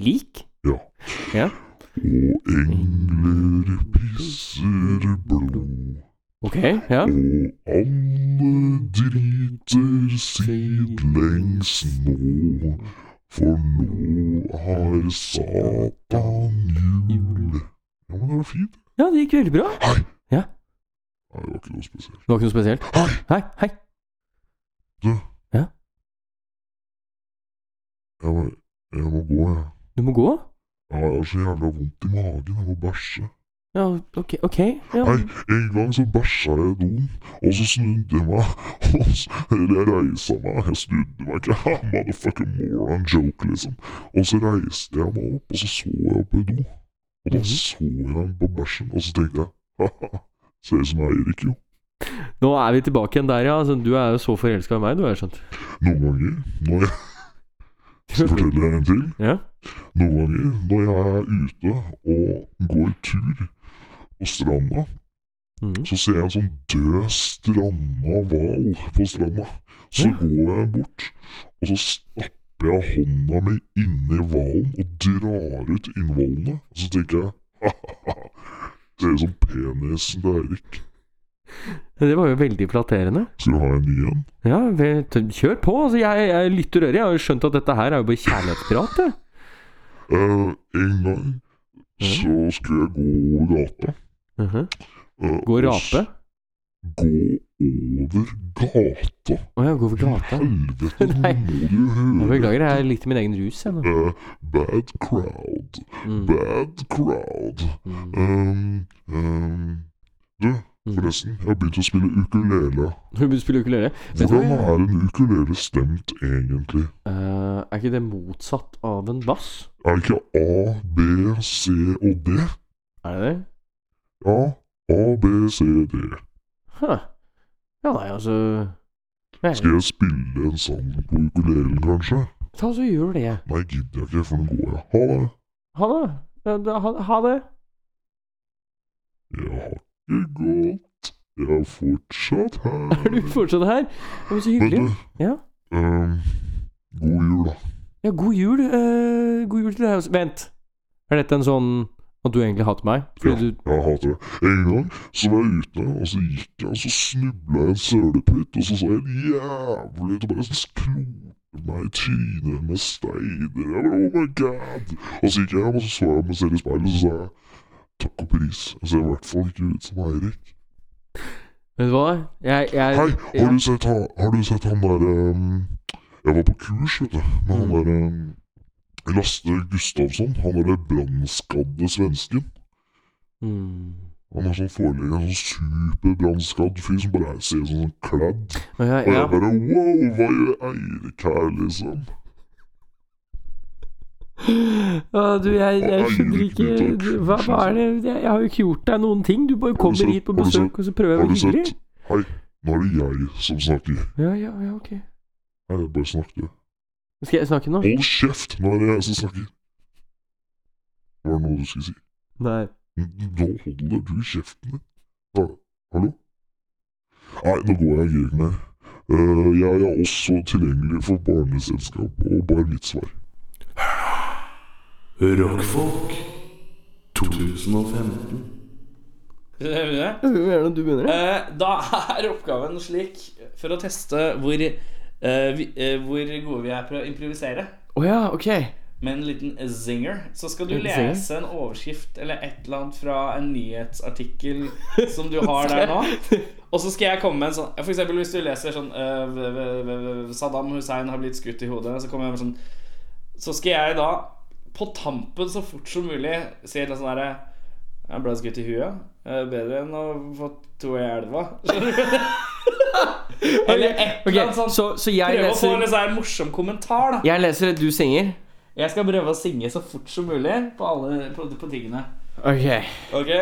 S3: Lik?
S11: Ja.
S3: Ja.
S11: Og engler pisser blod.
S3: Ok, ja.
S11: Og alle driter sidelengs nå, for nå har Satan jul. Ja, men det var fint.
S3: Ja, det gikk veldig bra.
S11: Hei!
S3: Ja.
S11: Nei, det var ikke noe spesielt.
S3: Det var ikke noe spesielt? Hei! Hei, hei.
S11: Du.
S3: Ja?
S11: Jeg må, jeg må gå, jeg.
S3: Du må gå?
S11: Ja, jeg har så jævla vondt i magen. Jeg må bæsje.
S3: Ja, ok, ok. Ja.
S11: Nei, en gang så bæsja jeg i doen, og så snudde jeg meg. og så- Eller jeg reisa meg. Jeg snudde meg ikke. Ha, Motherfucking moron joke, liksom. Og så reiste jeg meg opp, og så så jeg opp i do. Og da så jeg på bæsjen, og så tenkte jeg ha-ha, ser ut som Eirik, jo.
S3: Nå er vi tilbake igjen der, ja. Altså, du er jo så forelska i meg, du, har jeg skjønt.
S11: Noen ganger når jeg Så forteller jeg en til. Noen ganger når jeg er ute og går tur på stranda, så ser jeg en sånn død stranda hval på stranda. Så går jeg bort, og så stapper jeg hånda mi inni hvalen og drar ut innvollene. Og så tenker jeg ha-ha-ha, ser ut som penisen til Eirik.
S3: Det var jo veldig flatterende.
S11: Skal du ha en ny en?
S3: Ja, vel, t- kjør på. Altså, jeg, jeg lytter øret. Jeg har jo skjønt at dette her er jo bare kjærlighetsprat. jeg.
S11: Eh, en gang så skulle jeg gå over gata.
S3: Mhm.
S11: Eh,
S3: Gå
S11: og
S3: rape?
S11: Gå over gata.
S3: Å ja, gå over gata.
S11: Helvete,
S3: Nei.
S11: høre
S3: Nå beklager, jeg er litt i min egen rus. Jeg, nå. Mm.
S11: Eh, bad crowd. Bad crowd. Um, um, du, forresten, jeg har begynt å spille ukulele.
S3: Hun begynte å Mm. spille ukulele. Vet du hva?
S11: Hvordan er en ukulele stemt, egentlig?
S3: Eh, er ikke det motsatt av en bass?
S11: Er det ikke A, B, C og D?
S3: Er det det?
S11: Ja, A, B, C, D.
S3: Huh. Ja, nei, altså nei.
S11: Skal jeg spille en sang på ukulelen, kanskje?
S3: Ta og så gjør det.
S11: Nei, gidder jeg ikke, for nå går jeg. Ha det.
S3: Ha det. Ja, da- Ha, ha det.
S11: Jeg har ikke gått. Jeg er fortsatt her.
S3: Er du fortsatt her? Det var så hyggelig. Ja.
S11: Um, god jul, da.
S3: ja, god jul. eh, god jul til deg også. Vent. Er dette en sånn at du egentlig hater meg?
S11: Ja,
S3: Fordi du
S11: jeg hater det. En gang så var jeg ute, og så gikk jeg, og så snubla jeg en sølepytt, og så sa jeg en jævlig til bare klote meg i trynet med steiner. Jeg bare, oh my god! Og så gikk jeg hjem, og så så jeg meg selv i speilet, og så sa jeg takk og pris. Altså, Jeg ser i hvert fall ikke ut som Eirik.
S3: Vet du hva? Jeg, jeg
S11: Hei,
S3: ja.
S11: har du sett han, har du sett han der um, Jeg var på kurs, vet du, med
S3: Mm.
S11: han der um, Laste Gustavsson, han derre brannskadde svensken.
S3: Mm.
S11: Han er sånn foreleger, en sånn superbrannskadd fyr som bare er- ser ut som en kladd.
S3: ja,
S11: Og
S3: ja.
S11: jeg bare wow, hva gjør Eirik her, liksom?
S3: Å, du, jeg, jeg skjønner ikke du, hva, hva er det Jeg, jeg har jo ikke gjort deg noen ting. Du bare kommer hit på
S11: har du sett-
S3: besøk, og så prøver jeg å
S11: har du
S3: være hyggelig.
S11: sett? Hei, nå er det jeg som snakker.
S3: Ja, ja, ja, ok.
S11: Nei, jeg bare snakker.
S3: Skal jeg snakke nå?
S11: Hold kjeft, nå er det jeg som snakker. Var det noe du skulle si?
S3: Nei.
S11: Nå holder du kjeften din. Ha- Hallo? Nei, nå går jeg ikke mer. Eh, jeg er også tilgjengelig for barneselskap og bar mitt svar.
S4: Rockfolk 2015.
S2: Gjør vi det?
S3: Gjerne du begynner.
S2: Eh, da er oppgaven slik, for å teste hvor, eh, vi, eh, hvor gode vi er på å improvisere
S3: Å ja, ok.
S2: med en liten zinger, så skal du
S14: Liten zinger?
S2: lese en overskrift eller et eller annet fra en nyhetsartikkel som du har der nå. Og så skal jeg komme med en sånn For eksempel hvis du leser sånn eh, v- v- v- v- Saddam Hussein har blitt skutt i hodet, så kommer jeg med sånn Så skal jeg da på tampen så fort som mulig si et eller annet sånn derre jeg ble skutt i huet. Eh, Bedre enn å få to i elva. Eller et eller annet sånt.
S3: Så, så jeg
S2: Prøve å få
S3: leser
S2: en sånn her morsom kommentar, da.
S3: Jeg leser det du synger.
S2: Jeg skal prøve å synge så fort som mulig på, alle, på, på tingene.
S3: Ok.
S2: Ok?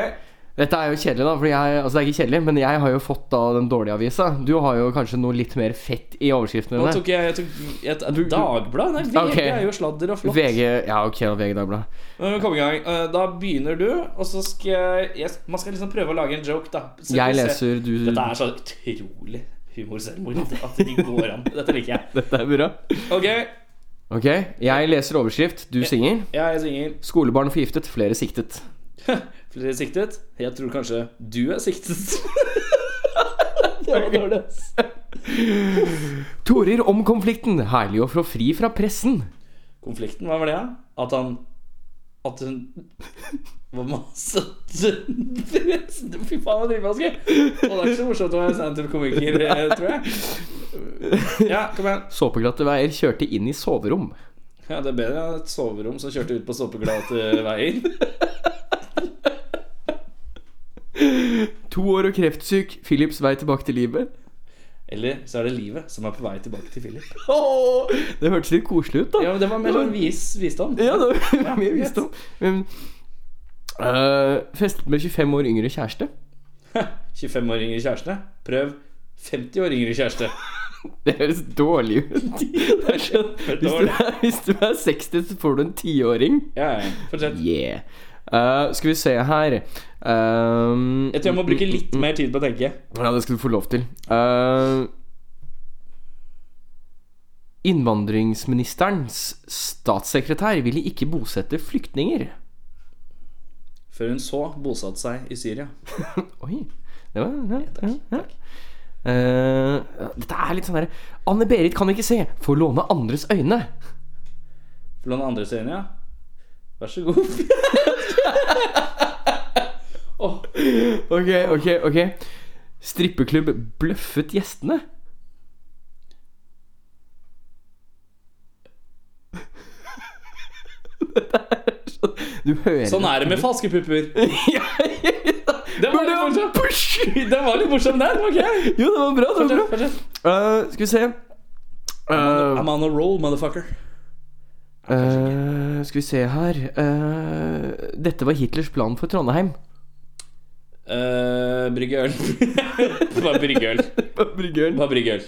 S3: Dette er jo kjedelig, da. Fordi jeg, altså det er ikke kjedelig, men jeg har jo fått da den dårlige avisa. Du har jo kanskje noe litt mer fett i overskriftene
S2: Nå
S3: dine.
S2: tok jeg, jeg tok et, et dagblad. Nei, VG
S3: Ok.
S2: er jo sladder og flott.
S3: VG Ja, ok, og VG Dagblad.
S2: Nå må vi komme i gang. Eh, Da begynner du, og så skal jeg Man skal liksom prøve å lage en joke, da. Så
S3: Jeg
S2: vi ser-
S3: leser du-
S2: Dette er så utrolig humorselvmord at det ikke går an. Dette liker jeg.
S3: Dette er bra.
S2: Ok,
S3: Ok, jeg leser overskrift, du synger.
S2: jeg synger.
S3: Skolebarn forgiftet, flere siktet.
S2: Flere siktet. Jeg tror kanskje du er siktet. det var dårlig, ass.
S3: Torer om konflikten. Herlig å få fri fra pressen.
S2: Konflikten, hva var det, da? At han At hun Hva masse Fy faen, det er dritvanskelig! Og det er ikke så morsomt å være standup-komiker, eh, tror jeg. Ja, kom igjen.
S3: Såpeglatte veier kjørte inn i soverom.
S2: Ja, Det er bedre enn et soverom som kjørte ut på såpeglade veier.
S3: To år og kreftsyk. Philips vei tilbake til livet.
S2: Eller så er det livet som er på vei tilbake til Philip.
S3: Åh, det hørtes litt koselig ut, da.
S2: Ja, men Det var mer sånn vis, visdom.
S3: Ja, det var mer visdom. Men, øh, festet med 25 år yngre kjæreste.
S2: 25 år yngre kjæreste. Prøv 50 år yngre kjæreste.
S3: Det høres dårlig ut. Det er sånn, hvis, du er, hvis du er 60, så får du en tiåring.
S2: Ja, ja, fortsett.
S3: Yeah. Øh, skal vi se her Ehm,
S2: Jeg tror jeg må bruke litt mer tid på å tenke.
S3: Ja, det skal du få lov til. Eh, innvandringsministerens statssekretær ville ikke bosette flyktninger.
S2: Før hun så bosatte seg i Syria.
S3: Oi. Det var ja, ja, ja. Eh, ja, Dette er litt sånn derre Anne-Berit kan ikke se, får låne andres øyne.
S2: For noen andres øyne, ja. Vær så god.
S3: Ok, ok, ok. Strippeklubb bløffet gjestene. Dette er sånn Du hører
S2: Sånn er det med falske pupper. Den var litt
S3: morsom.
S2: Den var litt morsom der. Ok.
S3: Jo, det var bra. det var bra Eh, Skal vi se Eh,
S2: I'm on a roll, motherfucker.
S3: eh, Skal vi se her Eh, Dette var Hitlers plan for Trondheim.
S2: Uh, brygge øl. Bare brygge øl. Bare brygge øl.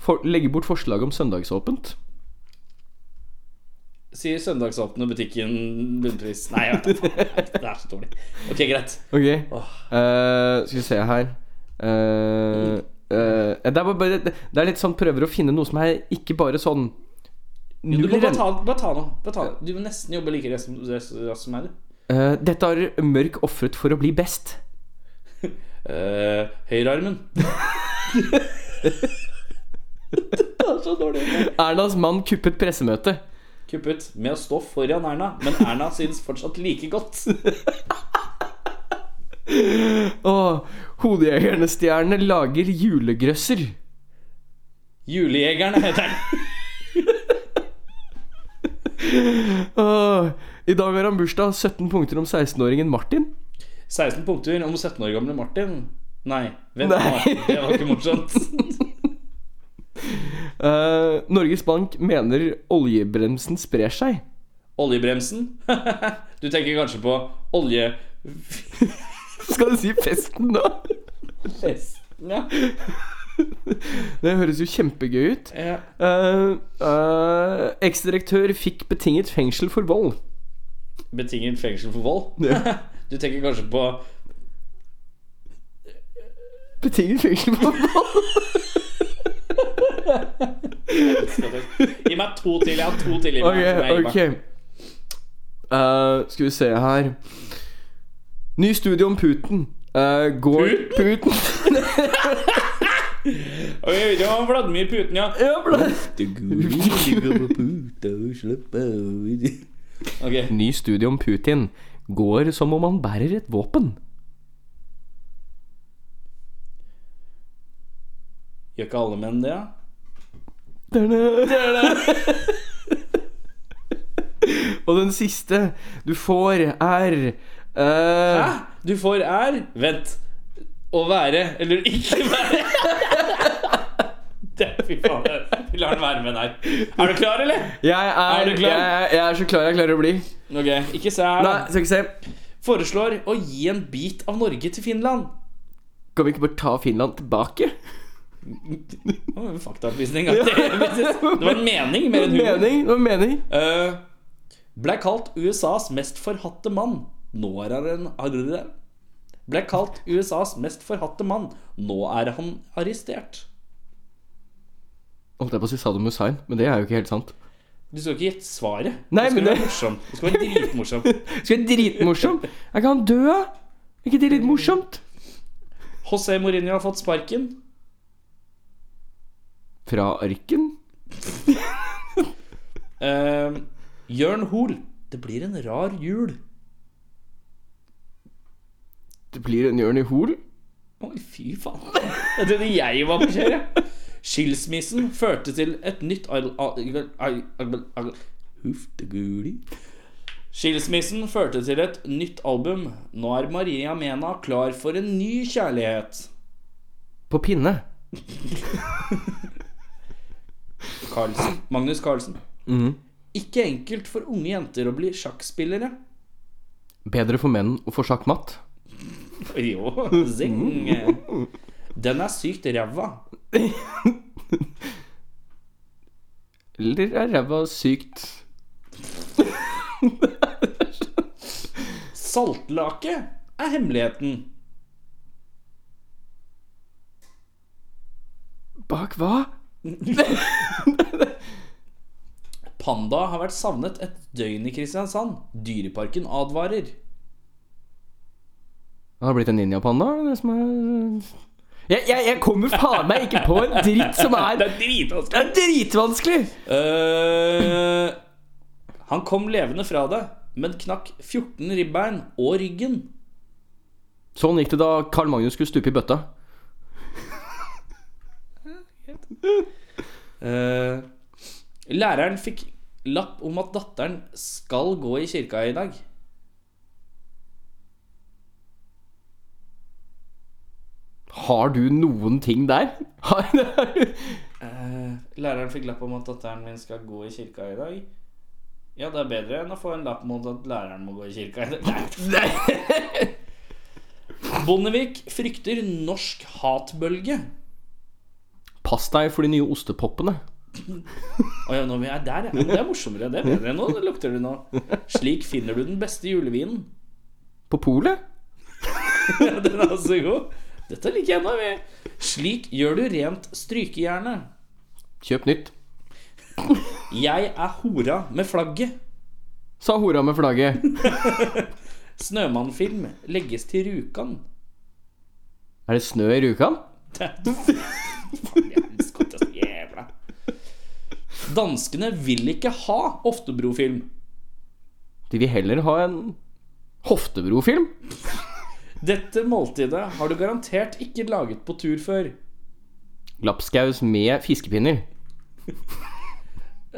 S3: For, legge bort forslaget om søndagsåpent.
S2: Sier søndagsåpne butikken bunnpris. Nei, jeg vet ikke. Det er så dårlig. Ok, greit.
S3: Ok. Eh, skal vi se her Eh, eh, det, er bare, bare- det er litt sånn prøver å finne noe som er ikke bare sånn
S2: Du
S3: null
S2: må bare
S3: ren-
S2: ta, bare ta noe. Bare ta noe. Du må nesten jobbe like raskt som- raskt som meg, du.
S3: Eh, Dette har Mørk ofret for å bli best.
S2: Uh, Høyrearmen.
S3: Ernas mann kuppet pressemøte.
S2: Kuppet med å stå foran Erna, men Erna synes fortsatt like godt.
S3: Åh, Hodejegerne-stjerne lager julegrøsser.
S2: Julejegerne heter den.
S3: Åh, I dag har han bursdag. 17 punkter om 16-åringen Martin.
S2: 16 punkter om 17 år gamle Martin. Nei, vent
S3: Nei.
S2: nå. Det var ikke morsomt.
S3: Eh, Norges Bank mener oljebremsen sprer seg.
S2: Oljebremsen? Du tenker kanskje på olje...
S3: Skal du si festen nå?
S2: Festen, ja.
S3: Det høres jo kjempegøy ut.
S2: Ja.
S3: Uh, Eksdirektør fikk betinget fengsel for vold.
S2: Betinget fengsel for vold? Du tenker kanskje på
S3: Betinget fengsel for vold?
S2: Gi meg to til. Jeg har to til i meg. Nei, gi
S3: Ok,
S2: meg.
S3: ok Eh, Skal vi se her Ny studie om Putin Eh, Går Putin?
S2: Og vi vet jo om Vladimir Putin, ja.
S3: Ny studie om Putin går som om han bærer et våpen.
S2: Gjør ikke alle menn det, ja?
S3: Det er det. Og den siste du får, er eh,
S2: Hæ? Du får er Vent. Å være eller ikke være. Det, fy faen, det- vi lar den være med der. Er du klar, eller?
S3: Jeg er,
S2: Er du klar?
S3: Jeg, jeg er så klar jeg klarer å bli.
S2: Ok, ikke se her.
S3: Nei, skal ikke se.
S2: Foreslår å gi en bit av Norge til Finland.
S3: Kan vi ikke bare ta Finland tilbake?
S2: Oh, faktaopplysning. Det, det var en mening mer enn humor.
S3: Mening, det var mening.
S2: Eh, ble kalt USAs mest forhatte mann. Nå er han arre. Ble kalt USAs mest forhatte mann. Nå er han arrestert.
S3: Holdt jeg på å si Saddam Hussein, men det er jo ikke helt sant.
S2: Du skal ikke gjette svaret.
S3: Nei,
S2: du skal
S3: men
S2: være
S3: det-
S2: morsom. Du skal være dritmorsom.
S3: Skal jeg dritmorsom? Er ikke han død, da? Er ikke det litt morsomt?
S2: José Mourinho har fått sparken.
S3: Fra arken?
S2: Uh, Jørn Hoel. Det blir en rar jul.
S3: Det blir en Jørn i Hol.
S2: Oi, fy faen. Jeg trodde jeg var på kjør, jeg. Skilsmissen førte til et nytt al- al- al- al- al- Hufteguli. Skilsmissen førte til et nytt album. Nå er Maria Mena klar for en ny kjærlighet.
S3: På pinne.
S2: Carlsen. Magnus Carlsen.
S3: Mhm.
S2: Ikke enkelt for unge jenter å bli sjakkspillere.
S3: Bedre for menn å få sjakkmatt.
S2: Jo, zing. Den er sykt ræva.
S3: Eller er ræva sykt
S2: Saltlake er hemmeligheten.
S3: Bak hva?
S2: Panda har vært savnet et døgn i Kristiansand. Dyreparken advarer.
S3: Han har blitt en ninjapanda? er det det som er- Jeg, jeg, jeg kommer faen meg ikke på en dritt som er
S2: Det er dritvanskelig.
S3: Det er dritvanskelig.
S2: Eh, han kom levende fra det, men knakk 14 ribbein og ryggen.
S3: Sånn gikk det da Carl Magnus skulle stupe i bøtta.
S2: Eh, læreren fikk lapp om at datteren skal gå i kirka i dag.
S3: Har du noen ting der? Har
S2: Eh, læreren fikk lapp om at datteren min skal gå i kirka i dag. Ja, det er bedre enn å få en lapp mot at læreren må gå i kirka i dag. Nei. Bondevik frykter norsk hatbølge.
S3: Pass deg for de nye ostepoppene.
S2: Å ja, når vi er der, ja. Men Det er morsommere. Det er bedre nå. Det lukter det nå. Slik finner du den beste julevinen.
S3: På polet?
S2: Ja, den er så god. Dette liker jeg nå, vi. Slik gjør du rent strykejernet.
S3: Kjøp nytt.
S2: Jeg er hora med flagget.
S3: Sa hora med flagget.
S2: Snømannfilm legges til Rjukan.
S3: Er det snø i Rjukan?
S2: Det er- Faen, jeg elsker det så jævla. Danskene vil ikke ha Oftebrofilm.
S3: De vil heller ha en Hoftebrofilm.
S2: Dette måltidet har du garantert ikke laget på tur før.
S3: Lapskaus med fiskepinner.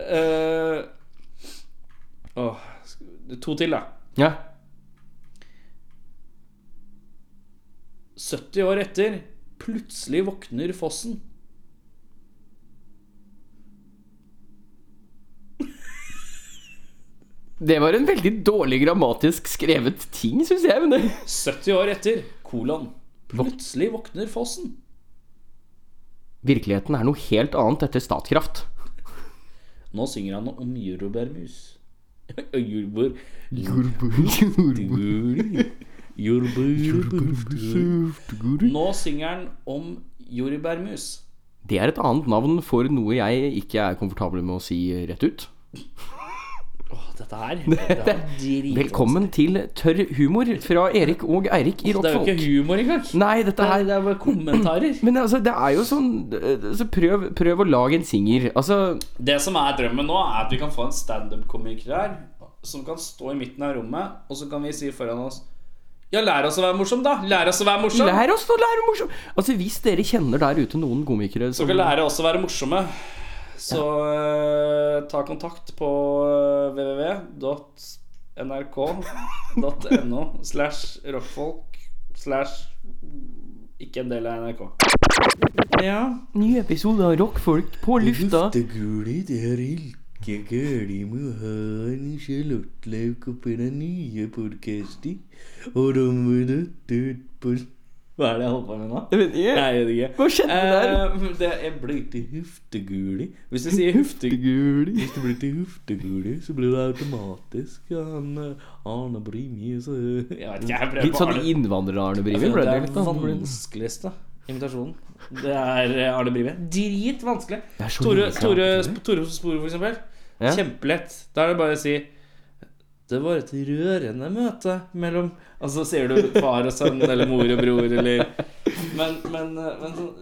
S2: Eh, åh, sk- to til, da.
S3: Ja.
S2: 70 år etter plutselig våkner fossen.
S3: Det var en veldig dårlig grammatisk skrevet ting, syns jeg. Men det.
S2: 70 år etter kolon. Plutselig våkner fossen.
S3: Virkeligheten er noe helt annet etter Statkraft.
S2: Nå synger han om jordbærmus. Jordbær Jordbær Nå synger han om jordbærmus.
S3: Det er et annet navn for noe jeg ikke er komfortabel med å si rett ut.
S2: Åh, dette dette her.
S3: Det er Velkommen til tørr humor fra Erik og Eirik i
S2: Det er jo
S3: Rottfolk.
S2: ikke humor engang.
S3: Nei, dette her
S2: Det er bare kommentarer.
S3: Men altså, det er jo sånn eh, altså, prøv, prøv å lage en singer. Altså
S2: Det som er drømmen nå, er at vi kan få en standup-komiker her som kan stå i midten av rommet, og så kan vi si foran oss Ja, lær oss å være morsom, da! Lær oss å være morsom!
S3: Lær oss å lære morsom Altså Hvis dere kjenner der ute noen komikere
S2: Så
S3: som
S2: kan lære oss å være morsomme. Så eh, ta kontakt på eh, www.nrk.no slash rockfolk slash ikke en del av NRK.
S3: Ja, ny episode av Rockfolk på lufta.
S19: Lufteguli, det er ilkeguli med han Charlottelauk oppi den nye podkasten. Og de er nødt ut på
S2: Hva er det jeg holder på med nå?
S19: Jeg vet ikke.
S2: Nei, jeg vet ikke.
S19: Hva skjedde
S2: der? Eh, det er blitt
S19: til hufteguli.
S2: Hvis du sier
S19: hufteguli Hvis det blir til hufteguli, så blir det automatisk han eh, Arne Brimi. Så
S2: vet ikke, jeg prøver
S3: Litt
S2: på
S3: sånn
S2: Arne.
S3: innvandrer-Arne
S2: Jeg
S3: Brimi.
S2: føler
S3: ble
S2: Det
S3: det
S2: er
S3: litt,
S2: den
S3: da.
S2: vanskeligste invitasjonen. Det er eh, Arne Brimi. Drit vanskelig.
S3: Det er så
S2: Tore,
S3: lite
S2: Tore, Tore Spore, for eksempel.
S3: Ja.
S2: Kjempelett. Da er det bare å si det var et rørende møte mellom Og så sier du far og sønn eller mor og bror eller Men, men, eh, men så-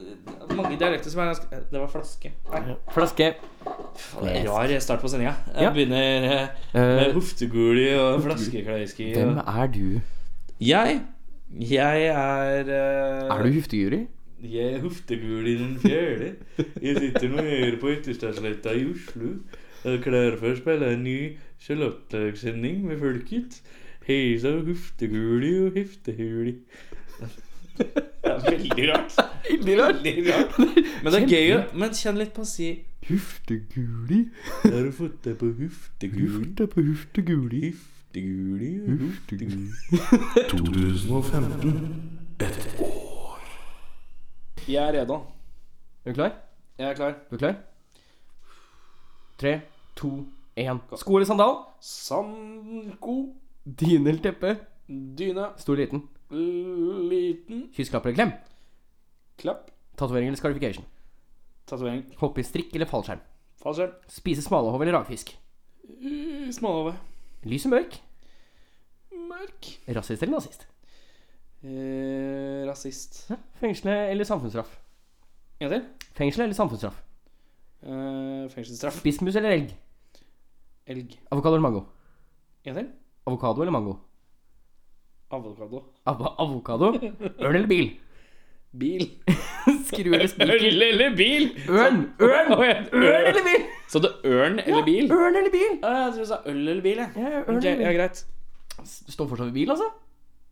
S2: mange dialekter som er ganske Det var flaske. Nei.
S3: Flaske.
S2: Det er rar start på sendinga. Jeg
S3: Ja.
S2: begynner eh,
S3: Eh,
S2: med hofteguli og flaskeklariski. og-
S3: Hvem er du?
S2: Jeg Jeg er eh,
S3: Er du hufteguri?
S19: Jeg er hoftegul i den fjerde. Jeg sitter nå her på Ytterstadsletta i Oslo. og er Klar for å spille en ny Charlotte-sending med folket. Heisa hofteguli og heftehuli.
S2: Det er veldig rart. Veldig rart. Men det er gøy å Men kjenn litt på å si
S19: Hufteguli? Har du fått deg på hufteguli? Fått deg på hufteguli. Hufteguli og hufteguli. 2015. Et
S2: Jeg er reda.
S3: Er du klar?
S2: Jeg er klar.
S3: Du er klar? Tre, to, én. Sko eller sandal?
S2: Sanko.
S3: Dyne eller teppe?
S2: Dyne.
S3: Stor eller liten?
S2: Liten.
S3: Kyss, klapp eller klem?
S2: Klapp.
S3: Tatovering eller scarification?
S2: Tatovering.
S3: Hoppe i strikk eller fallskjerm?
S2: Fallskjerm.
S3: Spise smalahove eller rakfisk?
S2: Eh, Smalahove.
S3: Lys og mørk?
S2: Mørk.
S3: Rasist eller nazist?
S2: Eh, rasist.
S3: Fengsle eller samfunnsstraff?
S2: En til.
S3: Fengsel eller samfunnsstraff?
S2: Eh, fengselsstraff.
S3: Spissmus eller elg?
S2: Elg.
S3: Avokado eller mango?
S2: En til.
S3: Avokado eller mango?
S2: Avokado.
S3: Av avokado? Ørn eller bil?
S2: Bil.
S3: Skru eller spiker?
S2: Ørn eller bil?
S3: Ørn! Ørn!
S2: Å, ja,
S3: Ørn eller bil?
S2: Så det er ørn eller bil?
S3: Ørn eller bil?
S2: Ja, jeg tror du sa øl eller bil. jeg.
S3: ørn
S2: Ok,
S3: eller bil.
S2: ja, greit.
S3: Står fortsatt ved bil, altså?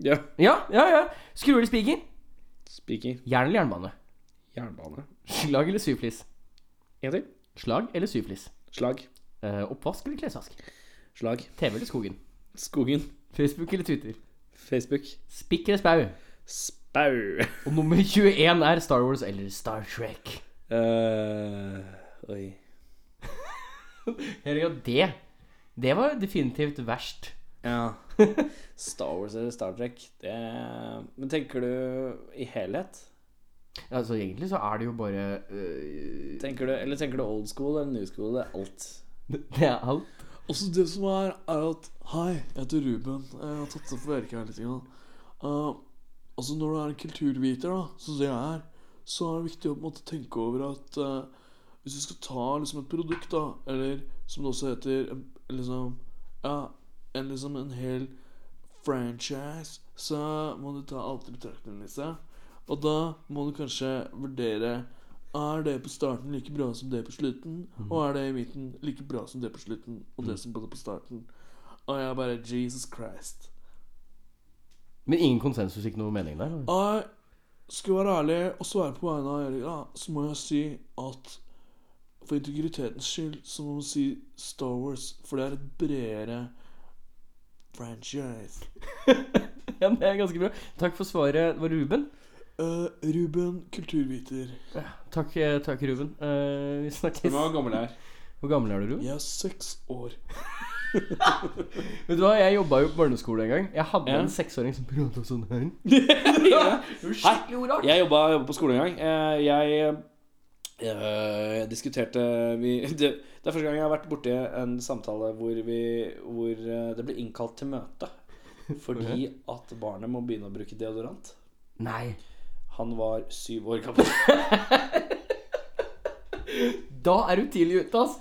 S2: Ja.
S3: Ja, ja, ja. Skru eller spiker?
S2: Spiker.
S3: Jern eller jernbane?
S2: Jernbane.
S3: Slag eller syvflis?
S2: En til.
S3: Slag eller syvflis?
S2: Slag.
S3: Eh, oppvask eller klesvask?
S2: Slag.
S3: TV eller skogen?
S2: Skogen.
S3: Facebook eller Twitter?
S2: Facebook.
S3: Spikk eller spau?
S2: Spau.
S3: Og nummer 21 er Star Wars eller Star Trek.
S2: Eh, oi.
S3: Eller ja, det. Det var definitivt verst.
S2: Ja. Star Wars eller Star Trek det... Men tenker du i helhet?
S3: Altså, egentlig så er det jo bare øh,
S2: Tenker du, Eller tenker du old school eller new school? Det er alt.
S3: Det er alt.
S19: Også det som er, er at Hei, jeg heter Ruben. Jeg har tatt det for Erik her litt. Grann. Eh, altså når du er en kulturviter, da, sånn som det jeg er, så er det viktig å på en måte tenke over at eh, hvis du skal ta liksom et produkt, da, eller som det også heter en- liksom, Ja, en, liksom en hel franchise, så må du ta alt i betraktning, Lise. Og da må du kanskje vurdere er det på starten like bra som det på slutten?
S4: Mhm.
S3: Mm.
S19: Og er det i midten like bra som det på slutten? Og det
S4: Mhm.
S19: som både på starten? Og jeg bare Jesus Christ.
S3: Men ingen konsensus, ikke noe mening der? eller?
S19: Jeg skal jeg være ærlig og svare på vegne av Erik, da, så må jeg si at for integritetens skyld så må man si Star Wars, for det er et bredere franchise.
S3: Ja, det er ganske bra. Takk for svaret. Var det Ruben?
S19: Eh, Ruben, kulturviter.
S3: Takk, eh, takk Ruben. Eh, vi snakkes.
S19: Hvor gammel er jeg?
S3: Hvor gammel er du, Ruben?
S19: Jeg er seks år.
S3: Vet du hva, jeg jobba jo på barneskole en gang. Jeg hadde
S2: Ja.
S3: en seksåring som prata sånn her.
S2: Nei, jeg jobba, jobba på skole en gang. Eh, Jeg eh, diskuterte vi det, det er første gang jeg har vært borti en samtale hvor, vi, hvor eh, det ble innkalt til møte. Fordi at barnet må begynne å bruke deodorant.
S3: Nei.
S2: Han var syv år gammel.
S3: Da er du tidlig ute, ass.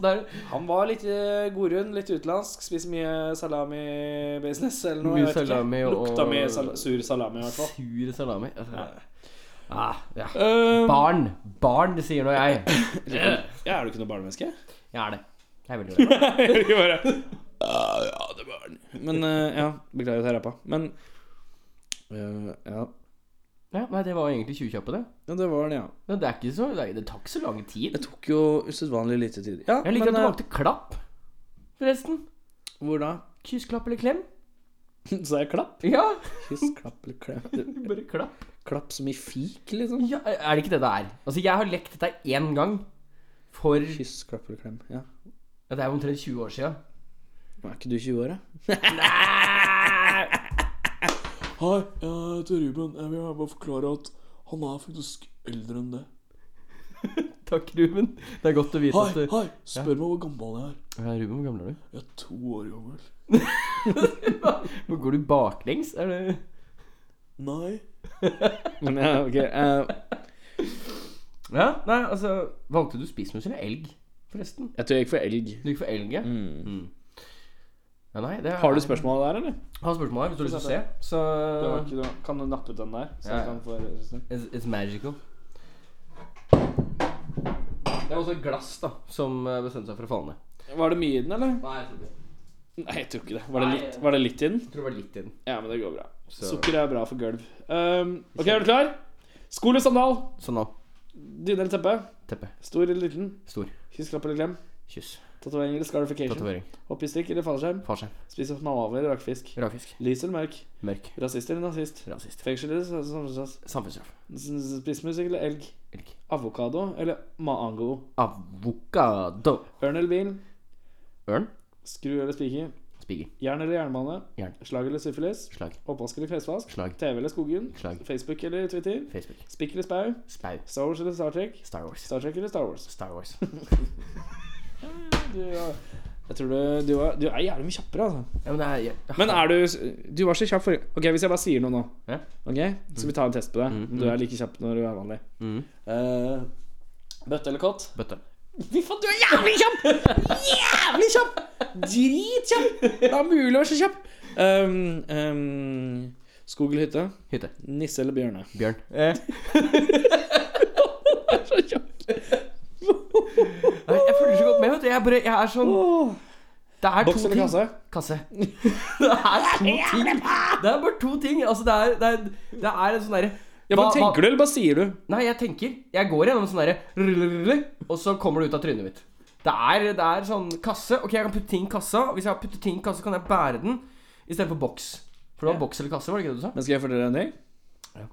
S2: Han var litt eh, godrund, litt utenlandsk. Spiser mye salami-business eller noe.
S3: Mye
S2: jeg vet ikke.
S3: salami og-
S2: Lukta mye sal sur salami, i hvert fall.
S3: Sur salami. Altså, Ah, ja. barn. Barn, det sier nå jeg.
S2: Ja, er du ikke noe barnemenneske?
S3: Jeg er det. Jeg er veldig glad.
S2: Jeg bare «Ah, Ja, det var den. Men eh, ja, beklager at jeg rappa. Men eh, ja.
S3: Ja, nei, det var egentlig 20 kjappe, det.
S2: Ja, det var det, ja.
S3: Men det er ikke så Det, det tar ikke så lang tid.
S2: Det tok jo usedvanlig lite tid. Ja,
S3: jeg liker at
S2: men,
S3: du
S2: eh,
S3: valgte klapp, forresten.
S2: Hvor da?
S3: Kyss, klapp eller klem?
S2: Sa jeg klapp?
S3: Ja.
S2: Kyss, klapp eller klem.
S3: Bare klapp.
S2: Klapp som i fik, liksom?
S3: Ja, er det ikke det det er? Altså, jeg har lekt dette én gang for
S2: Kyss, klapp eller klem. Ja.
S3: Ja, det er omtrent 20 år sia.
S2: Er ikke du 20 år, da?
S19: Hei, jeg heter Ruben. Jeg vil bare forklare at han er faktisk eldre enn det.
S3: Takk, Ruben. Det er godt å vite
S19: Hei,
S3: at du-
S19: hei! Spør
S3: Ja.
S19: meg hvor gammel jeg er.
S3: Ja, Ruben, hvor gammel er du?
S19: Jeg er to år gammel.
S3: Hvor Går du baklengs? Er det
S19: Nei.
S2: Men ja, ok
S3: Ja, nei, altså Valgte du spissmus eller elg, forresten?
S2: Jeg tror jeg gikk for elg.
S3: Du gikk for elg, ja? Mm. ja nei, det er,
S2: Har du spørsmål der, eller?
S3: Har spørsmål her, hvis du har lyst til å se. Så
S2: Det var ikke, det var- Kan du nappe ut den der? Så
S3: Ja,
S2: jeg
S3: ja.
S2: kan få resisten?
S3: It's, it's magical. Det er også et glass da som eh, bestemte seg for å falle ned.
S2: Var det mye i den, eller?
S3: Nei, jeg tror ikke det.
S2: Nei, jeg tror ikke det. Var det
S3: Nei,
S2: litt, var det litt i den?
S3: Jeg tror det var litt i den.
S2: Ja, men det går bra.
S3: Så-
S2: Sukker er bra for gulv. Um, ok, er du klar? Sko eller sandal?
S3: Sandal.
S2: Dyne eller teppe?
S3: Teppe.
S2: Stor eller liten?
S3: Stor.
S2: Kyss, klapp eller klem?
S3: Kyss.
S2: Tatovering eller scarification?
S3: Tatovering.
S2: Hopp i strikk eller fallskjerm?
S3: Fallskjerm.
S2: Spis opp manaver eller rakfisk?
S3: Rakfisk.
S2: Lys eller mørk?
S3: Mørk.
S2: Rasist eller nazist?
S3: Rasist.
S2: Fengsel eller sam- samfunnsstraff?
S3: Samfunnsstraff.
S2: S- Spissmusikk eller elg?
S3: Elg.
S2: Avokado eller mango?
S3: Avokado.
S2: Ørn eller bil?
S3: Ørn.
S2: Skru eller spiker?
S3: Spiker.
S2: Jern eller jernbane?
S3: Jern.
S2: Slag eller syfilis?
S3: Slag.
S2: Oppvask eller klesvask?
S3: Slag.
S2: TV eller skogen?
S3: Slag.
S2: Facebook eller Twitter?
S3: Facebook.
S2: Spikk eller spau?
S3: Spau.
S2: Star Wars eller Star Trek?
S3: Star Wars.
S2: Star Trek eller Star Wars?
S3: Star Wars.
S2: du, ja. Jeg tror du, du, er, du er jævlig mye kjappere, altså.
S3: Ja, men, det er,
S2: Men er du Du var så kjapp forrige Ok, hvis jeg bare sier noe nå,
S3: Ja.
S2: Ok, så vi tar en test på deg. Om du
S3: mm.
S2: er like kjapp når du er vanlig. Eh, bøtte eller kott?
S3: Bøtte.
S2: Fy faen, du er jævlig kjapp! Jævlig kjapp! Dritkjapp! Det er mulig å være så kjapp. Um, um, skog eller hytte?
S3: Hytte.
S2: Nisse eller bjørne?
S3: Bjørn. Eh, Nei, Jeg følger så godt med, vet du. Jeg, bare, jeg er sånn Det er
S2: Boks
S3: to
S2: eller
S3: ting.
S2: kasse?
S3: Kasse. Det er to ting. Det er bare to ting. Altså, det er, det er, det er en sånn derre
S2: Ja, men tenker du, eller bare sier du?
S3: Nei, jeg tenker. Jeg går gjennom sånn derre Og så kommer det ut av trynet mitt. Det er, det er sånn kasse. Ok, jeg kan putte ting i kassa. Hvis jeg har puttet ting i kassa, kan jeg bære den istedenfor boks. For det var boks eller kasse, var det ikke det du sa?
S2: Men skal jeg fortelle deg en ting?
S3: Ja.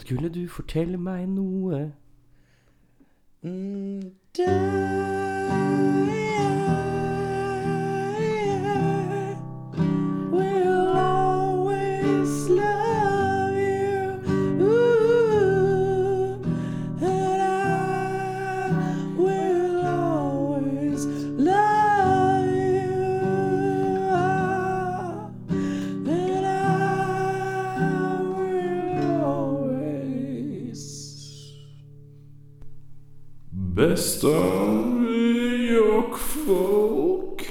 S3: Skulle du fortelle meg noe?
S8: We'll always love you. Ooh, and I will always love you. Ah, And I will always.
S1: Best of Yorkfolk.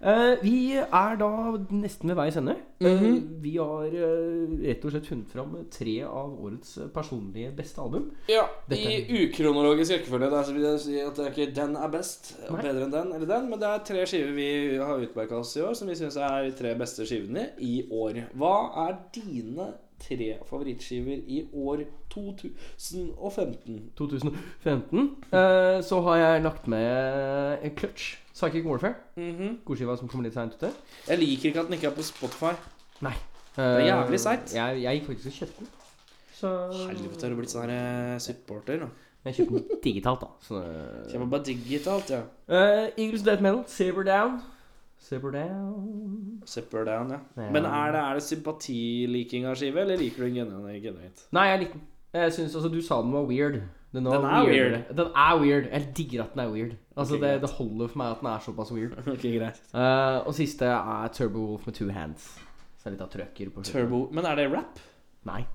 S3: Eh, vi er da nesten ved veis ende.
S2: Mhm.
S3: Eh, vi har eh, rett og slett funnet fram tre av årets eh, personlige beste album.
S2: Ja,
S3: Dette-
S2: i ukronologisk rekkefølge. Der så vil jeg si at det er ikke den er best, og
S3: Nei.
S2: bedre enn den eller den, men det er tre skiver vi har utmerka oss i år, som vi syns er de tre beste skivene i år. Hva er dine tre favorittskiver i år 2015?
S3: 2015. Eh, så har jeg lagt med en Clutch, Psychic Warfare. Godskiva som kommer litt seint ute.
S2: Jeg liker ikke at den ikke er på Spotify.
S3: Nei.
S2: Det er jævlig seigt.
S3: Jeg, jeg gikk faktisk og kjøpte den. Så
S2: Helvete, har du blitt sånn her eh, supporter nå?
S3: Jeg kjøpte den digitalt, da. Så det-
S2: Kjøper bare digitalt, ja.
S3: Eh, Eagles Death Metal, Saber Down. Saber Down
S2: Zipper down, ja.
S3: Ja.
S2: Men er det, er det sympatiliking av skive, eller liker du den gener- genuint?
S3: Nei, jeg likte den. Jeg synes, altså, Du sa den var weird. Den, var
S2: Den er
S3: weirdere.
S2: weird.
S3: Den er weird. Jeg digger at den er weird. Altså,
S2: Ok,
S3: det,
S2: greit.
S3: det holder for meg at den er såpass weird.
S2: Ok, greit.
S3: Eh, og siste er Turbo Wolf med Two Hands. Så er det litt av trøkker på slutten.
S2: Turbo Men er det rap?
S3: Nei.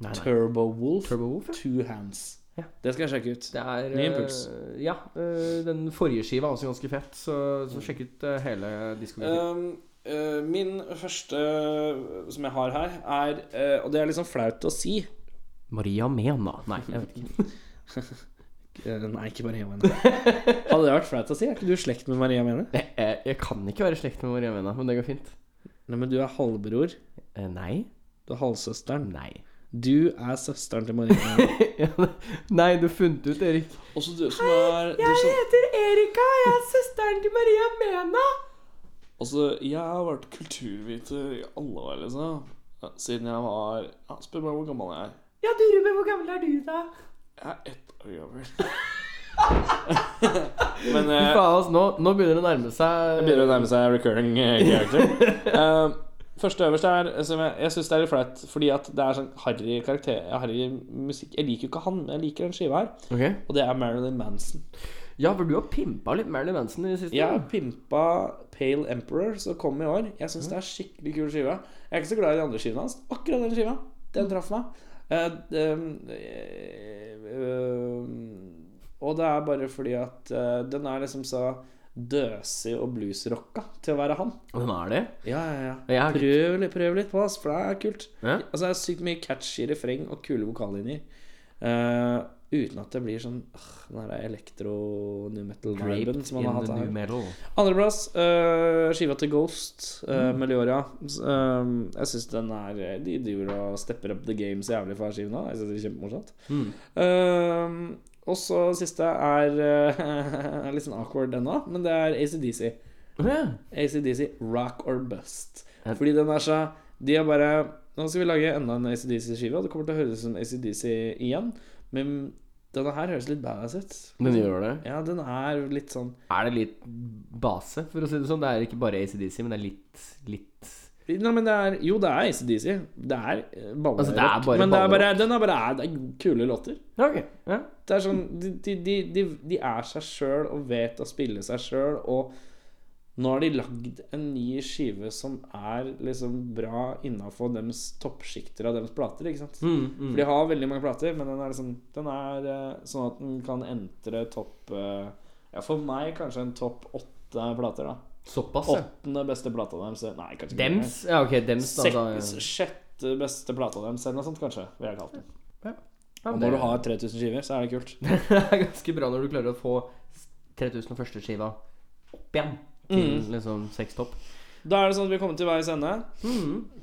S3: Nei, nei.
S2: Turbo Wolf, Two Hands. Det skal jeg sjekke ut.
S3: Det er
S2: Ny impuls.
S3: eh, ja. eh, den forrige skiva er også ganske fett, så, så sjekk ut eh, hele diskografien.
S2: Um, eh, min første eh, som jeg har her, er eh, Og det er liksom flaut å si.
S3: Maria Mena. Nei, jeg vet ikke.
S2: Eh, Nei, ikke Maria Mena. Hadde det vært flaut å si? Er ikke du i slekt med Maria Mena?
S3: Eh, Jeg, kan ikke være i slekt med Maria Mena, men det går fint. Eh,
S2: Nei, Men du er halvbror.
S3: Nei.
S2: Du er halvsøsteren.
S3: Nei.
S2: Du er søsteren til Maria
S3: Mena. nei, du funnet ut, Erik.
S2: Også du som er
S19: du som-
S3: heter Erika, jeg er søsteren til Maria Mena.
S19: Altså, jeg har vært kulturviter i alle år, liksom. Ja, Siden jeg var ja, Spør meg hvor gammel jeg er.
S3: Ja, du Ruben, hvor gammel er du, da?
S19: Jeg er ett år gammel.
S2: Men
S3: Fy faen, altså, nå, nå begynner det å nærme seg
S2: Det begynner å nærme seg recurring eh, character. Eh, Første øverst er eh, som jeg, jeg syns det er litt flaut, fordi at det er sånn harry karakter Harry musikk Jeg liker jo ikke han, men jeg liker den skiva her.
S3: Ok.
S2: Og det er Marilyn Manson.
S3: Ja, for du har pimpa litt Marilyn Manson i det siste.
S2: Jeg har
S3: da.
S2: pimpa Pale Emperor, som kom i år. Jeg syns det er skikkelig kul skive. Jeg er ikke så glad i de andre skivene hans. Akkurat den skiva. Den traff meg. Eh, det- eh, eh, og det er bare fordi at eh, den er liksom så døsig og bluesrocka til å være han.
S3: Den er det?
S2: Ja, ja,
S3: Jeg
S2: ja.
S3: har-
S2: Prøv, litt- prøv litt på, ass, for det er kult.
S3: Ja.
S2: Altså, det er sykt mye catchy refreng og kule vokallinjer. Eh, uten at det blir sånn øh, Den der elektro-new metal-viben
S3: Draped
S2: som man
S3: in
S2: har hatt
S3: the new
S2: her.
S3: metal.
S2: Andreplass, uh, skiva til Ghost, uh,
S3: Mm.
S2: Melioria. S- eh, jeg syns den er eh, De driver og stepper up the game så jævlig for skiven nå. Jeg synes det er kjempemorsomt.
S3: Mm.
S2: Eh, og så siste er eh, litt sånn awkward ennå, men det er ACDC. ACDC Rock or Bust. Fordi den er så De er bare Nå skal vi lage enda en ACDC-skive, og det kommer til å høres ut som ACDC igjen. Men denne her høres litt badass ut.
S3: Den gjør det?
S2: Liksom. Ja, den er litt sånn
S3: Er det litt base, for å si det sånn? Det er ikke bare ACDC, men det er litt, litt
S2: Nei, men det er Jo, det er ACDC. Det er eh, ballerock.
S3: Altså, det er bare
S2: men det er bare,
S3: ballerock.
S2: den er bare det er kule låter. Det er sånn De, de, de, de, de er seg sjøl og vet å spille seg sjøl, og nå har de lagd en ny skive som er liksom bra innafor deres toppsjikter av deres plater, ikke sant?
S3: Mm, mm.
S2: For de har veldig mange plater, men den er liksom Den er eh, sånn at den kan entre topp eh, Ja, for meg kanskje en topp åtte plater, da.
S3: Såpass, ja.
S2: Åttende beste plata deres eh, Nei, kanskje ikke.
S3: Dems? Ja, ok, dems, da,
S2: Sek-
S3: da, ja.
S2: Sjette beste plata deres, eller noe sånt, kanskje. Vil jeg kalle den.
S3: Ja,
S2: Og
S3: det-
S2: når du har 3000 skiver, så er det kult.
S3: Det er ganske bra når du klarer å få 3001. skiva opp igjen til
S2: Mm.
S3: liksom seks topp. Mm.
S2: Da er det sånn at vi er kommet til veis ende.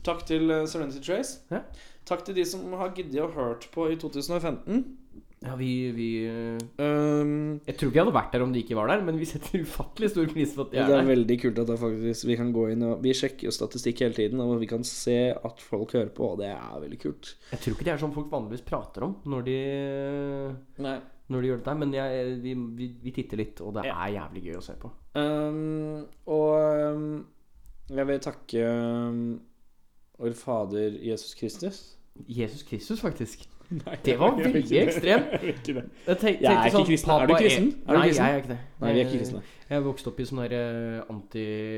S2: Takk til eh, Serenity Trace. Takk til de som har giddet og hørt på i 2015.
S3: Ja, vi, vi eh, Jeg tror ikke jeg hadde vært der om de ikke var der, men vi setter ufattelig stor pris på at de
S2: Det
S3: er,
S2: er
S3: der.
S2: veldig kult at det faktisk vi kan gå inn og Vi sjekker jo statistikk hele tiden, og vi kan se at folk hører på, og det er veldig kult.
S3: Jeg tror ikke det er sånn folk vanligvis prater om når de, når de gjør dette, men jeg, vi, vi, vi titter litt, og det er jævlig gøy å se på.
S2: Um, og um, jeg vil takke um, vår Fader Jesus Kristus.
S3: Jesus Kristus, faktisk.
S2: Nei,
S3: Det var
S2: jeg gjør
S3: veldig
S2: ikke det.
S3: ekstremt.
S2: Jeg gjør ikke det.
S3: Jeg tenk-
S2: Jeg er
S3: tenkte
S2: ikke
S3: sånn,
S2: kristen. Er du
S3: pappa
S2: kristen? Er du
S3: nei,
S2: kristen?
S3: jeg er ikke det. Eh,
S2: Nei, vi er ikke kristne.
S3: Jeg vokste opp i sånn der eh,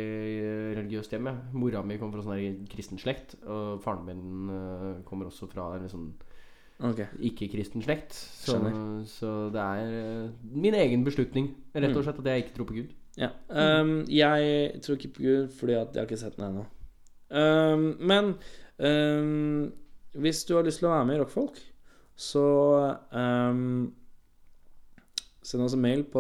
S3: antireligiøst hjem. jeg. Mora mi kom fra sånn der kristen slekt, og faren min eh, kommer også fra en sånn
S2: Ok.
S3: ikke-kristen slekt. Så,
S2: Skjønner.
S3: så det er eh, min egen beslutning, rett
S2: Mm.
S3: og slett, at jeg ikke tror på Gud.
S2: Ja. Um, jeg tror ikke på Gud, fordi at jeg har ikke sett den ennå. Um, men um, hvis du har lyst til å være med i Rockfolk, så um, Send oss en mail på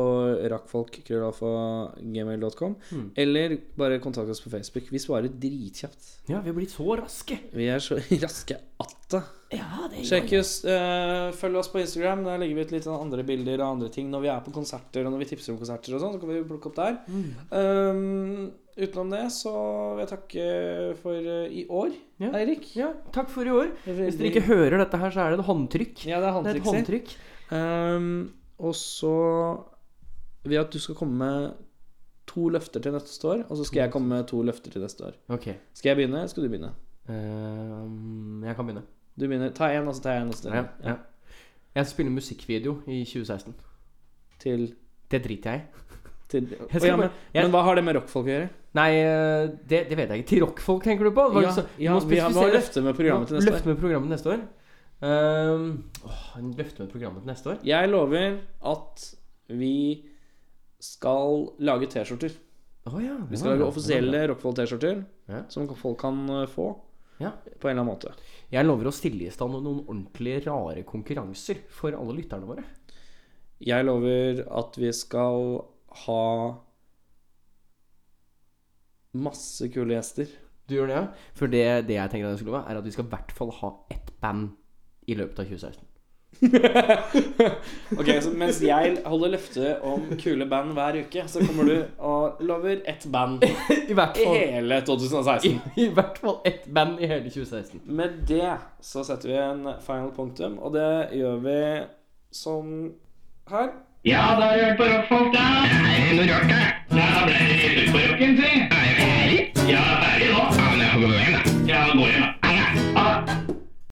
S2: rakkfolk.gmail.com.
S3: Mm.
S2: Eller bare kontakt oss på Facebook. Vi svarer dritkjapt.
S3: Ja, vi har blitt så raske.
S2: Vi er så raske atta.
S3: Ja, det
S2: Sjekk oss, eh, følg oss på Instagram. Der legger vi ut litt sånn andre bilder og andre ting når vi er på konserter og når vi tipser om konserter og sånn. Så kan vi plukke opp der.
S3: Mm.
S2: Um, utenom det så vil jeg takke for eh, i år, Eirik.
S3: Ja, takk for i år. Hvis dere ikke hører dette her, så er det et håndtrykk.
S2: Ja,
S3: Det er
S2: det er
S3: et
S2: håndtrykk.
S3: håndtrykk.
S2: Ehm, og så vil jeg at du skal komme med to løfter til neste år, og så skal jeg komme med to løfter til neste år.
S3: Mm. Ok.
S2: Skal jeg begynne, eller skal du begynne?
S3: Eh, jeg kan begynne.
S2: Du begynner. Ta én, og så tar jeg en. Og så tar
S3: Ja,
S2: jeg en.
S3: ja. Jeg spiller musikkvideo i 2016.
S2: Til
S3: Det driter jeg i.
S2: Å ja, men, men hva har det med rockfolk å gjøre?
S3: Nei, eh, det, det vet jeg ikke. Til rockfolk tenker du på? Det var
S2: Ja,
S3: liksom-
S2: ja,
S3: du må
S2: vi har- hva er
S3: spesifisere.
S2: løftet med programmet til neste
S3: Løftet med programmet neste år? Um, åh, en løfte med programmet til neste år?
S2: Jeg lover at vi skal lage T-skjorter.
S3: ja, det var
S2: vi skal lage
S3: bra, det
S2: offisielle Rockfold-T-skjorter som folk kan eh, få på en eller annen måte.
S3: Jeg lover å stille i stand noen ordentlig rare konkurranser for alle lytterne våre.
S2: Jeg lover at vi skal ha masse kule gjester.
S3: Du gjør det, ja? For det, det jeg tenker at jeg skulle love, er at vi skal i hvert fall ha ett band i løpet av 2016.
S2: Ok, så Mens jeg holder løftet om kule band hver uke, så kommer du og lover ett band
S3: i,
S2: hele 2016.
S3: I, hvert fall ett band i hele 2016.
S2: Med det så setter vi en final punktum, og det gjør vi som her.
S8: Ja, da har du hørt på rockfolk, da!